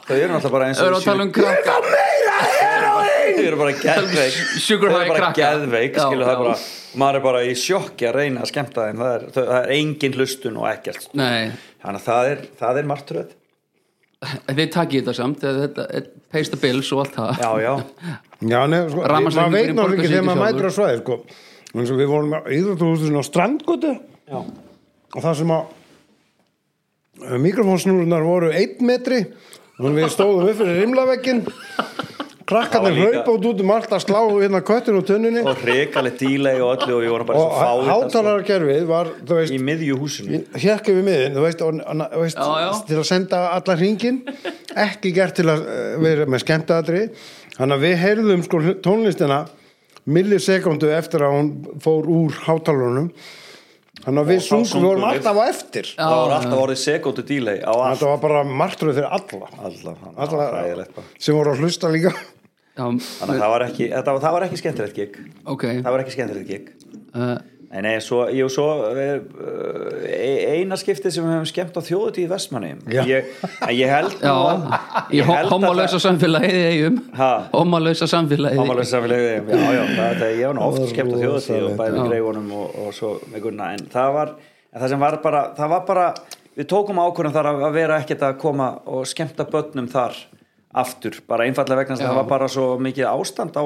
[SPEAKER 3] þau eru náttúrulega bara eins
[SPEAKER 2] þau
[SPEAKER 3] og
[SPEAKER 2] eru að tala um krakka
[SPEAKER 3] Þau eru bara geðveik
[SPEAKER 2] Sugar
[SPEAKER 3] Þau
[SPEAKER 2] high
[SPEAKER 3] eru bara
[SPEAKER 2] krakka.
[SPEAKER 3] geðveik
[SPEAKER 2] Já,
[SPEAKER 3] skilur, það er
[SPEAKER 2] já.
[SPEAKER 3] bara, maður er bara í sjokki að reyna að skemmta þeim það er, þau- það er engin hlustun og ekkert
[SPEAKER 2] nei,
[SPEAKER 3] þannig að það er, það er martröð
[SPEAKER 2] þið takið þetta samt þetta, þetta, paste the bills og allt það
[SPEAKER 3] já, já,
[SPEAKER 1] Já, nefn, sko,
[SPEAKER 2] Rafmagnsreikningurinn
[SPEAKER 1] maður veit
[SPEAKER 2] borgar
[SPEAKER 1] náttúrulega ekki
[SPEAKER 2] sig
[SPEAKER 1] þegar maður
[SPEAKER 2] sjálfur.
[SPEAKER 1] mætur á svæði sko. eins og við vorum á íþróttúhúsinu á strandgötu
[SPEAKER 3] já.
[SPEAKER 1] og það sem að mikrofónsnúrunar voru einn metri og við stóðum upp fyrir rimlavekkin
[SPEAKER 3] Það var
[SPEAKER 1] krakkarnir
[SPEAKER 3] líka-
[SPEAKER 1] hlaupa út út um allt að slá hérna köttin og tunninni
[SPEAKER 3] og hrikalegt dílei og öllu og ég voru bara
[SPEAKER 1] og
[SPEAKER 3] svo fáið sko,
[SPEAKER 1] hátalarkerfið var þú veist,
[SPEAKER 3] í miðju húsinu
[SPEAKER 1] hérk yfir miðin þú veist, og, og, þú veist
[SPEAKER 2] Já, já.
[SPEAKER 1] til að senda alla hringin ekki gert til að eh, vera með skemmtaðatri þannig að við heyrðum sko hl- tónlistina millisekundu eftir að hún fór úr hátalarunum þannig að við
[SPEAKER 3] þá
[SPEAKER 1] sungum, við
[SPEAKER 3] sungum
[SPEAKER 1] vorum
[SPEAKER 3] við.
[SPEAKER 1] alltaf á eftir
[SPEAKER 2] Já,
[SPEAKER 3] það var
[SPEAKER 2] já.
[SPEAKER 3] alltaf orðið sekundu dílei á allt
[SPEAKER 1] þetta var bara martröð fyrir alla
[SPEAKER 3] Allar, hann,
[SPEAKER 1] alla
[SPEAKER 3] hræðilegt bara.
[SPEAKER 1] sem voru að hlusta líka
[SPEAKER 2] já,
[SPEAKER 3] þannig að það var ekki, þetta var, það var ekki skemmtilegt gig
[SPEAKER 2] ok
[SPEAKER 3] það var ekki skemmtilegt gig
[SPEAKER 2] uh,
[SPEAKER 3] Nei, nei, svo, jú, svo er, uh, eina skiptið sem við höfum skemmt á þjóðutíð vestmanni
[SPEAKER 1] Já.
[SPEAKER 3] ég, en ég held nú
[SPEAKER 2] já,
[SPEAKER 3] að-
[SPEAKER 2] í
[SPEAKER 3] ég held að
[SPEAKER 2] homalösa
[SPEAKER 3] það-
[SPEAKER 2] samfélagið eigum
[SPEAKER 3] Ha?
[SPEAKER 2] homalösa samfélagið
[SPEAKER 3] Homalausa samfélagið, já, já, það, það, ég hef nú oft
[SPEAKER 1] Það var
[SPEAKER 3] skemmt á þjóðutíð og
[SPEAKER 1] rosalegt.
[SPEAKER 3] bæði
[SPEAKER 2] Já.
[SPEAKER 3] greifunum og, og svo með gunna en það var, en það sem var bara, það var bara við tókum ákvörðum þar að að vera ekkert að koma og skemmta börnum þar aftur, bara einfallega vegna þess að
[SPEAKER 2] Já.
[SPEAKER 3] það var bara svo mikið ástand á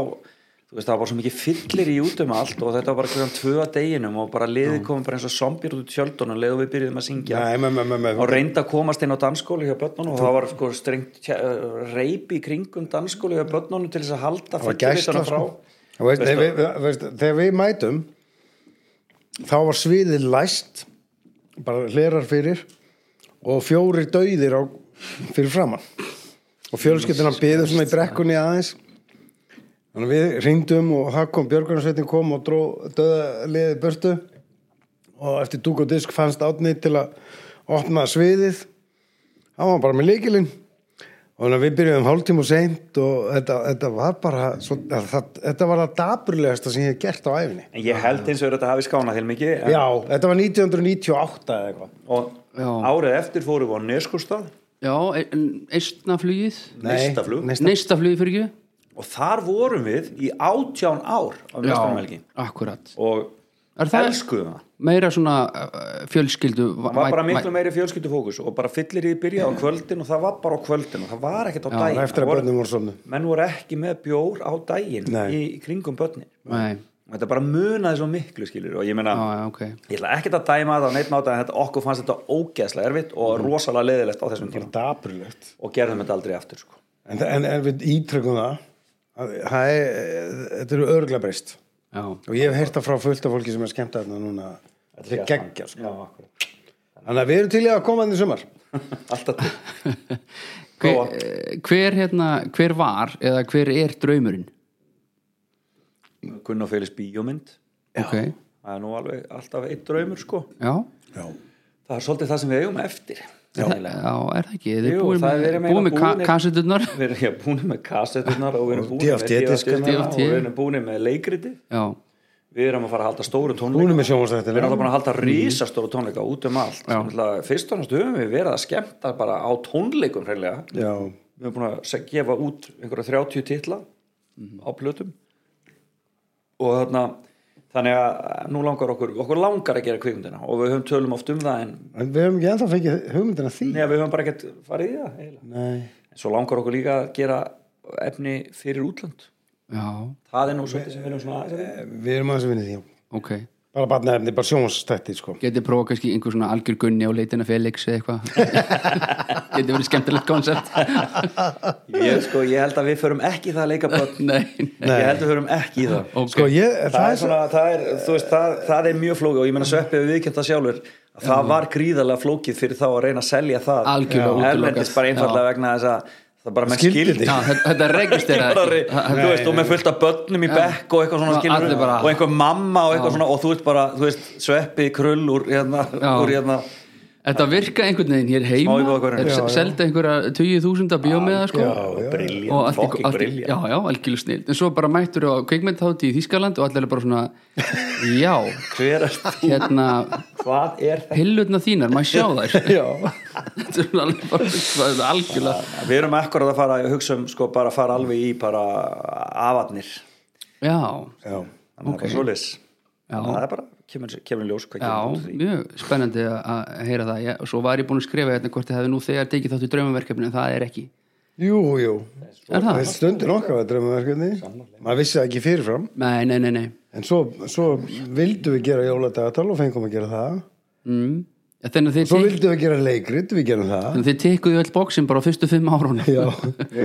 [SPEAKER 3] þú veist, það var bara svo mikið fyllir í út um allt og þetta var bara hverjum tvö að deginum og bara liðið komum bara eins og zombir út í tjöldunum leðum við byrjuðum að syngja
[SPEAKER 1] Nei, með, með, með,
[SPEAKER 3] og
[SPEAKER 1] með.
[SPEAKER 3] reynda að komast inn á dansskóli hjá börnunum og það var sko strengt tja- reip í kringum dansskóli hjá börnunum til þess að halda
[SPEAKER 1] það var
[SPEAKER 3] fullvitana
[SPEAKER 1] gæsla
[SPEAKER 3] frá
[SPEAKER 1] sko. Þú veist,
[SPEAKER 3] Veist
[SPEAKER 1] þegar, við, veist, þegar við mætum þá var sviðið læst bara hlerar fyrir og fjórir dauðir á, fyrir framann og fjölskyldina byðu svona í brekkunni aðeins þannig að við ringdum og það kom Björgunarsveitin kom og dró döða liðið burtu og eftir dúk og disk fannst átni til að opna sviðið það var bara með líkilinn og þannig að við byrjuðum hálftíma og seint og þetta, þetta var bara svo, það, þetta var það daburlegasta sem ég hef gert á æfinni
[SPEAKER 3] en ég held eins og þetta hafi skánað til mikið en-
[SPEAKER 1] já, þetta var 1998 eða eitthvað
[SPEAKER 3] og
[SPEAKER 2] Já.
[SPEAKER 3] árið eftir fórum við á Neskústað
[SPEAKER 2] já, eistnaflugið
[SPEAKER 3] Neistaflug.
[SPEAKER 1] neista,
[SPEAKER 2] neistaflugið fyrir ekki
[SPEAKER 3] og þar vorum við í átján ár á Vestarmelgi
[SPEAKER 2] akkurat
[SPEAKER 3] og
[SPEAKER 2] Er það-
[SPEAKER 3] elskuðum það
[SPEAKER 2] meira svona uh, fjölskyldu
[SPEAKER 3] það var bara miklu meiri fjölskyldufókus og bara fyllir í byrja á kvöldin og það var bara á kvöldin og það var ekkert á daginn
[SPEAKER 1] eftir að
[SPEAKER 3] Það voru-
[SPEAKER 1] börnum voru svona
[SPEAKER 3] menn voru ekki með bjór á daginn
[SPEAKER 1] Nei.
[SPEAKER 3] í, í kringum börnin
[SPEAKER 2] Nei,
[SPEAKER 3] og þetta bara munaði svo miklu skilur og ég meina
[SPEAKER 2] já, já, ok
[SPEAKER 3] ég ætla ekkert að dæma þetta á neitt máta en þetta okkur fannst þetta ógeðslega erfitt og rosalega leðilegt á þessum tíma
[SPEAKER 1] daburlegt
[SPEAKER 3] og gerðum þetta aldrei aftur sko.
[SPEAKER 1] en, það- en, en við ítryggum það að, það er, þetta eru örgla breyst
[SPEAKER 2] Já,
[SPEAKER 1] og ég hef heyrt það frá fullt af fólki sem er skemmt að þetta núna þetta er geggja sko.
[SPEAKER 3] Já, akkúrat.
[SPEAKER 1] þannig að við erum til í að koma þannig sumar
[SPEAKER 3] alltaf til
[SPEAKER 2] hver,
[SPEAKER 3] Góa.
[SPEAKER 2] eh, hver hérna hver var eða hver er draumurinn
[SPEAKER 3] Gunn og Félix bíómynd
[SPEAKER 2] ok,
[SPEAKER 3] það er nú alveg alltaf eitt draumur sko.
[SPEAKER 2] já
[SPEAKER 1] já,
[SPEAKER 3] það er svolítið það sem við eigum eftir sennilega.
[SPEAKER 2] já, er það ekki, þið
[SPEAKER 3] Jú,
[SPEAKER 2] er búin
[SPEAKER 3] það
[SPEAKER 2] með,
[SPEAKER 3] er meira
[SPEAKER 2] búin með ka
[SPEAKER 3] búnir-
[SPEAKER 2] kasseturnar
[SPEAKER 3] við erum hér búin með kassettunar og við erum
[SPEAKER 1] Og
[SPEAKER 3] búin með
[SPEAKER 1] DFT diskana.
[SPEAKER 3] DFT-diskana og
[SPEAKER 2] DFT.
[SPEAKER 3] við erum búin með leikriti
[SPEAKER 2] já,
[SPEAKER 3] við erum að fara að halda stóru tónleika
[SPEAKER 1] búinu með
[SPEAKER 3] Við erum alltaf
[SPEAKER 1] sjónvarsættina
[SPEAKER 3] búin að halda risastóru tónleika út um allt
[SPEAKER 2] Mhm. Já.
[SPEAKER 3] Náttúrulega, Fyrst og næst höfum við verið að skemmta bara á tónleikum hreinlega
[SPEAKER 1] já,
[SPEAKER 3] Við erum búin að se- gefa út einhverja 30 titla
[SPEAKER 2] Mhm.
[SPEAKER 3] á plötum og þarna þannig að nú langar okkur okkur langar að gera kvikmyndina og við höfum tölum oft um það en
[SPEAKER 1] en við hefum ekki ennþá fengið hugmyndina því
[SPEAKER 2] Mhm.
[SPEAKER 3] neða, við höfum bara ekkert farið í það eiginlega.
[SPEAKER 1] nei
[SPEAKER 3] en svo langar okkur líka að gera efni fyrir útlönd
[SPEAKER 2] já,
[SPEAKER 3] það er nú svolítið sem við erum svona aðeins að vinna.
[SPEAKER 1] Við erum aðeins að vinna í því já.
[SPEAKER 2] ok
[SPEAKER 1] Bara barnaefni, bara sjónvarsstætti sko.
[SPEAKER 2] getið prófað kannski einhver svona algjör gunni á leitina Felix eða eitthvað getið verið skemmtilegt koncept
[SPEAKER 3] ég, sko, ég held að við förum ekki í það að leika börn
[SPEAKER 2] nei, nei,
[SPEAKER 3] ég held að við förum ekki í það
[SPEAKER 2] ok
[SPEAKER 1] Sko ég, það,
[SPEAKER 3] það
[SPEAKER 1] er
[SPEAKER 3] er
[SPEAKER 1] svona
[SPEAKER 3] svona, það er, þú veist, það, það er mjög flókið og ég meina sveppi við viðkjönda sjálfur að það var gríðarlega flókið fyrir þá að reyna að selja það
[SPEAKER 2] Algjörlega útilokað.
[SPEAKER 3] erlendis bara einfallega vegna þess að það er bara með
[SPEAKER 1] Skildi
[SPEAKER 3] skildi
[SPEAKER 1] þig.
[SPEAKER 2] Já, þetta- þetta regist er
[SPEAKER 3] Bara, þú veist, og með fullt af börnum í bekk og eitthvað svona
[SPEAKER 2] Já,
[SPEAKER 3] skilur
[SPEAKER 2] allir bara-
[SPEAKER 3] og einhver mamma og eitthvað svona og þú veist bara, þú veist, sveppi, krull úr hérna,
[SPEAKER 2] Já.
[SPEAKER 3] úr hérna
[SPEAKER 2] Þetta virka einhvern veginn hér
[SPEAKER 3] Smá í
[SPEAKER 2] heima
[SPEAKER 3] vöðvagörðunum.
[SPEAKER 2] er
[SPEAKER 1] Já, já.
[SPEAKER 2] selda einhverja 20.000 bíómiða sko og
[SPEAKER 3] briljant,
[SPEAKER 2] allt í,
[SPEAKER 3] fokking
[SPEAKER 2] allt í, já,
[SPEAKER 3] briljant
[SPEAKER 2] já, algjörlega snill en svo bara mættur á kveikmyndtátti í Þískaland og allir er bara svona já,
[SPEAKER 3] hver er þú,
[SPEAKER 2] hérna
[SPEAKER 3] hvað er þetta
[SPEAKER 2] pillutna þínar, maður sjá þær
[SPEAKER 1] já,
[SPEAKER 2] þetta er svona alveg bara þetta er algjörlega
[SPEAKER 3] við erum ekkur að fara, ég hugsa um sko bara að fara alveg í bara afarnir
[SPEAKER 2] já,
[SPEAKER 1] já
[SPEAKER 3] þannig okay. að svolis
[SPEAKER 2] Já.
[SPEAKER 3] það er bara, kemur, kemur í ljós hvað
[SPEAKER 2] já,
[SPEAKER 3] kemur út úr því.
[SPEAKER 2] mjög spennandi að- að heyra það já, og svo var ég búin að skrifa hérna hvort ég hefði nú þegar tekið þátt í draumverkefni en það er ekki
[SPEAKER 1] jú, jú
[SPEAKER 2] er
[SPEAKER 1] það
[SPEAKER 2] það?
[SPEAKER 1] er stundin okkar að drömmaverkefni maður vissi það ekki fyrirfram
[SPEAKER 2] Nei, nei, nei, nei
[SPEAKER 1] en svo, svo vildum við gera jóladagatal og fengum að gera það
[SPEAKER 2] mm. Ja, þannig að þið
[SPEAKER 1] svo
[SPEAKER 2] tek-
[SPEAKER 1] vildum við gera leikrit, við gerum það
[SPEAKER 2] þannig að þið tekkuðu öll bóksin bara á fyrstu fimm árunum
[SPEAKER 1] já,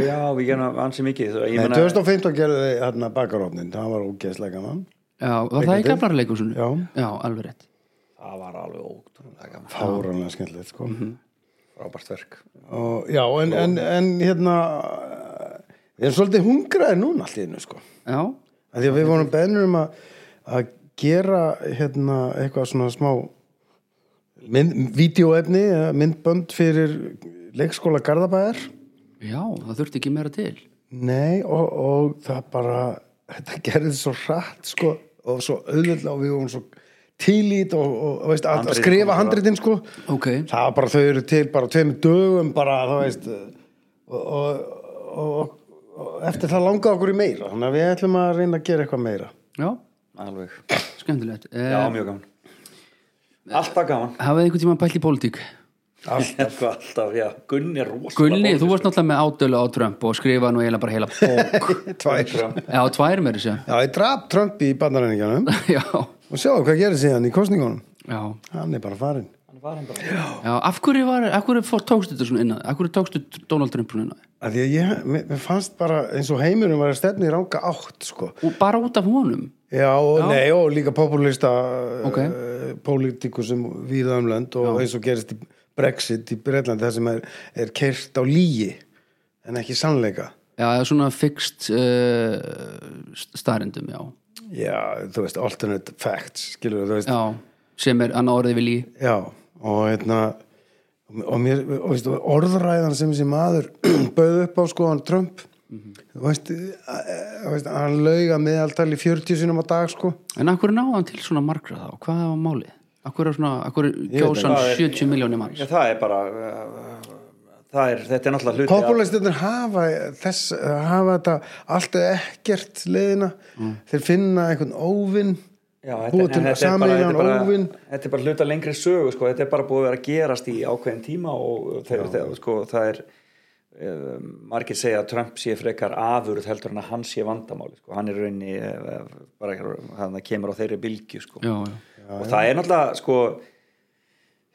[SPEAKER 3] já, við gerum ansi mikið þú- ég
[SPEAKER 1] en
[SPEAKER 3] meina-
[SPEAKER 1] 2015 gerðum við hérna bakarofnin, það var ógeðslega gaman
[SPEAKER 2] Já, var það í
[SPEAKER 1] Leikritið?
[SPEAKER 2] gamlarleikursunu?
[SPEAKER 1] Já.
[SPEAKER 2] alveg rétt
[SPEAKER 3] það var alveg ótrúlega gaman
[SPEAKER 1] fáranlega skemmtilegt sko
[SPEAKER 3] Mhm. frábært verk
[SPEAKER 1] og, já, en, en, en hérna við erum svolítið hungraði núna allt í einu sko
[SPEAKER 2] Já,
[SPEAKER 1] að því að við vorum beðnir um að, að gera hérna eitthvað svona smá mynd, vídeoefni, eða myndbönd fyrir leikskóla Garðabæðar
[SPEAKER 2] já, það þurfti ekki meira til
[SPEAKER 1] nei og, og það bara þetta gerði svo hratt sko og svo auðvitað og við vorum svo tílít og, og, og veist, að, að
[SPEAKER 3] Handritin kom
[SPEAKER 1] skrifa
[SPEAKER 3] svo
[SPEAKER 1] handritin sko
[SPEAKER 2] Ok,
[SPEAKER 1] það var bara þau eru til bara tveimur dögum bara þú veist og, og, og, og, og eftir það langaði okkur í meira þannig að við ætlum að reyna að gera eitthvað meira
[SPEAKER 2] já,
[SPEAKER 3] alveg,
[SPEAKER 2] Eh. skemmtilegt
[SPEAKER 3] já,
[SPEAKER 2] eh,
[SPEAKER 3] mjög gaman alltaf gaman
[SPEAKER 2] Hafið einhvern tímann pælt í pólitík?
[SPEAKER 3] alltaf, alltaf já, Gunni er rosalega
[SPEAKER 2] Gunni,
[SPEAKER 3] bókstaflegur.
[SPEAKER 2] þú varst náttúrulega með ádölu á Trump og skrifa nú eiginlega bara heila bók
[SPEAKER 1] tvær
[SPEAKER 2] Já, tvær meiri sér
[SPEAKER 1] Já, ég draf Trump í bandaræninganum
[SPEAKER 2] Já,
[SPEAKER 1] og sjáðu hvað gerir síðan í kostningunum.
[SPEAKER 2] já,
[SPEAKER 1] Hann er bara farinn.
[SPEAKER 3] Hann var hann bara
[SPEAKER 2] já Af hverju, var, af hverju fór, tókstu þetta svona innan? Af hverju tókstu Donald Trump svona innan?
[SPEAKER 1] Af því að ég, mér, mér fannst bara eins og heimurum var að stefna í ranga átt, sko.
[SPEAKER 2] Og bara út af honum
[SPEAKER 1] Já, og, Nei, og líka populista
[SPEAKER 2] Ok.
[SPEAKER 1] okay. uh, pólítiku sem víða um lönd og eins og gerist í Brexit í Bretland þar sem er, er kert á lígi en ekki sannleika.
[SPEAKER 2] Já, það er svona fixt uh, starrendum, já
[SPEAKER 1] Já, þú veist, alternate facts, skilur þú veist.
[SPEAKER 2] Já, sem er annað orðið vilji
[SPEAKER 1] Já, og hérna og, mér, og veist, og orðræðan sem þessi maður bauð upp á sko hann Trump mm
[SPEAKER 3] Mhm.
[SPEAKER 1] veist, að- að- veist, hann lauga meðaltal í 40 sinum á dag sko
[SPEAKER 2] En akkur náða hann til svona margra þá? Hvað var málið? Akkur er svona, akkur
[SPEAKER 1] veit
[SPEAKER 2] gjóðs hann
[SPEAKER 3] það er-
[SPEAKER 2] 70 miljónir manns?
[SPEAKER 3] já, það er bara uh, það er, þetta er náttúrulega hluti af-
[SPEAKER 1] populistinir hafa þess, hafa þetta allt eða ekkert leiðina þeir finna einhvern óvinn
[SPEAKER 3] Mm. Já,
[SPEAKER 1] búa
[SPEAKER 3] en
[SPEAKER 1] til
[SPEAKER 3] þetta er bara- þetta er
[SPEAKER 1] sameinan
[SPEAKER 3] bara-
[SPEAKER 1] óvinn
[SPEAKER 3] þetta er bara hluta lengri sögu sko. þetta er bara búið að vera að gerast í ákveðin tíma og þegar, þegar, sko, það er eh, margir segja að Trump sé frekar afurð heldur en að hann sé vandamáli sko. hann er í rauninni eh, bara, hann kemur á þeirri bylgju sko.
[SPEAKER 2] Já, já.
[SPEAKER 3] og það er náttúrulega sko,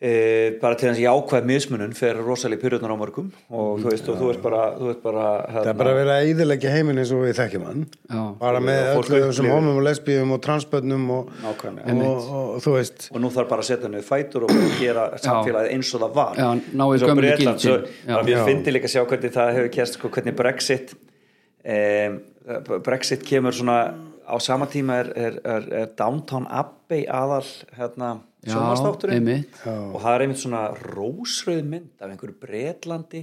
[SPEAKER 3] e, bara til þess að jákvæð mismunun fer rosalega pyrrjóðnar á mörgum og þú veist, og þú veist bara, þú veist bara
[SPEAKER 1] það er
[SPEAKER 3] hérna,
[SPEAKER 1] bara að vera að eyðilegja heiminn eins og við þekkjum hann
[SPEAKER 2] Já.
[SPEAKER 1] bara með
[SPEAKER 3] Og fólk
[SPEAKER 1] öllu þessum
[SPEAKER 3] upplifir.
[SPEAKER 1] homum og lesbíum og transbönnum og, og,
[SPEAKER 3] Nákvæmlega.
[SPEAKER 1] og, og þú veist
[SPEAKER 3] og nú þarf bara að setja niður fætur og bara gera samfélagið eins og það var
[SPEAKER 2] Já, ná í
[SPEAKER 3] Eins og
[SPEAKER 2] gömlu
[SPEAKER 3] Bretland,
[SPEAKER 2] gildin.
[SPEAKER 3] svo-
[SPEAKER 2] Já.
[SPEAKER 3] bara mér
[SPEAKER 1] Já.
[SPEAKER 3] fyndi líka að sjá hvernig það hefur kerst sko, hvernig Brexit um, Brexit kemur svona á sama tíma er, er, er, er Downton Abbey aðal hérna,
[SPEAKER 2] Já,
[SPEAKER 3] sjónvastátturinn
[SPEAKER 2] einmitt.
[SPEAKER 3] og það er einmitt svona rósröð mynd af einhverju Bretlandi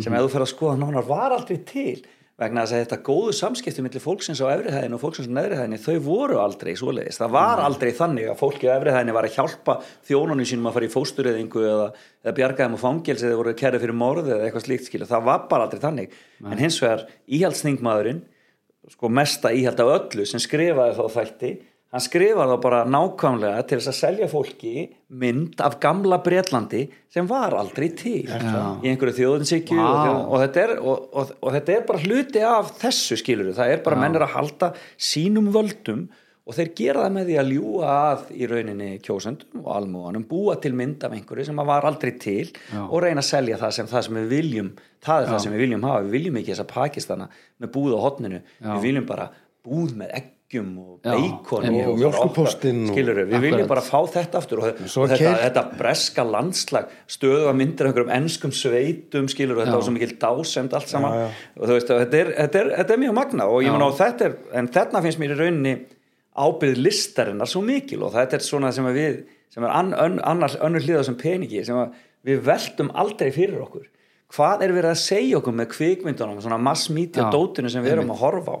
[SPEAKER 3] sem ef þú fer að skoða nánar var aldrei til vegna þess að þetta góðu samskipti millir fólksins á efrihæðinu og fólksins á neðrihæðinu þau voru aldrei svoleiðis, það var aldrei þannig að fólki á efrihæðinu var að hjálpa þjónunum sínum að fara í fóstureyðingu eða, eða bjarga þeim á fangelsi eða voru kæri fyrir morði eða eitthvað slíkt skilja, það var bara aldrei þannig en hins vegar íhaldsningmaðurinn sko mesta íhald af öllu sem skrifaði þá þætti hann skrifaði þá bara nákvæmlega til þess að selja fólki mynd af gamla Bretlandi sem var aldrei til í einhverju þjóðinsykju og,
[SPEAKER 2] Vá.
[SPEAKER 3] þjóð, og, þetta er, og, og, og þetta er bara hluti af þessu skilur það er bara wow. mennir að halda sínum völdum og þeir gera það með því að ljúa að í rauninni kjósendum og almúanum búa til mynd af einhverju sem að var aldrei til
[SPEAKER 2] Já.
[SPEAKER 3] og reyna að selja það sem það sem við viljum það er það sem við viljum hafa, við viljum ekki þessa Pakistana með búð á hotninu,
[SPEAKER 2] Já.
[SPEAKER 3] við viljum bara búð með egg eggjum og
[SPEAKER 2] Já,
[SPEAKER 3] beikon
[SPEAKER 2] einmitt.
[SPEAKER 1] Og mjólkurpóstinn og-
[SPEAKER 3] skilur við, við
[SPEAKER 2] Akkurat.
[SPEAKER 3] viljum bara fá þetta aftur og,
[SPEAKER 1] Svo
[SPEAKER 3] og þetta,
[SPEAKER 1] keyrt.
[SPEAKER 3] þetta breska landslag stöðuða myndir af einhverjum enskum sveitum skilur við,
[SPEAKER 2] Já.
[SPEAKER 3] þetta var svo mikil dásend allt saman
[SPEAKER 1] Já, já.
[SPEAKER 3] og þú veist, að þetta er, þetta er, þetta er mjög magna og
[SPEAKER 2] Já.
[SPEAKER 3] ég mun á þetta er, en þarna finnst mér í rauninni ábyrð listarinnar svo mikil og þetta er svona sem að við sem er ann- önn- annar önnur hliða sem peningi sem að við veltum aldrei fyrir okkur hvað er verið að segja okkur með kvikmyndunum svona mass media
[SPEAKER 2] Já,
[SPEAKER 3] dótinu sem við erum að horfa á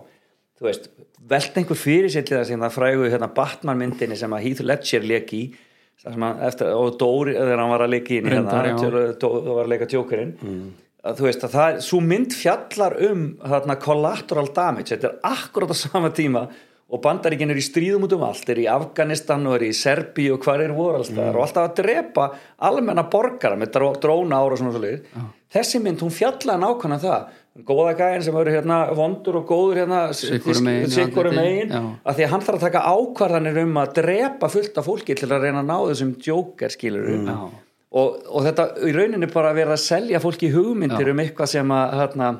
[SPEAKER 3] þú veist, velt einhver fyrir sér til það sem það frægu hérna Batman myndinni sem að Heath Ledger leik í þar sem hann eftir, og Dóri þegar hann var að leika í henni
[SPEAKER 2] Reyndar,
[SPEAKER 3] hérna,
[SPEAKER 2] já.
[SPEAKER 3] til- Dó- þá var að leika tjókurinn að þú veist að það, svo mynd fjallar um þarna collateral damage þetta er akkurat á sama tíma og bandaríkinn er í stríðum út um allt er í Afganistan og er í Serbi og hvar er voru allstaðar og alltaf að drepa almenna borgara með dró, dróna ára og svona svo þessi mynd hún fjallaði nákvæmlega um það góða gæðin sem eru hérna vondur og góður hérna
[SPEAKER 2] Sikkur megin, já,
[SPEAKER 3] sikkurum
[SPEAKER 2] þetta er-
[SPEAKER 3] megin
[SPEAKER 2] já.
[SPEAKER 3] að því að hann þarf að taka ákvarðanir um að drepa fullt af fólki til að reyna að ná þessum joker skilur
[SPEAKER 1] Mm.
[SPEAKER 2] Já.
[SPEAKER 3] og, og þetta í rauninni bara verið að selja fólki hugmyndir um eitthvað sem að, hérna,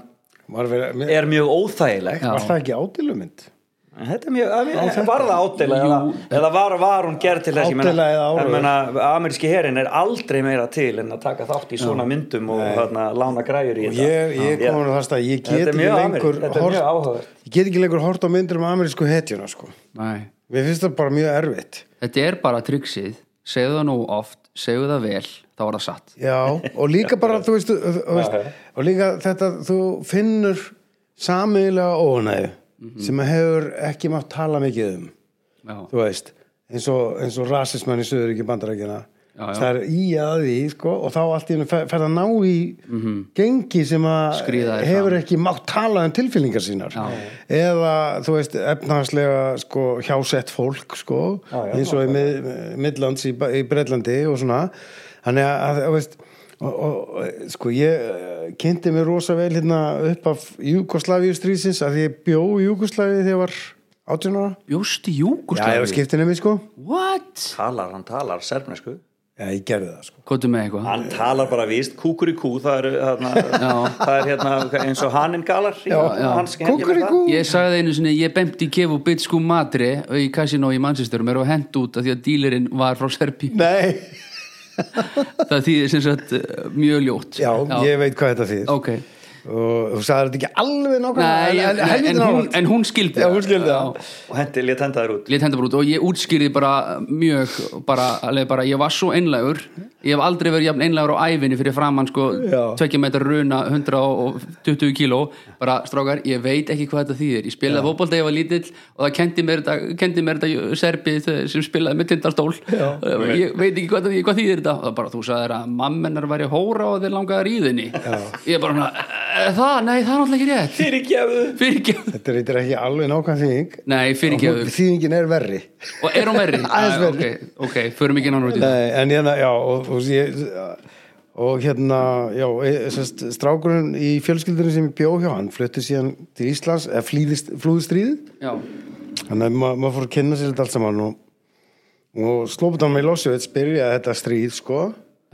[SPEAKER 1] var, verið,
[SPEAKER 3] er mjög óþægilegt
[SPEAKER 2] Já.
[SPEAKER 1] var það ekki ádilumynd?
[SPEAKER 3] En Þetta er mjög, að mér- var það ádela eða, eða var, var hún gerð til þess ég
[SPEAKER 1] Ádela eða áraugur.
[SPEAKER 3] ég meina, ameríski herin er aldrei meira til en að taka þátt í svona myndum og hérna, lána græjur í
[SPEAKER 1] Og
[SPEAKER 3] þetta
[SPEAKER 1] Ég, ég kom að fasta að ég
[SPEAKER 3] Þetta
[SPEAKER 1] get
[SPEAKER 3] er
[SPEAKER 1] ekki
[SPEAKER 3] mjög amerískt,
[SPEAKER 1] lengur
[SPEAKER 3] þetta er mjög áhugavert.
[SPEAKER 1] ég get ekki lengur hort á myndir um amerísku hetjuna sko.
[SPEAKER 2] Nei.
[SPEAKER 1] Mér finnst það bara mjög erfitt
[SPEAKER 2] þetta er bara tryggsið segðu það nógu oft, segðu það vel þá er það satt
[SPEAKER 1] Já, og líka bara, þú veist, þú þú veist og líka þetta, þú finnur samiðlega ónæðu
[SPEAKER 3] Mhm.
[SPEAKER 1] sem að hefur ekki mátt tala mikið um,
[SPEAKER 2] já,
[SPEAKER 1] þú veist eins og, eins og rasismann í söður ekki bandarækina
[SPEAKER 2] Já, já.
[SPEAKER 1] það er í að því sko, og þá allt í hennu fer, fer að ná í gengi sem að
[SPEAKER 2] Mhm. Skríða þér
[SPEAKER 1] hefur ekki mátt tala um tilfyllingar sínar
[SPEAKER 2] Já.
[SPEAKER 1] eða, þú veist, efnahagslega sko, hjásett fólk sko,
[SPEAKER 3] Já, já.
[SPEAKER 1] eins og í mið, Midlands í, Ba- í Breitlandi og svona þannig að, að veist og, og, og, sko ég eh, kynnti mér rosa vel hérna upp af Júkoslavíu strísins að ég bjó í Júkoslavíu þegar ég var 18 ára
[SPEAKER 2] bjósti
[SPEAKER 1] já, ég var
[SPEAKER 2] júkustlæði
[SPEAKER 1] skiptin um sko
[SPEAKER 2] what?
[SPEAKER 3] talar, hann talar serfnesku
[SPEAKER 1] já, ég gerði það sko
[SPEAKER 2] kóttu með eitthvað
[SPEAKER 3] hann talar bara víst, kúkur í kú það er, hérna,
[SPEAKER 2] Já.
[SPEAKER 3] það er hérna eins og hérna hanninn galar já,
[SPEAKER 2] já.
[SPEAKER 1] Kúkuríkú.
[SPEAKER 2] Ég sagði einu sinni, ég bemti kefu bitsku matri í kasino í Manchester mér var hent út af því að dílirinn var frá Serbi
[SPEAKER 1] nei,
[SPEAKER 2] það þýðir sem sagt eh, mjög ljótt
[SPEAKER 1] já, ég veit hvað þetta þýðir
[SPEAKER 2] ok
[SPEAKER 1] og þú sagði þetta ekki alveg nákvæmlega
[SPEAKER 2] Nei,
[SPEAKER 1] en,
[SPEAKER 2] en,
[SPEAKER 1] en,
[SPEAKER 2] en, hún, en hún skildi
[SPEAKER 1] Já, hún skildi það.
[SPEAKER 3] og hendi, lét henda þær út
[SPEAKER 2] Lét henda bara út og ég útskýrði bara mjög bara, alveg bara, ég var svo einlægur ég hef aldrei verið jafn einlægur á ævinni fyrir framann sko,
[SPEAKER 1] Já.
[SPEAKER 2] tvekja metra runa 120 kíló, bara strákar ég veit ekki hvað þetta þýðir, ég spilaði fótbolta ég var lítill og það kendi mér þetta kendi mér þetta serbi sem spilaði með tindastól
[SPEAKER 1] Já.
[SPEAKER 2] Og ég veit ekki hvað, það- hvað þýðir þetta og það bara, þú sagðir að mammenar væri hóra og þeir langaði að ríðinni ég bara, svona, "Eh, það, nei, það er náttúrulega ekki rétt
[SPEAKER 3] fyrir gefðu
[SPEAKER 2] fyrirgefðu,
[SPEAKER 1] þetta reytir ekki alveg nákvæmlega þýðing
[SPEAKER 2] nei, fyrirgefðu
[SPEAKER 1] Og þýðingin er verri
[SPEAKER 2] og er hún verri?
[SPEAKER 1] Aðeins
[SPEAKER 2] Æ,
[SPEAKER 1] verri.
[SPEAKER 2] ok, ok, förum ekki nánu út í það
[SPEAKER 1] Nei, en hérna, já, og, og, ég, og hérna, já, e- sest, strákurinn í fjölskyldunum sem ég bjó hjá, hann fluttu síðan til Íslands, eða flýðist, flúðstríðið,
[SPEAKER 2] já,
[SPEAKER 1] þannig að ma maður fór að kynna sér þetta allt saman og, og Slobodan Milosevic byrjaði þetta stríð, sko,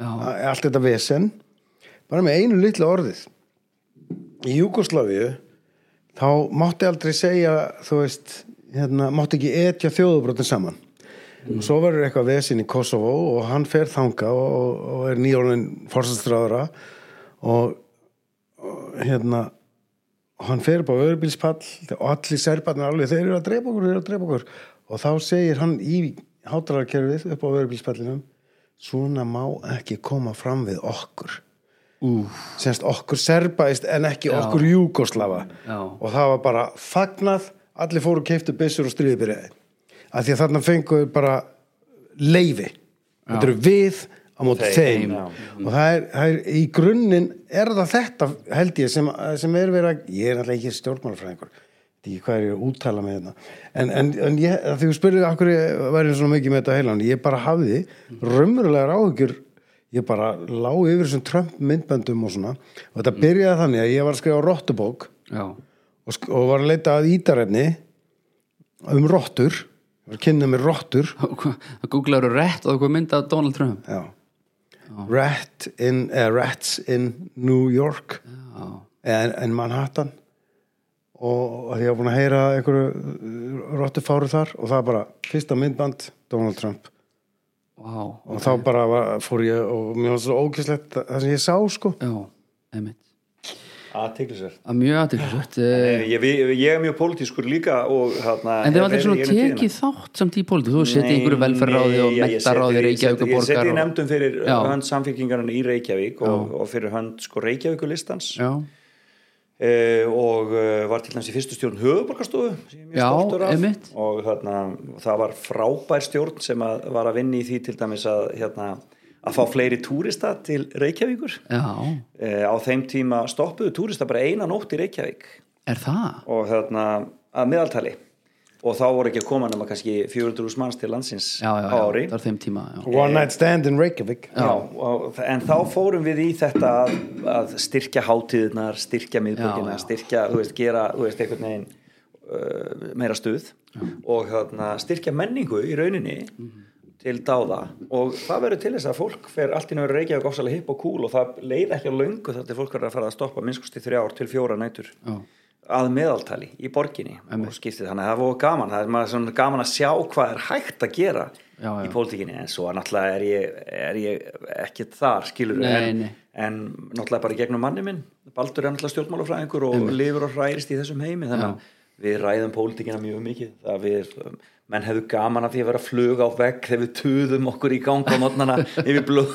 [SPEAKER 2] Já.
[SPEAKER 1] a- allt þetta vesen, bara með einu litlu orðið. Í Júkoslavíu, þá mátti aldrei segja, þú veist, hérna, mátti ekki etja þjóðubrotin saman. Og svo verður eitthvað vesinn í Kosovo og hann fer þanga og, og, og er nýjólinn forsætstráðara og, og hérna, og hann fer upp á öðrubílspall og allir serbarnir alveg, þeir eru að drepa okkur, þeir eru að drepa okkur. Og þá segir hann í hátalarkerfið upp á öðrubílspallinum, svona má ekki koma fram við okkur. Úf. Semst okkur serbaist en ekki okkur júkoslava
[SPEAKER 2] Já.
[SPEAKER 1] og það var bara fagnað allir fóru og keiftu byssur og stríði byrjaði af því að þarna fenguðu bara leifi þetta eru við á móti þeim, og það er, það er í grunninn er það þetta held ég sem, sem er verið að ég er náttúrulega ekki stjórnmálfræðingur Veit ekki hvað er ég að úttala með þetta en, en, en ég, af því þú spurðið akkur væri svona mikið með þetta heilan ég bara hafði raumurlegar áhugjur ég bara lá yfir þessum Trump myndböndum og svona og þetta byrjaði þannig að ég var að skrifa rottubók
[SPEAKER 2] já,
[SPEAKER 1] og, sk- og var að leita að ítarefni um rottur var að kynna mér rottur
[SPEAKER 2] það googlaður rétt og hvað mynda Donald Trump
[SPEAKER 1] já. Rat in, eh, rats in New York
[SPEAKER 2] já,
[SPEAKER 1] en, en Manhattan og að ég var búin að heyra einhverju rottufáru þar og það bara fyrsta myndband Donald Trump
[SPEAKER 2] Vá,
[SPEAKER 1] og þá bara var, fór ég og mér var svo ógislegt það sem ég sá sko
[SPEAKER 2] já, einmitt
[SPEAKER 3] aðteglisvert
[SPEAKER 2] að mjög Eh, aðtilsvört en
[SPEAKER 3] ég, ég, ég er mjög pólitískur líka og, hana,
[SPEAKER 2] þeir var aldrei svona tekið þátt samt í pólitík, þú setið einhverju velferðráði og mentaráði Reykjavík og
[SPEAKER 3] ég seti
[SPEAKER 2] borgar
[SPEAKER 3] í
[SPEAKER 2] og-
[SPEAKER 3] nefndum fyrir uh,
[SPEAKER 2] Já.
[SPEAKER 3] hönd samfélkingarinn í Reykjavík og, og fyrir hönd sko Reykjavíkulistans
[SPEAKER 2] já,
[SPEAKER 3] e, og e, var til næst í fyrstu stjórn höfuborgarstofu sem ég er mjög
[SPEAKER 2] Já,
[SPEAKER 3] stoltur af
[SPEAKER 2] einmitt.
[SPEAKER 3] og þarna, það var frábær stjórn sem að, var að vinna í því til dæmis að, hérna, að fá fleiri túrista til Reykjavíkur
[SPEAKER 2] já,
[SPEAKER 3] e, á þeim tíma stoppuðu túrista bara eina nótt í Reykjavík
[SPEAKER 2] er það
[SPEAKER 3] og þarna, að miðaltali og þá voru ekki að koma nema kannski 400.000 manns til landsins
[SPEAKER 2] já, já,
[SPEAKER 3] á
[SPEAKER 2] já,
[SPEAKER 3] ári
[SPEAKER 2] það er þeim tíma já.
[SPEAKER 1] One Night Stand in Reykjavík
[SPEAKER 3] Já, og, en þá fórum við í þetta að, að styrkja hátíðnar, styrkja
[SPEAKER 2] Já,
[SPEAKER 3] miðbúkina,
[SPEAKER 2] já.
[SPEAKER 3] styrkja, þú veist, gera, þú veist, einhvern veginn uh, meira stuð og þarna, styrkja menningu í rauninni til dáða og það verður til þess að fólk fer allt í náður reykjaðu góðsala hipp og kúl og það leið ekki á löngu þetta er fólk verður að fara að stoppa minnskosti þrjár til fjóra nætur
[SPEAKER 2] Já.
[SPEAKER 3] að meðaltali í borginni og skiptið þannig að það voru gaman það er maður svona gaman að sjá hvað er hægt að gera
[SPEAKER 2] Já, já.
[SPEAKER 3] í pólitíkinni en svo náttúrulega er ég, er ég ekkit þar skilur
[SPEAKER 2] Nei,
[SPEAKER 3] en,
[SPEAKER 2] nei.
[SPEAKER 3] en náttúrulega bara í gegnum manni minn Baldur er náttúrulega stjórnmálafræðingur og lifur og hrærist í þessum heimi þannig að við ræðum pólitíkina mjög mikið það við, um, menn hefðu gaman af því að vera flug á vegg þegar við tuðum okkur í gang á mótnana yfir blöð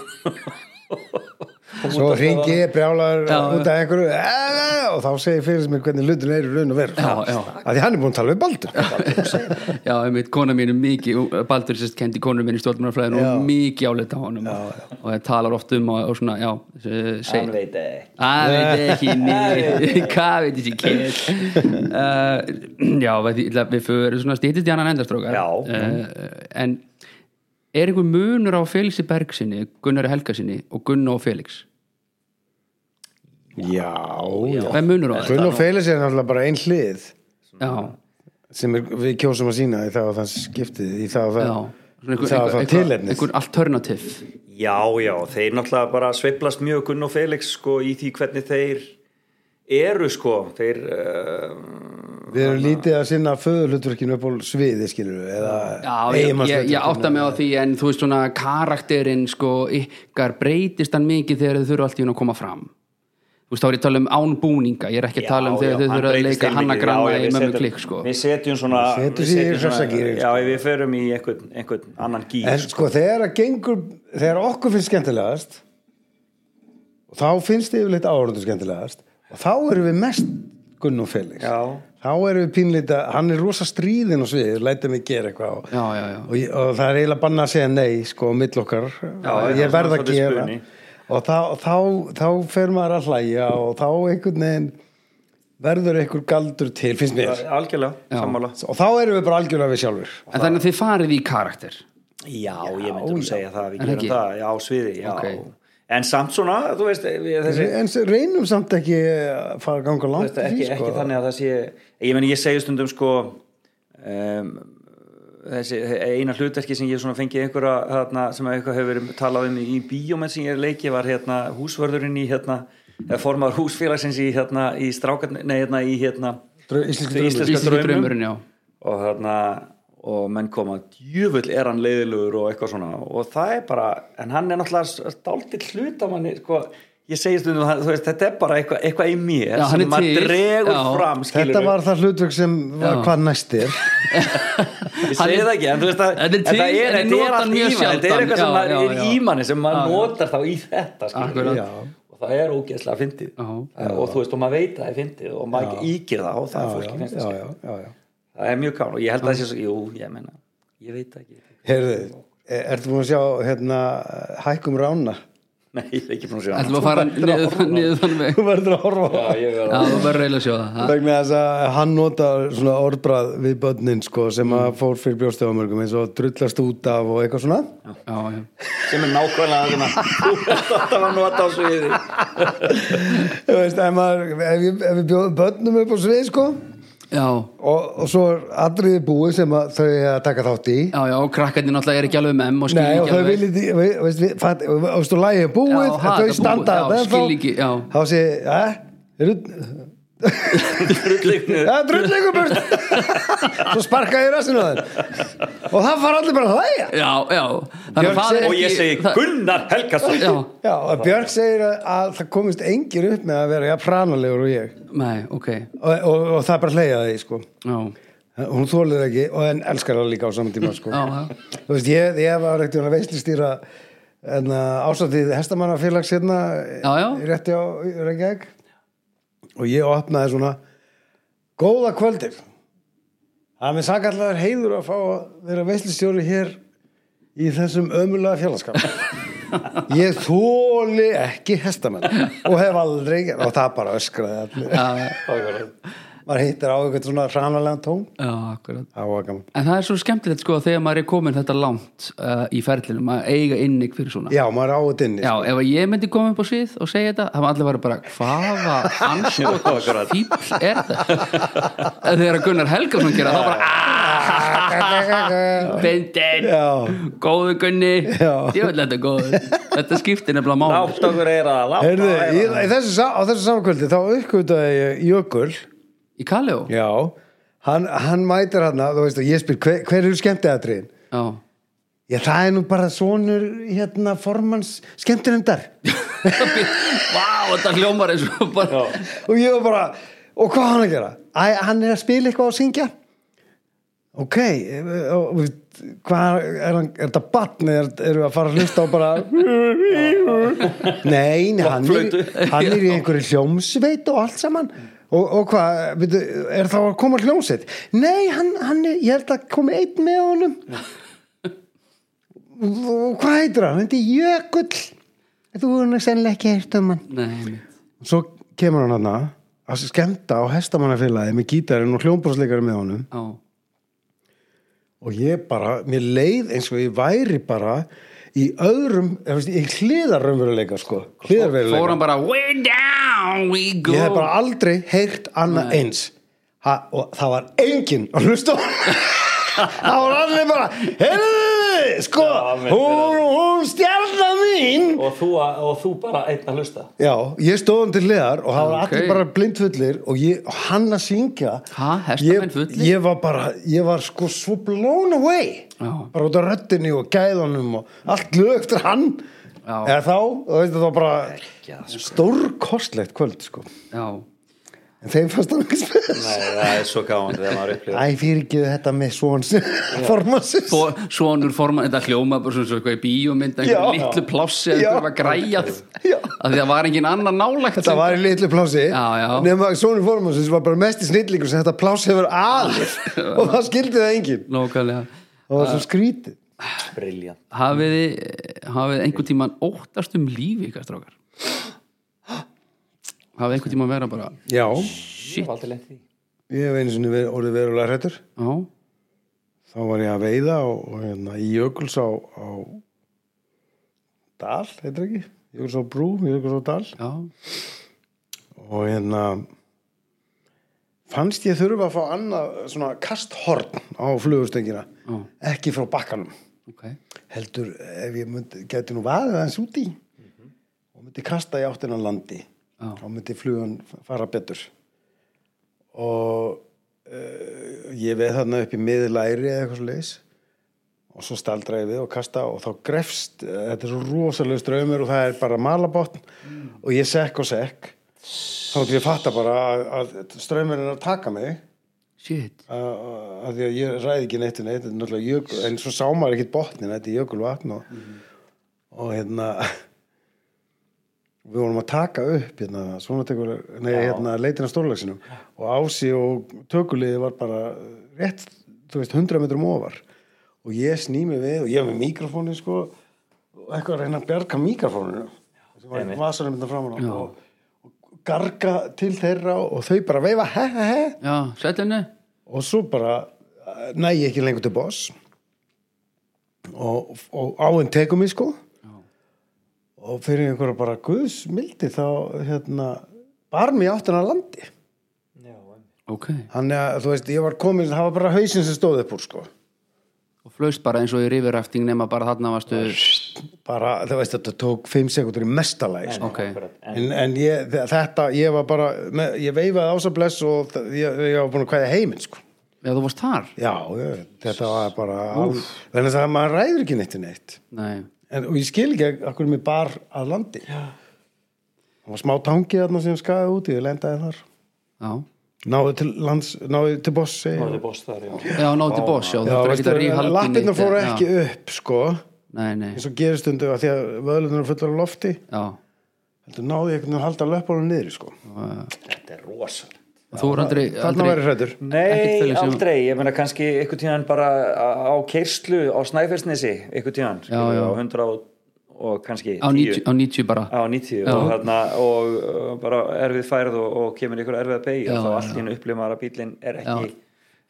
[SPEAKER 1] Svo ringi ég brjálar
[SPEAKER 2] Já, já.
[SPEAKER 1] út af einhverju "Eh", og þá segir fyrir mér hvernig hlutin er í raun og veru
[SPEAKER 2] Já, já.
[SPEAKER 1] að því hann er búin að tala við Baldur
[SPEAKER 2] já, einmitt, kona mín er mikið Baldur sérst kendi konu mín í stjórnmannafræðin
[SPEAKER 1] Já.
[SPEAKER 2] og mikið álita á honum og það talar oft um og, og svona, já, segir
[SPEAKER 3] hann veit ekki
[SPEAKER 2] Það veit ég ekki nýri Hvað veit ég ekki uh, Já, við, ég ætla- við fyrir svona stýttist í annan endastrókar
[SPEAKER 3] Já.
[SPEAKER 2] uh, En er einhver munur á Félixi Bergsinni Gunnari Helgasinni og Gunna og Félix
[SPEAKER 1] Já,
[SPEAKER 2] Hvað er munur á
[SPEAKER 1] já
[SPEAKER 2] það?
[SPEAKER 1] Gunn og Félix er náttúrulega bara ein hlið
[SPEAKER 2] Já,
[SPEAKER 1] sem er, við kjósum að sína í það og það skiptið í það og
[SPEAKER 2] já
[SPEAKER 1] það, það, og það tilefnið
[SPEAKER 2] einhver alternativ
[SPEAKER 3] Já, já, þeir náttúrulega bara sveiflast mjög Gunn og Felix sko í því hvernig þeir eru sko, þeir uh,
[SPEAKER 1] Við erum lítið að sinna föðurhlutverkinu upp á sviði skilur við eða
[SPEAKER 2] Já, ég, ég, ég
[SPEAKER 1] eiginmannshlutverkinu.
[SPEAKER 2] átta mig á því en þú veist svona karakterinn sko ykkar breytist hann mikið þegar þau þurfa allt í hún að koma fram Þú veist, þá er ég að tala um ánbúninga ég er ekki að tala um þegar þau
[SPEAKER 3] hann
[SPEAKER 2] þurfa að
[SPEAKER 3] breytist
[SPEAKER 2] leika
[SPEAKER 3] heilmikið.
[SPEAKER 2] hanna granna
[SPEAKER 3] Já, já,
[SPEAKER 2] í
[SPEAKER 3] við
[SPEAKER 2] mömmu
[SPEAKER 3] setjum-
[SPEAKER 2] klikk sko
[SPEAKER 3] Við setjum svona
[SPEAKER 1] Setjum
[SPEAKER 3] við
[SPEAKER 1] sig í
[SPEAKER 3] setjum svona-
[SPEAKER 1] hressagírinn,
[SPEAKER 3] Já, við förum í einhvern, einhvern annan gýr
[SPEAKER 1] En sko þegar að gengur þegar okkur finnst skemmtilegast og þá finnst yfirleitt áhörðu skemmtilegast og þá erum við mest Gunn og Felix
[SPEAKER 3] Já.
[SPEAKER 1] þá erum við pínleita, hann er rosa stríðin og svið, læta mig gera eitthvað og,
[SPEAKER 2] Já, já, já.
[SPEAKER 1] Og, ég, og það er eiginlega banna að segja nei sko, mill okkar
[SPEAKER 3] já,
[SPEAKER 1] ég verð að
[SPEAKER 3] það er
[SPEAKER 1] gera
[SPEAKER 3] spuni.
[SPEAKER 1] og þá, þá, þá fer maður að hlæja og þá einhvern veginn verður einhver galdur til, finnst mér
[SPEAKER 3] Algjörlega,
[SPEAKER 2] Já.
[SPEAKER 3] sammála
[SPEAKER 1] og þá erum við bara algjörlega við sjálfur
[SPEAKER 2] En þannig að þið farið í karakter
[SPEAKER 3] Já, ég myndi að segja það, við
[SPEAKER 2] En
[SPEAKER 3] gerum
[SPEAKER 2] ekki?
[SPEAKER 3] það já, á sviði, já
[SPEAKER 2] Ok.
[SPEAKER 3] En samt svona, þú veist við- þessi,
[SPEAKER 1] en s- reynum samt ekki að fara að ganga langt
[SPEAKER 3] Þetta er ekki,
[SPEAKER 1] í því, sko.
[SPEAKER 3] ekki þannig að það sé ég meni ég segi stundum sko um, þessi eina hlutverki sem ég svona fengið einhverja þarna, sem eitthvað hefur verið talað um í bíómenn sem ég leiki var hérna húsvörðurinn í hérna eða formar húsfélagsins í hérna í strákarni, nei hérna í hérna
[SPEAKER 1] Drau- íslenski draumur.
[SPEAKER 3] íslenska
[SPEAKER 2] Íslenski
[SPEAKER 3] draumum.
[SPEAKER 2] draumurinn, já
[SPEAKER 3] og þarna og menn koma, djöfull er hann leiðilegur og eitthvað svona og það er bara, en hann er náttúrulega dálítið hlut af manni, sko ég segi stundum, að, þú veist, þetta er bara eitthvað, eitthvað í mér
[SPEAKER 2] Já, hann er
[SPEAKER 3] sem maður
[SPEAKER 2] til.
[SPEAKER 3] dregur
[SPEAKER 2] Já.
[SPEAKER 3] fram skilurðu.
[SPEAKER 1] Þetta var það hlutverk sem var
[SPEAKER 2] Já.
[SPEAKER 1] hvað næstir
[SPEAKER 3] ég
[SPEAKER 2] Hann
[SPEAKER 3] segi
[SPEAKER 2] er-
[SPEAKER 3] það ekki, en þú veist að
[SPEAKER 2] Þetta er
[SPEAKER 3] en það
[SPEAKER 2] til,
[SPEAKER 3] er,
[SPEAKER 2] en ég
[SPEAKER 3] þetta
[SPEAKER 2] nota
[SPEAKER 3] er
[SPEAKER 2] hann
[SPEAKER 3] allt
[SPEAKER 2] mjög
[SPEAKER 3] ímann, þetta er
[SPEAKER 2] sjaldan.
[SPEAKER 3] eitthvað sem
[SPEAKER 2] Já,
[SPEAKER 3] maður er
[SPEAKER 2] já, já.
[SPEAKER 3] ímanni sem maður
[SPEAKER 2] Já, já.
[SPEAKER 3] notar þá í þetta skilur við.
[SPEAKER 2] Akkurat.
[SPEAKER 1] Já.
[SPEAKER 3] og það er ógeðslega fyndið Eh,
[SPEAKER 2] Já.
[SPEAKER 3] og þú veist, og maður veit að það er fyndið og maður ígir það og það er fólki finnst
[SPEAKER 1] já,
[SPEAKER 3] það
[SPEAKER 1] já,
[SPEAKER 3] skemmt.
[SPEAKER 1] já, já.
[SPEAKER 3] það er mjög gán og ég held að það sé svo, jú, ég meina ég veit það ekki,
[SPEAKER 1] Heyrðu, e- ertu búin að sjá hérna, hækkum rána
[SPEAKER 3] nei, ég er ekki frá sér
[SPEAKER 2] Ætlum við að fara niður niður þann veg
[SPEAKER 1] þú verður að horfa á
[SPEAKER 3] já, ég
[SPEAKER 2] Já,
[SPEAKER 3] verður
[SPEAKER 2] þú verður eiginlega að sjá það ha?
[SPEAKER 1] vegna þess að hann notar svona orðbrað við börnin sko, sem að
[SPEAKER 2] Mm.
[SPEAKER 1] fór fyrir brjóstefamörgum eins og drullast út af og eitthvað svona
[SPEAKER 2] Já, já,
[SPEAKER 3] sem er nákvæmlega það sem að þú veist alltaf að nota á sviði
[SPEAKER 1] Þú veist, ef, maður, ef, ég- ef við bjóðum börnum upp á svið sko,
[SPEAKER 2] já,
[SPEAKER 1] og, og svo er atriði búið sem að þau er að taka þátt í
[SPEAKER 2] já, já og krakkarnir náttúrulega er ekki alveg með em og skilja
[SPEAKER 1] Nei, og
[SPEAKER 2] ekki
[SPEAKER 1] þau
[SPEAKER 2] alveg
[SPEAKER 1] viljið, veist, við, fatt, og, og stu, lægið er búið,
[SPEAKER 2] Já,
[SPEAKER 1] já,
[SPEAKER 2] ha, þetta er
[SPEAKER 1] þau standa
[SPEAKER 2] búið, já,
[SPEAKER 1] þarna
[SPEAKER 2] skil ekki, já.
[SPEAKER 1] þá sé, eh, eru,
[SPEAKER 3] Drullleiknir
[SPEAKER 1] Það er drullingur burt Svo sparkaði ég rassinu á þeim Og það fara allir bara að hlæja
[SPEAKER 2] já, já Þannig
[SPEAKER 1] Björn
[SPEAKER 2] að það er
[SPEAKER 1] segir-
[SPEAKER 3] og ég
[SPEAKER 2] ekki-
[SPEAKER 3] segi
[SPEAKER 2] það-
[SPEAKER 3] Gunnar Helgason
[SPEAKER 2] Já,
[SPEAKER 1] Já, að Björk segir að, að það komist engir upp með að vera jafn franalegur og ég
[SPEAKER 2] nei, ok
[SPEAKER 1] og, og, og það er bara hlæja að því, sko
[SPEAKER 2] Já,
[SPEAKER 1] Hún þólið ekki, og en elskar það líka á saman tíma, sko
[SPEAKER 2] já, já
[SPEAKER 1] Þú veist, ég, ég var ekkert að veislistýra en ásatið hestamannafélags hérna
[SPEAKER 2] Já, já.
[SPEAKER 1] rétti á Reykjavík og ég opnaði svona góða kvöldir það er mér sakallar heiður að fá að vera veislistjóri hér í þessum ömulega félagskap ég þóli ekki hestamenn og hef aldrei og það bara öskraði allir
[SPEAKER 2] Já, já,
[SPEAKER 1] maður hittir á eitthvað svona hranalega tón
[SPEAKER 2] já, akkurat
[SPEAKER 1] það var gaman
[SPEAKER 2] En það er svo skemmtilegt sko þegar maður er komin þetta langt uh, í ferlinum að eiga innig fyrir svona
[SPEAKER 1] já, maður á þetta inni
[SPEAKER 2] Já, ef að ég myndi koma upp á svið og segja þetta það var allir að vera bara, hvaða anskotas
[SPEAKER 3] Akkurat.
[SPEAKER 2] fíbl er þetta En þegar að Gunnar Helgason gera það bara, aaaah Bindin,
[SPEAKER 1] Já.
[SPEAKER 2] góðu Gunni
[SPEAKER 1] Já.
[SPEAKER 2] Djöfull þetta er góður Þetta skiptir nefnilega máli
[SPEAKER 3] látt okkur eira látt
[SPEAKER 1] Heyrðu,
[SPEAKER 3] okkur
[SPEAKER 1] í,
[SPEAKER 3] eira
[SPEAKER 1] í þessu, sa- á þessu samkvöldi þá uppkvöldaði ég Jökul
[SPEAKER 2] Í Kaleó?
[SPEAKER 1] Já Hann, hann mætir hann þú veist og ég spyr hver, hver eru skemmtiðatriðin?
[SPEAKER 2] Já,
[SPEAKER 1] Já, það er nú bara sonur hérna formans skemmtinendar
[SPEAKER 2] Vá, þetta hljómar eins og bara
[SPEAKER 1] og ég var bara, og hvað á hann að gera? Æ, hann er að spila eitthvað og syngja Ok eh, og, þú veist, hvað er, hann, er þetta batn eða er- eru að fara að hlusta á bara Nei, nei hann, er,
[SPEAKER 3] Blokkflautu.
[SPEAKER 1] hann er í einhverju hljómsveit og allt saman Og, og hvað, veitu, er þá að koma hljómsveit? Nei, hann, hann er, ég held að komi einn með honum Og hvað heitir hann? Hann heitir Jökull Þú hefur hann sennilega ekki heirt um hann
[SPEAKER 2] Nei, einmitt.
[SPEAKER 1] svo kemur hann hann að skemmta á hestamannafélagi með gítarinn og hljómbrósleikari með honum
[SPEAKER 2] já,
[SPEAKER 1] og ég bara, mér leið eins og ég væri bara í öðrum, ég veist, ég hliðar raunveruleika sko,
[SPEAKER 2] fór
[SPEAKER 1] hliðarveruleika
[SPEAKER 2] hann bara way down we go
[SPEAKER 1] ég hef bara aldrei heyrt annað eins ha, og það var enginn að hlusta á það var allir bara heyrðu, sko
[SPEAKER 3] Já, mér-
[SPEAKER 1] hún, hún stjarnar mín
[SPEAKER 3] og þú, og þú bara einn að hlusta
[SPEAKER 1] já, ég stóð hann til hliðar og það var
[SPEAKER 2] Ok.
[SPEAKER 1] allir bara blindfullir og, ég, og hann að syngja
[SPEAKER 2] ha,
[SPEAKER 1] ég,
[SPEAKER 2] hestamenn fulli
[SPEAKER 1] ég var bara ég var sko svo blown away
[SPEAKER 2] Já.
[SPEAKER 1] bara út af röddinni og gæðunum og allt glöð eftir hann
[SPEAKER 2] Já.
[SPEAKER 1] eða þá, þú veist það var bara stórkostlegt kvöld sko
[SPEAKER 2] já,
[SPEAKER 1] en þeim fannst hann ekki spes
[SPEAKER 3] Nei, það er svo gáðan þegar maður upplýður
[SPEAKER 1] æ, fyrirgiðu þetta með svons formansins
[SPEAKER 2] Fó- svonur forman, þetta hljóma bara svona svo eitthvað í bíómynd,
[SPEAKER 1] Já.
[SPEAKER 2] einhver litlu plássi eða
[SPEAKER 1] Já.
[SPEAKER 2] einhver var græjað
[SPEAKER 1] Já.
[SPEAKER 2] að því það var engin annar nálægt
[SPEAKER 1] þetta var í litlu plási
[SPEAKER 2] Já, já.
[SPEAKER 1] nema svonur formansins var bara mest í snillingur sem þetta plási hefur aðeins og það skildi það enginn
[SPEAKER 2] Nókvæðlega.
[SPEAKER 1] og það var svo skrítið
[SPEAKER 3] briljant
[SPEAKER 2] hafiði, hafiði einhvern tíman óttast um lífi ykkar strákar hafiði einhvern tíman vera bara
[SPEAKER 1] já,
[SPEAKER 3] Ég hef aldrei lent í því.
[SPEAKER 1] ég hef einu sinni ver- orðið verulega hrættur
[SPEAKER 2] já,
[SPEAKER 1] þá var ég að veiða og, og hérna, í Jökuls á, á Dal, heitir ekki Jökuls á Brú, Jökuls á Dal
[SPEAKER 2] já,
[SPEAKER 1] og hérna fannst ég þurfa að fá annað svona kasthorn á flugustöngina
[SPEAKER 2] Já.
[SPEAKER 1] ekki frá bakkanum
[SPEAKER 2] ok
[SPEAKER 1] heldur ef ég myndi, geti nú vaðið aðeins út í og myndi kasta í áttina að landi
[SPEAKER 2] Já.
[SPEAKER 1] þá myndi flugan fara betur og uh, ég veið þarna upp í miðlæri eða eitthvað svo leis og svo staldra ég við og kasta og þá grefst, eh, þetta er svo rosalega strömmur og það er bara malabotn og ég sekk og sekk þá myndi ég fatta bara að, að strömmur er að taka mig
[SPEAKER 2] shit,
[SPEAKER 1] að að því að ég ræði ekki neitt við neitt, þetta er náttúrulega jökul, en svo sá maður ekkit botnin, þetta er jökulvatn og, og hérna við vorum að taka upp hérna, svona tekur, nei, hérna leitin að stórlagsinum og ási og tökuliði var bara rétt, þú veist, 100 metrum ofar og ég sný mig við og ég með mikrofónin sko og eitthvað að reyna að bjarga mikrofóninu sem var
[SPEAKER 3] Einmitt.
[SPEAKER 1] vasanum þetta framan á og, og garga til þeirra og þau bara veifa he he he
[SPEAKER 2] já, sætlinni
[SPEAKER 1] og svo bara eh, næ ég ekki lengur til boss og, og áinn tekum mig sko og fyrir einhverja bara guðs mildi þá hérna var mér áttan að landi
[SPEAKER 3] Já, en-
[SPEAKER 2] ok,
[SPEAKER 1] þannig að þú veist ég var komin það var bara hausinn sem stóð upp úr sko
[SPEAKER 2] og flaust bara eins og í riverrafting nema bara þarna varstu
[SPEAKER 1] bara, þú veist, þetta tók 5 sekundur í mestalæg sko.
[SPEAKER 2] ok,
[SPEAKER 1] en, en ég, þe- þetta, ég var bara með, ég veifaði ásabless og þ- ég, ég var búin að kvæða heiminn sko.
[SPEAKER 2] já þú varst þar
[SPEAKER 1] já, ég, þetta var bara al- vegna þess að maður ræður ekki neitt í neitt
[SPEAKER 2] nei,
[SPEAKER 1] en, og ég skil ekki að hvernig mér bar að landi já. það var smá tangi þarna sem skaði úti, ég lendaði þar
[SPEAKER 2] já
[SPEAKER 1] náðu til lands, náðu til boss segir
[SPEAKER 3] Norður boss þar, já.
[SPEAKER 2] já, nátti boss, já, þú
[SPEAKER 1] Já,
[SPEAKER 2] þarf ekki að
[SPEAKER 1] veistu,
[SPEAKER 2] ríhaldin
[SPEAKER 1] lappirnar fóru ekki upp sko,
[SPEAKER 2] nei, nei,
[SPEAKER 1] eins og gerir stundu að því að vöðlunar eru fullar á lofti
[SPEAKER 2] já
[SPEAKER 1] heldur náði ég einhvern veginn að halda löpunum niður sko.
[SPEAKER 3] Þetta er rosalegt.
[SPEAKER 2] Og þú er aldrei,
[SPEAKER 1] þarna
[SPEAKER 2] aldrei
[SPEAKER 1] væri hrættur
[SPEAKER 2] Ekkert
[SPEAKER 3] Nei,
[SPEAKER 2] þannig sem-
[SPEAKER 3] aldrei, ég meina kannski einhvern tíðan bara á á keyrslu á Snæfellsnesi, einhvern tíðan skilur,
[SPEAKER 2] já.
[SPEAKER 3] á 100 og, og kannski
[SPEAKER 2] á 90, á 90 bara
[SPEAKER 3] á 90
[SPEAKER 2] Já.
[SPEAKER 3] og, þarna, og uh, bara erfið færð og, og kemur ykkur erfið að beigja
[SPEAKER 2] Já,
[SPEAKER 3] og þá
[SPEAKER 2] já,
[SPEAKER 3] allt í hennu upplifmaður að bílinn er ekki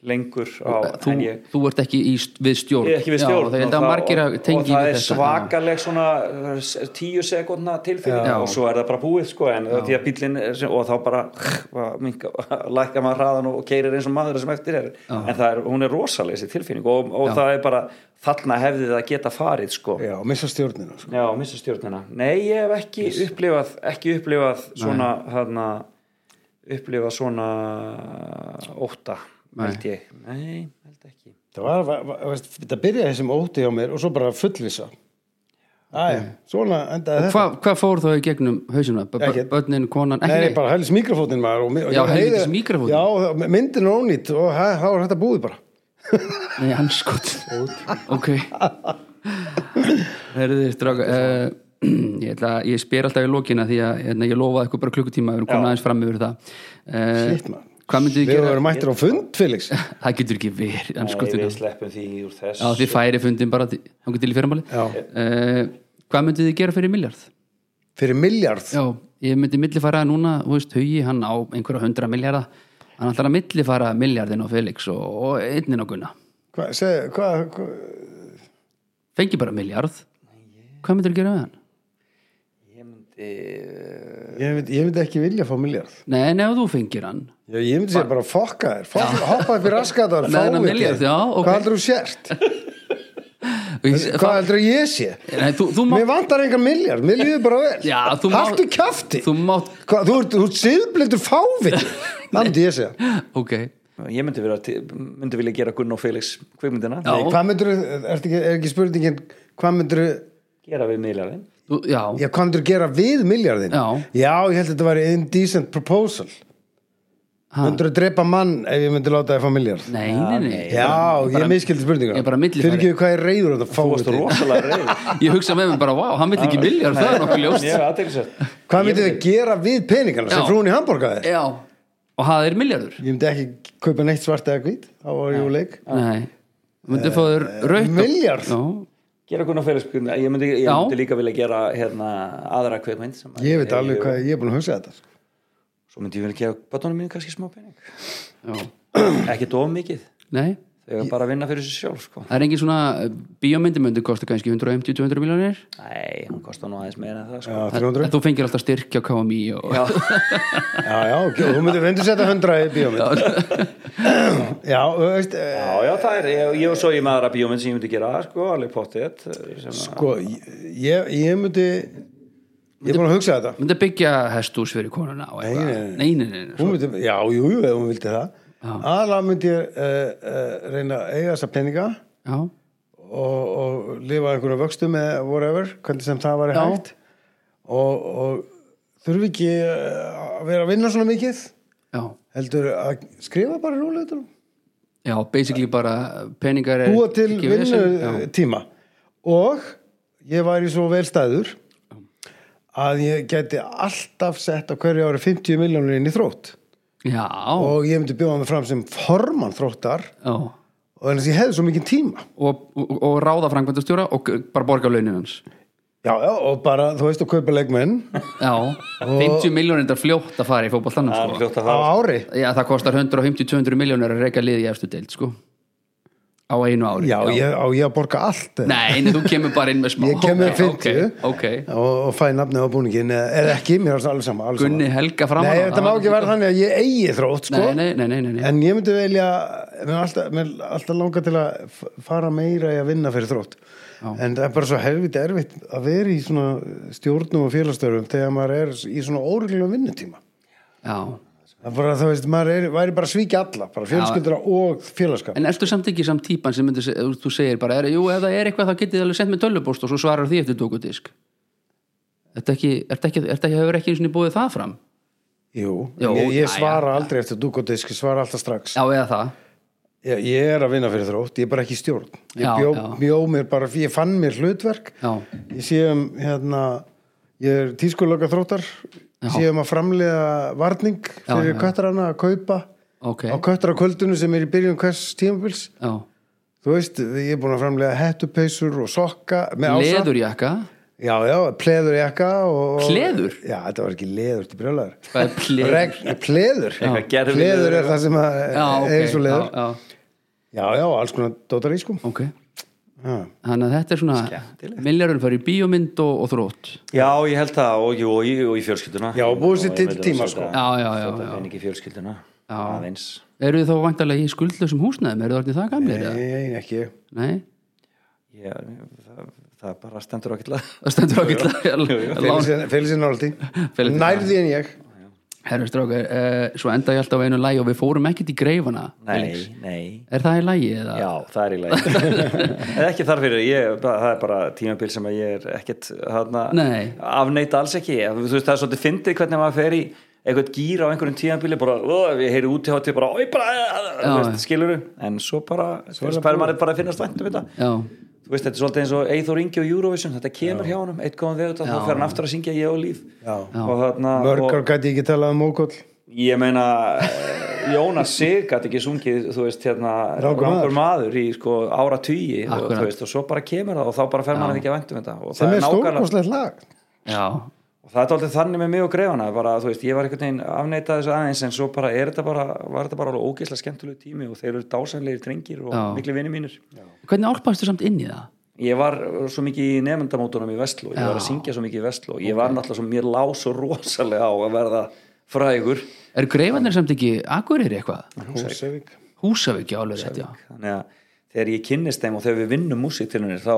[SPEAKER 3] lengur á,
[SPEAKER 2] þú,
[SPEAKER 3] en ég
[SPEAKER 2] þú ert ekki í, st- við stjórn
[SPEAKER 3] Ég er ekki við stjórn
[SPEAKER 2] já, það held að margir að
[SPEAKER 3] og, og
[SPEAKER 2] tengi
[SPEAKER 3] það
[SPEAKER 2] við
[SPEAKER 3] er
[SPEAKER 2] þetta
[SPEAKER 3] svakaleg svona uh, s- tíu sekundna tilfinning
[SPEAKER 2] Já.
[SPEAKER 3] og svo er það bara búið sko en því að bílinn er sem, og þá bara var minka, lækka maður hraðan og keirir eins og maður sem eftir er en það er, hún er rosaleg þessi tilfinning og, og það er bara þarna hefði það geta farið sko
[SPEAKER 1] já, missa stjórnina sko.
[SPEAKER 3] Já, missa stjórnina. Nei, ég hef ekki upplifað, ekki upplifað svona, hérna, upplifað svona óta,
[SPEAKER 2] Nei.
[SPEAKER 3] held ég. Nei, held ekki.
[SPEAKER 1] það var, var, var, veist, þetta byrjaði þessum óti hjá mér og svo bara fullvisa aðja,
[SPEAKER 2] Mm.
[SPEAKER 1] svona endaði þetta
[SPEAKER 2] hvað hva fór þá í gegnum hausinu
[SPEAKER 1] Ekkert.
[SPEAKER 2] börnin, konan, ekki
[SPEAKER 1] Nei,
[SPEAKER 2] neitt?
[SPEAKER 1] bara helst mikrofónin maður og, mi- og
[SPEAKER 2] Já,
[SPEAKER 1] ég var
[SPEAKER 2] helvítis
[SPEAKER 1] heiðar-
[SPEAKER 2] míkrafóninn.
[SPEAKER 1] Já, myndin er ónýtt og hæ, þá er þetta búið bara
[SPEAKER 2] Nei, anskot Ok Herðu, stráka uh, Ég, ætla, að- ég spyr alltaf í lokina því að hérna, ég lofaði eitthvað bara klukkutíma við erum komin aðeins fram yfir það
[SPEAKER 1] Shit,
[SPEAKER 2] uh,
[SPEAKER 1] maður.
[SPEAKER 2] Hvað myndið þið
[SPEAKER 1] Við
[SPEAKER 2] gera?
[SPEAKER 1] vorum mættir á fund, Felix
[SPEAKER 2] Það getur ekki verið
[SPEAKER 3] Nei,
[SPEAKER 2] anskotinu
[SPEAKER 3] við sleppum því úr þess.
[SPEAKER 2] Já, þið færi fundin bara til- þangað til í fyrirmáli
[SPEAKER 1] Já.
[SPEAKER 2] uh, Hvað myndið þið gera fyrir miljard?
[SPEAKER 1] Fyrir miljard
[SPEAKER 2] Já, ég myndi millifæra núna, þú veist, Hugi, hann á einhverja hundra miljarda hann ætlar að millifæra miljardin á Felix og, og einnin á Gunna
[SPEAKER 1] Hvað, segðu, hvað, hvað
[SPEAKER 2] fengi bara miljard Hvað myndir þið gera við hann?
[SPEAKER 3] Ég myndi,
[SPEAKER 1] ég, mynd, ég myndi ekki vilja fá miljard
[SPEAKER 2] Nei, nei, ef þú fengir hann
[SPEAKER 1] Já, ég myndi segja bara fokka þér, fokka, hoppa upp í raskatar,
[SPEAKER 2] Með þennan milljarð, já, ok.
[SPEAKER 1] Hvað heldur þú sért?
[SPEAKER 2] Og ég-
[SPEAKER 1] Hvað heldur ég sé?
[SPEAKER 2] Nei, þú, þú má
[SPEAKER 1] Mér vantar engan milljar, mér líður bara vel.
[SPEAKER 2] Já, þú má-
[SPEAKER 1] Haltu kjafti.
[SPEAKER 2] Þú mátt,
[SPEAKER 1] Hvað, þú ert, þú ert siðblindur fáviti. Það myndi ég segja.
[SPEAKER 2] ok
[SPEAKER 3] ég myndi, vera, til- myndi vilja gera Gunn og Felix kvikmyndina.
[SPEAKER 2] Já.
[SPEAKER 1] Nei, hvað myndur, er ekki, er ekki spurningin, hvað myndur,
[SPEAKER 3] Gera við miðlarinn.
[SPEAKER 2] þú, Já,
[SPEAKER 1] já, hvað myndur gera við milljarðin?
[SPEAKER 2] Já.
[SPEAKER 1] ég held að þetta væri indecent proposal.
[SPEAKER 2] ha,
[SPEAKER 1] Myndur að drepa mann ef ég myndi láta þér fá milljarð?
[SPEAKER 2] nei, nei, nei
[SPEAKER 1] Já, ég miskildi spurningar.
[SPEAKER 2] ég bara millifæri.
[SPEAKER 1] Fyrir ekki hvað ég er reyður á þetta
[SPEAKER 3] Þú varst
[SPEAKER 1] fáviti.
[SPEAKER 3] rosalega reyð.
[SPEAKER 2] Ég hugsa með mér bara, vá, hann vill ekki miljard Það er nokkuð ljóst
[SPEAKER 3] Ég hef aðeinsett.
[SPEAKER 1] Hvað myndið þið gera við peningana sem
[SPEAKER 2] Já.
[SPEAKER 1] frúin í hambúrgaði?
[SPEAKER 2] Já, og það er miljardur
[SPEAKER 1] Ég myndi ekki kaupa neitt svart eða hvít þá var ég úr leik
[SPEAKER 2] Nei, myndi fá þér rautt og-
[SPEAKER 1] milljarð?
[SPEAKER 2] Já,
[SPEAKER 3] Gera Gunn og Felix kvikmyndina. Ég myndi, ég
[SPEAKER 2] Já.
[SPEAKER 3] myndi líka vilja gera hérna, aðra kvikmynd. sem að
[SPEAKER 1] Ég veit
[SPEAKER 3] hef í
[SPEAKER 1] alveg
[SPEAKER 3] huga.
[SPEAKER 1] hvað ég er búin að hugsa þetta sko.
[SPEAKER 3] Svo myndi ég vilja gefa bötunum mínu kannski smá pening.
[SPEAKER 2] já,
[SPEAKER 3] Ekki dofa mikið.
[SPEAKER 2] nei
[SPEAKER 3] Þau er bara að vinna fyrir sér sjálf, sko.
[SPEAKER 2] Það er engin svona bíómyndi myndi kosta kannski 150-200 miljónir
[SPEAKER 3] Nei, hún kostar nú aðeins meira en það, sko.
[SPEAKER 1] Já, 300
[SPEAKER 2] En þú fengir alltaf styrkja á KMI og...
[SPEAKER 1] Já, já, ok, þú myndir vendur setja 100 í bíómynd Já, þú veist eh,
[SPEAKER 3] Já, já, það er, ég, ég og svo ég með aðra bíómynd sem ég myndi gera, sko, alveg pottið, sem að,
[SPEAKER 1] Sko, ég, ég myndi Ég er búin að hugsa þetta
[SPEAKER 2] Myndi byggja hestús fyrir konuna og eitthvað Nei, nei, nei, nei.
[SPEAKER 1] Hún myndi, Já, jú, jú, ef hún vildi það Aðla myndi ég uh, uh, reyna að eiga þessa peninga
[SPEAKER 2] Já,
[SPEAKER 1] og, og lifa einhverju vöxtum eða whatever, hvernig sem það væri
[SPEAKER 2] Já.
[SPEAKER 1] hægt og, og þurfi ekki eh, að vera að vinna svona mikið
[SPEAKER 2] já,
[SPEAKER 1] heldur að skrifa bara rúleitunum
[SPEAKER 2] já, basically bara peningar er
[SPEAKER 1] búa til
[SPEAKER 2] ekki vesen, já.
[SPEAKER 1] vinnutíma og ég væri svo vel stæður að ég geti alltaf sett á hverju ári 50 miljónur inn í þrótt
[SPEAKER 2] Já,
[SPEAKER 1] og ég myndi bjóða mig fram sem formann þróttar
[SPEAKER 2] já
[SPEAKER 1] og þannig að ég hefði svo mikið tíma
[SPEAKER 2] og, og, og ráða frangvæntastjóra og g- bara borga launin hans
[SPEAKER 1] já, já, og bara, þú veist, að kaupa leikmenn
[SPEAKER 2] Já, 50 miljónir er fljótt að fara í fótbollanum
[SPEAKER 3] það er
[SPEAKER 2] sko.
[SPEAKER 3] hljótt að
[SPEAKER 1] á
[SPEAKER 3] fara.
[SPEAKER 1] ári
[SPEAKER 2] Já, það kostar 150-200 miljónir að reyka liði í efstu deild sko. á einu ári
[SPEAKER 1] já, Ég, á ég að borga allt eh, eða?
[SPEAKER 2] Nei, nei, þú kemur bara inn með smá
[SPEAKER 1] ég kem með
[SPEAKER 2] Ok,
[SPEAKER 1] 50
[SPEAKER 2] ok, ok.
[SPEAKER 1] og, og fæ nafnið á búningin eða eða ekki, mér er alls sama alls sama.
[SPEAKER 2] Gunni Helga framan
[SPEAKER 1] Nei,
[SPEAKER 2] á,
[SPEAKER 1] þetta
[SPEAKER 2] það
[SPEAKER 1] má
[SPEAKER 2] var
[SPEAKER 1] ekki
[SPEAKER 2] ekki
[SPEAKER 1] vera þannig að ég eigi þrótt sko.
[SPEAKER 2] Nei, nei, nei, nei, nei, nei.
[SPEAKER 1] En ég myndi velja mér er alltaf, mér er alltaf langa til að f- fara meira í að vinna fyrir þrótt En það er bara svo helviti erfitt að vera í svona stjórnum og félagstörfum þegar maður er í svona óreglum vinnutíma
[SPEAKER 2] Já.
[SPEAKER 1] Það er bara, þú veist, maður er, væri bara að svíkja alla bara fjölskyldra og félagskap
[SPEAKER 2] En ertu samt ekki samt típan sem myndir, þú segir bara er, Jú, ef það er eitthvað þá getið þið alveg sent með tölvupóst og svo svarar því eftir dokudisk Ertu ekki, ertu ekki, ertu ekki, hefur ekki eins og niður búið það fram?
[SPEAKER 1] Jú,
[SPEAKER 2] Jú,
[SPEAKER 1] ég,
[SPEAKER 2] já,
[SPEAKER 1] ég svara aldrei eftir dúkotisk, ég svara alltaf strax
[SPEAKER 2] Já, eða það
[SPEAKER 1] ég, ég er að vinna fyrir þrótt, ég er bara ekki í stjórn Ég
[SPEAKER 2] Já,
[SPEAKER 1] bjó,
[SPEAKER 2] já.
[SPEAKER 1] bjó mér bara, ég fann mér hlutverk
[SPEAKER 2] Já,
[SPEAKER 1] Ég sé um, hérna, ég er tískulöka þróttar,
[SPEAKER 2] Já.
[SPEAKER 1] sé um að framlega varning
[SPEAKER 2] Já,
[SPEAKER 1] fyrir
[SPEAKER 2] já.
[SPEAKER 1] köttarana að kaupa
[SPEAKER 2] ok
[SPEAKER 1] á köttara kvöldinu sem er í byrjun hvers tímabils.
[SPEAKER 2] Já.
[SPEAKER 1] Þú veist, ég er búin að framlega hettupeysur og sokka með ása.
[SPEAKER 2] Leðurjakka,
[SPEAKER 1] Já, já, pleður jakka og...
[SPEAKER 2] Pleður?
[SPEAKER 1] Já, þetta var ekki leður til brjólaður.
[SPEAKER 2] hvað er pleður?
[SPEAKER 1] Regn, pleður.
[SPEAKER 3] Eitthvað gervileður.
[SPEAKER 1] Pleður er það sem að,
[SPEAKER 2] Já, ok,
[SPEAKER 1] er svo leður. Já,
[SPEAKER 2] já, já,
[SPEAKER 1] já, alls konar dótar í sko.
[SPEAKER 2] ok
[SPEAKER 1] Já.
[SPEAKER 2] Þannig að þetta er svona
[SPEAKER 3] Skemmtilegt.
[SPEAKER 2] Miljarun fyrir bíómynd og, og þrótt
[SPEAKER 3] Já, ég held það og, jú, og, í, og í fjölskylduna
[SPEAKER 1] Já, og búið sér
[SPEAKER 3] Og
[SPEAKER 1] til
[SPEAKER 3] einmitt,
[SPEAKER 1] tíma,
[SPEAKER 3] og
[SPEAKER 1] sko.
[SPEAKER 2] Já, já, já,
[SPEAKER 3] Þetta
[SPEAKER 2] já.
[SPEAKER 3] pening í fjölskylduna
[SPEAKER 2] Já.
[SPEAKER 3] aðeins
[SPEAKER 2] Eru þið þá vantarlega í skuldlösum húsnæðum? Eru þið orðin það gamlir? eða?
[SPEAKER 1] Nei, ekki.
[SPEAKER 2] Nei?
[SPEAKER 3] Já, það, það bara stendur ekki til að
[SPEAKER 2] Það stendur ákveðlega lán
[SPEAKER 1] Félixin Náldi.
[SPEAKER 2] Felix er
[SPEAKER 1] Nærði en ég.
[SPEAKER 2] Herru strákar, uh, svo enda ég alltaf á einu lægi og við fórum ekkert í greifana
[SPEAKER 3] Nei,
[SPEAKER 2] Felix.
[SPEAKER 3] nei
[SPEAKER 2] Er það í lægi eða?
[SPEAKER 3] Já, það er í lagi En ekki þar fyrir, ég, bara- það er bara tímabil sem að ég er ekkert hana,
[SPEAKER 2] Nei.
[SPEAKER 3] afneita alls ekki þú veist, það er svolítið fyndið hvernig maður fer í eitthvað gýr á einhverjum tímabili bara, ó, ég heyri út í hátíð bara, oi, bara
[SPEAKER 2] Já,
[SPEAKER 3] þú veist, skilurðu, en svo bara svo fær maður bara að finnast vænt um þetta
[SPEAKER 2] Já,
[SPEAKER 3] þú veist, þetta er svolítið eins og Eithor Ingi og Eurovision, þetta kemur hjá honum, eitt góðan vegut og þá fer hann aftur að syngja ég og líf
[SPEAKER 1] Já.
[SPEAKER 3] og þarna
[SPEAKER 1] Mörgar
[SPEAKER 3] og
[SPEAKER 1] gæti ég ekki talað um ókoll
[SPEAKER 3] ég meina eh, Jónas Sig gæti ekki sungið, þú veist, hérna
[SPEAKER 1] Rangur maður.
[SPEAKER 3] maður í sko ára tugi og,
[SPEAKER 2] Akkurat.
[SPEAKER 3] þú veist, og svo bara kemur það og þá bara fer maður ekki að væntum þetta og
[SPEAKER 1] sem er
[SPEAKER 3] það er nákvæmlega
[SPEAKER 1] stórkoslegt lag
[SPEAKER 2] já,
[SPEAKER 3] og það er alltaf þannig með mig og grefana bara, þú veist, ég var einhvern veginn afneitað þessu aðeins en svo bara er þetta bara, var þetta bara alveg ógeðslega skemmtulegu tími og þeir eru dásanlegir drengir og
[SPEAKER 2] Já.
[SPEAKER 3] miklu vinni mínir
[SPEAKER 2] Hvernig álpaðistu samt inn í það?
[SPEAKER 3] Ég var svo mikið í nefndamótunum í Vestló, ég var
[SPEAKER 2] Já.
[SPEAKER 3] að syngja svo mikið í Vestló ég var náttúrulega svo, mér lá svo rosalega á að verða frægur
[SPEAKER 2] Er greifanir samt ekki akureyri eitthvað?
[SPEAKER 1] Húsavík
[SPEAKER 2] Húsavík, já, alveg rétt, já
[SPEAKER 3] þannig að þegar ég kynnist þeim og þegar við vinnum músitilunir þá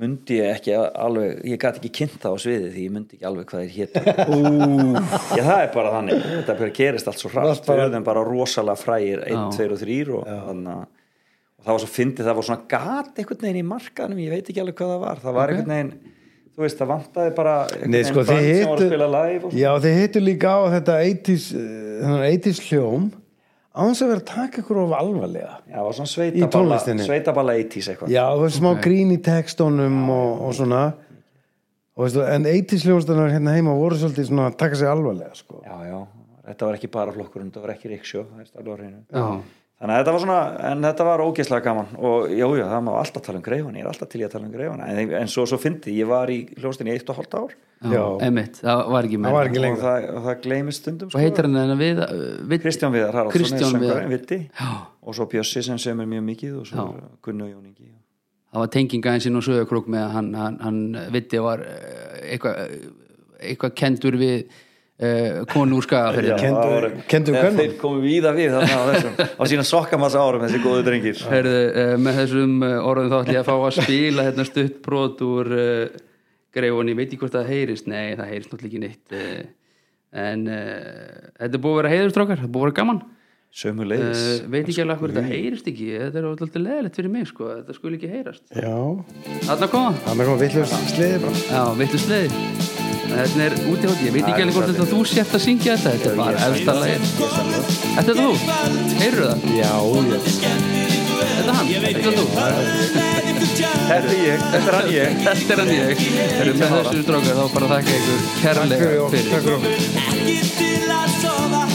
[SPEAKER 3] myndi ég ekki alveg ég gat ekki kynnt það á sviði því ég myndi ekki alveg hvað þeir hétu Já, það er bara þannig, þetta bara gerist allt svo hratt
[SPEAKER 1] Varst bara-
[SPEAKER 3] við erum bara rosalega frægir 1,
[SPEAKER 2] Já.
[SPEAKER 3] 2 og 3 og þannig að og það var svo fyndið, það var svona gat einhvern veginn í markanum, ég veit ekki alveg hvað það var það var einhvern veginn, þú veist, það vantaði bara einhvern
[SPEAKER 1] Nei, sko,
[SPEAKER 3] veginn
[SPEAKER 1] þið
[SPEAKER 3] band sem var að
[SPEAKER 1] hittu
[SPEAKER 3] spila live og...
[SPEAKER 1] Já, þið hittu líka á þetta 80s, eh, þennan 80s hljóm á hans að vera að taka ykkur of alvarlega
[SPEAKER 3] Já, það var svona
[SPEAKER 1] Í
[SPEAKER 3] sveitaballa,
[SPEAKER 1] tónlistinni.
[SPEAKER 3] sveitaballa 80s eitthvað
[SPEAKER 1] Já, það er smá grín í textunum og, og svona og veistu, en 80s hljómsdanar hérna heima voru svolítið svona að taka sig alvarlega sko.
[SPEAKER 3] já, já, þetta var ekki bara flokkurinn, þetta var ekki Ríksjó, það er alveg á hreinu.
[SPEAKER 2] Já,
[SPEAKER 3] Þannig að þetta var svona, en þetta var ógeðslega gaman og já, já, það má alltaf tala um greifana, ég er alltaf til í að tala um greifana, en, en svo, svo fyndi, ég var í hljóstinni eitt og hálft ár
[SPEAKER 2] já,
[SPEAKER 1] Já.
[SPEAKER 2] emitt, það var ekki
[SPEAKER 1] Það
[SPEAKER 2] með
[SPEAKER 1] var ekki
[SPEAKER 3] og
[SPEAKER 1] lengur
[SPEAKER 3] það, og það gleymist stundum, sko.
[SPEAKER 2] Svo heitir hann hennar við, við
[SPEAKER 3] Kristján Viðar Haraldsson,
[SPEAKER 2] Kristján
[SPEAKER 3] er
[SPEAKER 2] Viðar
[SPEAKER 3] söngvarinn, Viddi,
[SPEAKER 2] Já,
[SPEAKER 3] og svo Bjössi sem sem er mjög mikið og svo
[SPEAKER 2] Já.
[SPEAKER 3] já. Gunni og Jóningi.
[SPEAKER 2] það var tenginga einsinn og sögurkrók með að hann, hann, hann Vitti var eh, eitthvað eh, eitthvað kendur við uh, konu úr skagaferðina
[SPEAKER 1] Kenndu-
[SPEAKER 3] Það voru-
[SPEAKER 1] kenndu
[SPEAKER 3] þegar
[SPEAKER 1] Gunnar?
[SPEAKER 3] Þeir komum víða við þarna á þessum, á sína sokkamassa árum þessi góðu drengir.
[SPEAKER 2] Herðu, uh, með þessum eh, orðum þá ætlum ég að fá að spila hérna stuttbrot úr uh, greifunni, veit ég hvort það heyrist nei, það heyrist náttúrulega ekki neitt uh, en uh, þetta er búið að vera heiðurstrákar, þetta er búið að vera gaman
[SPEAKER 3] Sömu
[SPEAKER 2] uh, veit ekki alveg hvernig þetta heyrist ekki þetta er alltaf leðilegt fyrir mig sko, þetta skul ekki heyrast
[SPEAKER 1] Já,
[SPEAKER 2] þarna koma,
[SPEAKER 1] það með kom villur sliði bara
[SPEAKER 2] já, veitu sleði þetta er út í hótt, ég veit ekki alveg hvort þetta þú sért að syngja þetta, þetta er bara efsta lagi Þetta er þú, heyrðu það
[SPEAKER 1] Já, ég
[SPEAKER 2] Þetta er hann, þetta er þú
[SPEAKER 3] Þetta er ég, þetta er hann ég.
[SPEAKER 2] Þetta er hann ég Erum með þessu strákar þá bara þakka ykkur
[SPEAKER 1] Takk fyrir
[SPEAKER 2] kærlega
[SPEAKER 1] okkur,
[SPEAKER 2] fyrir
[SPEAKER 1] takk fyrir okkur
[SPEAKER 4] Ekki til að sofa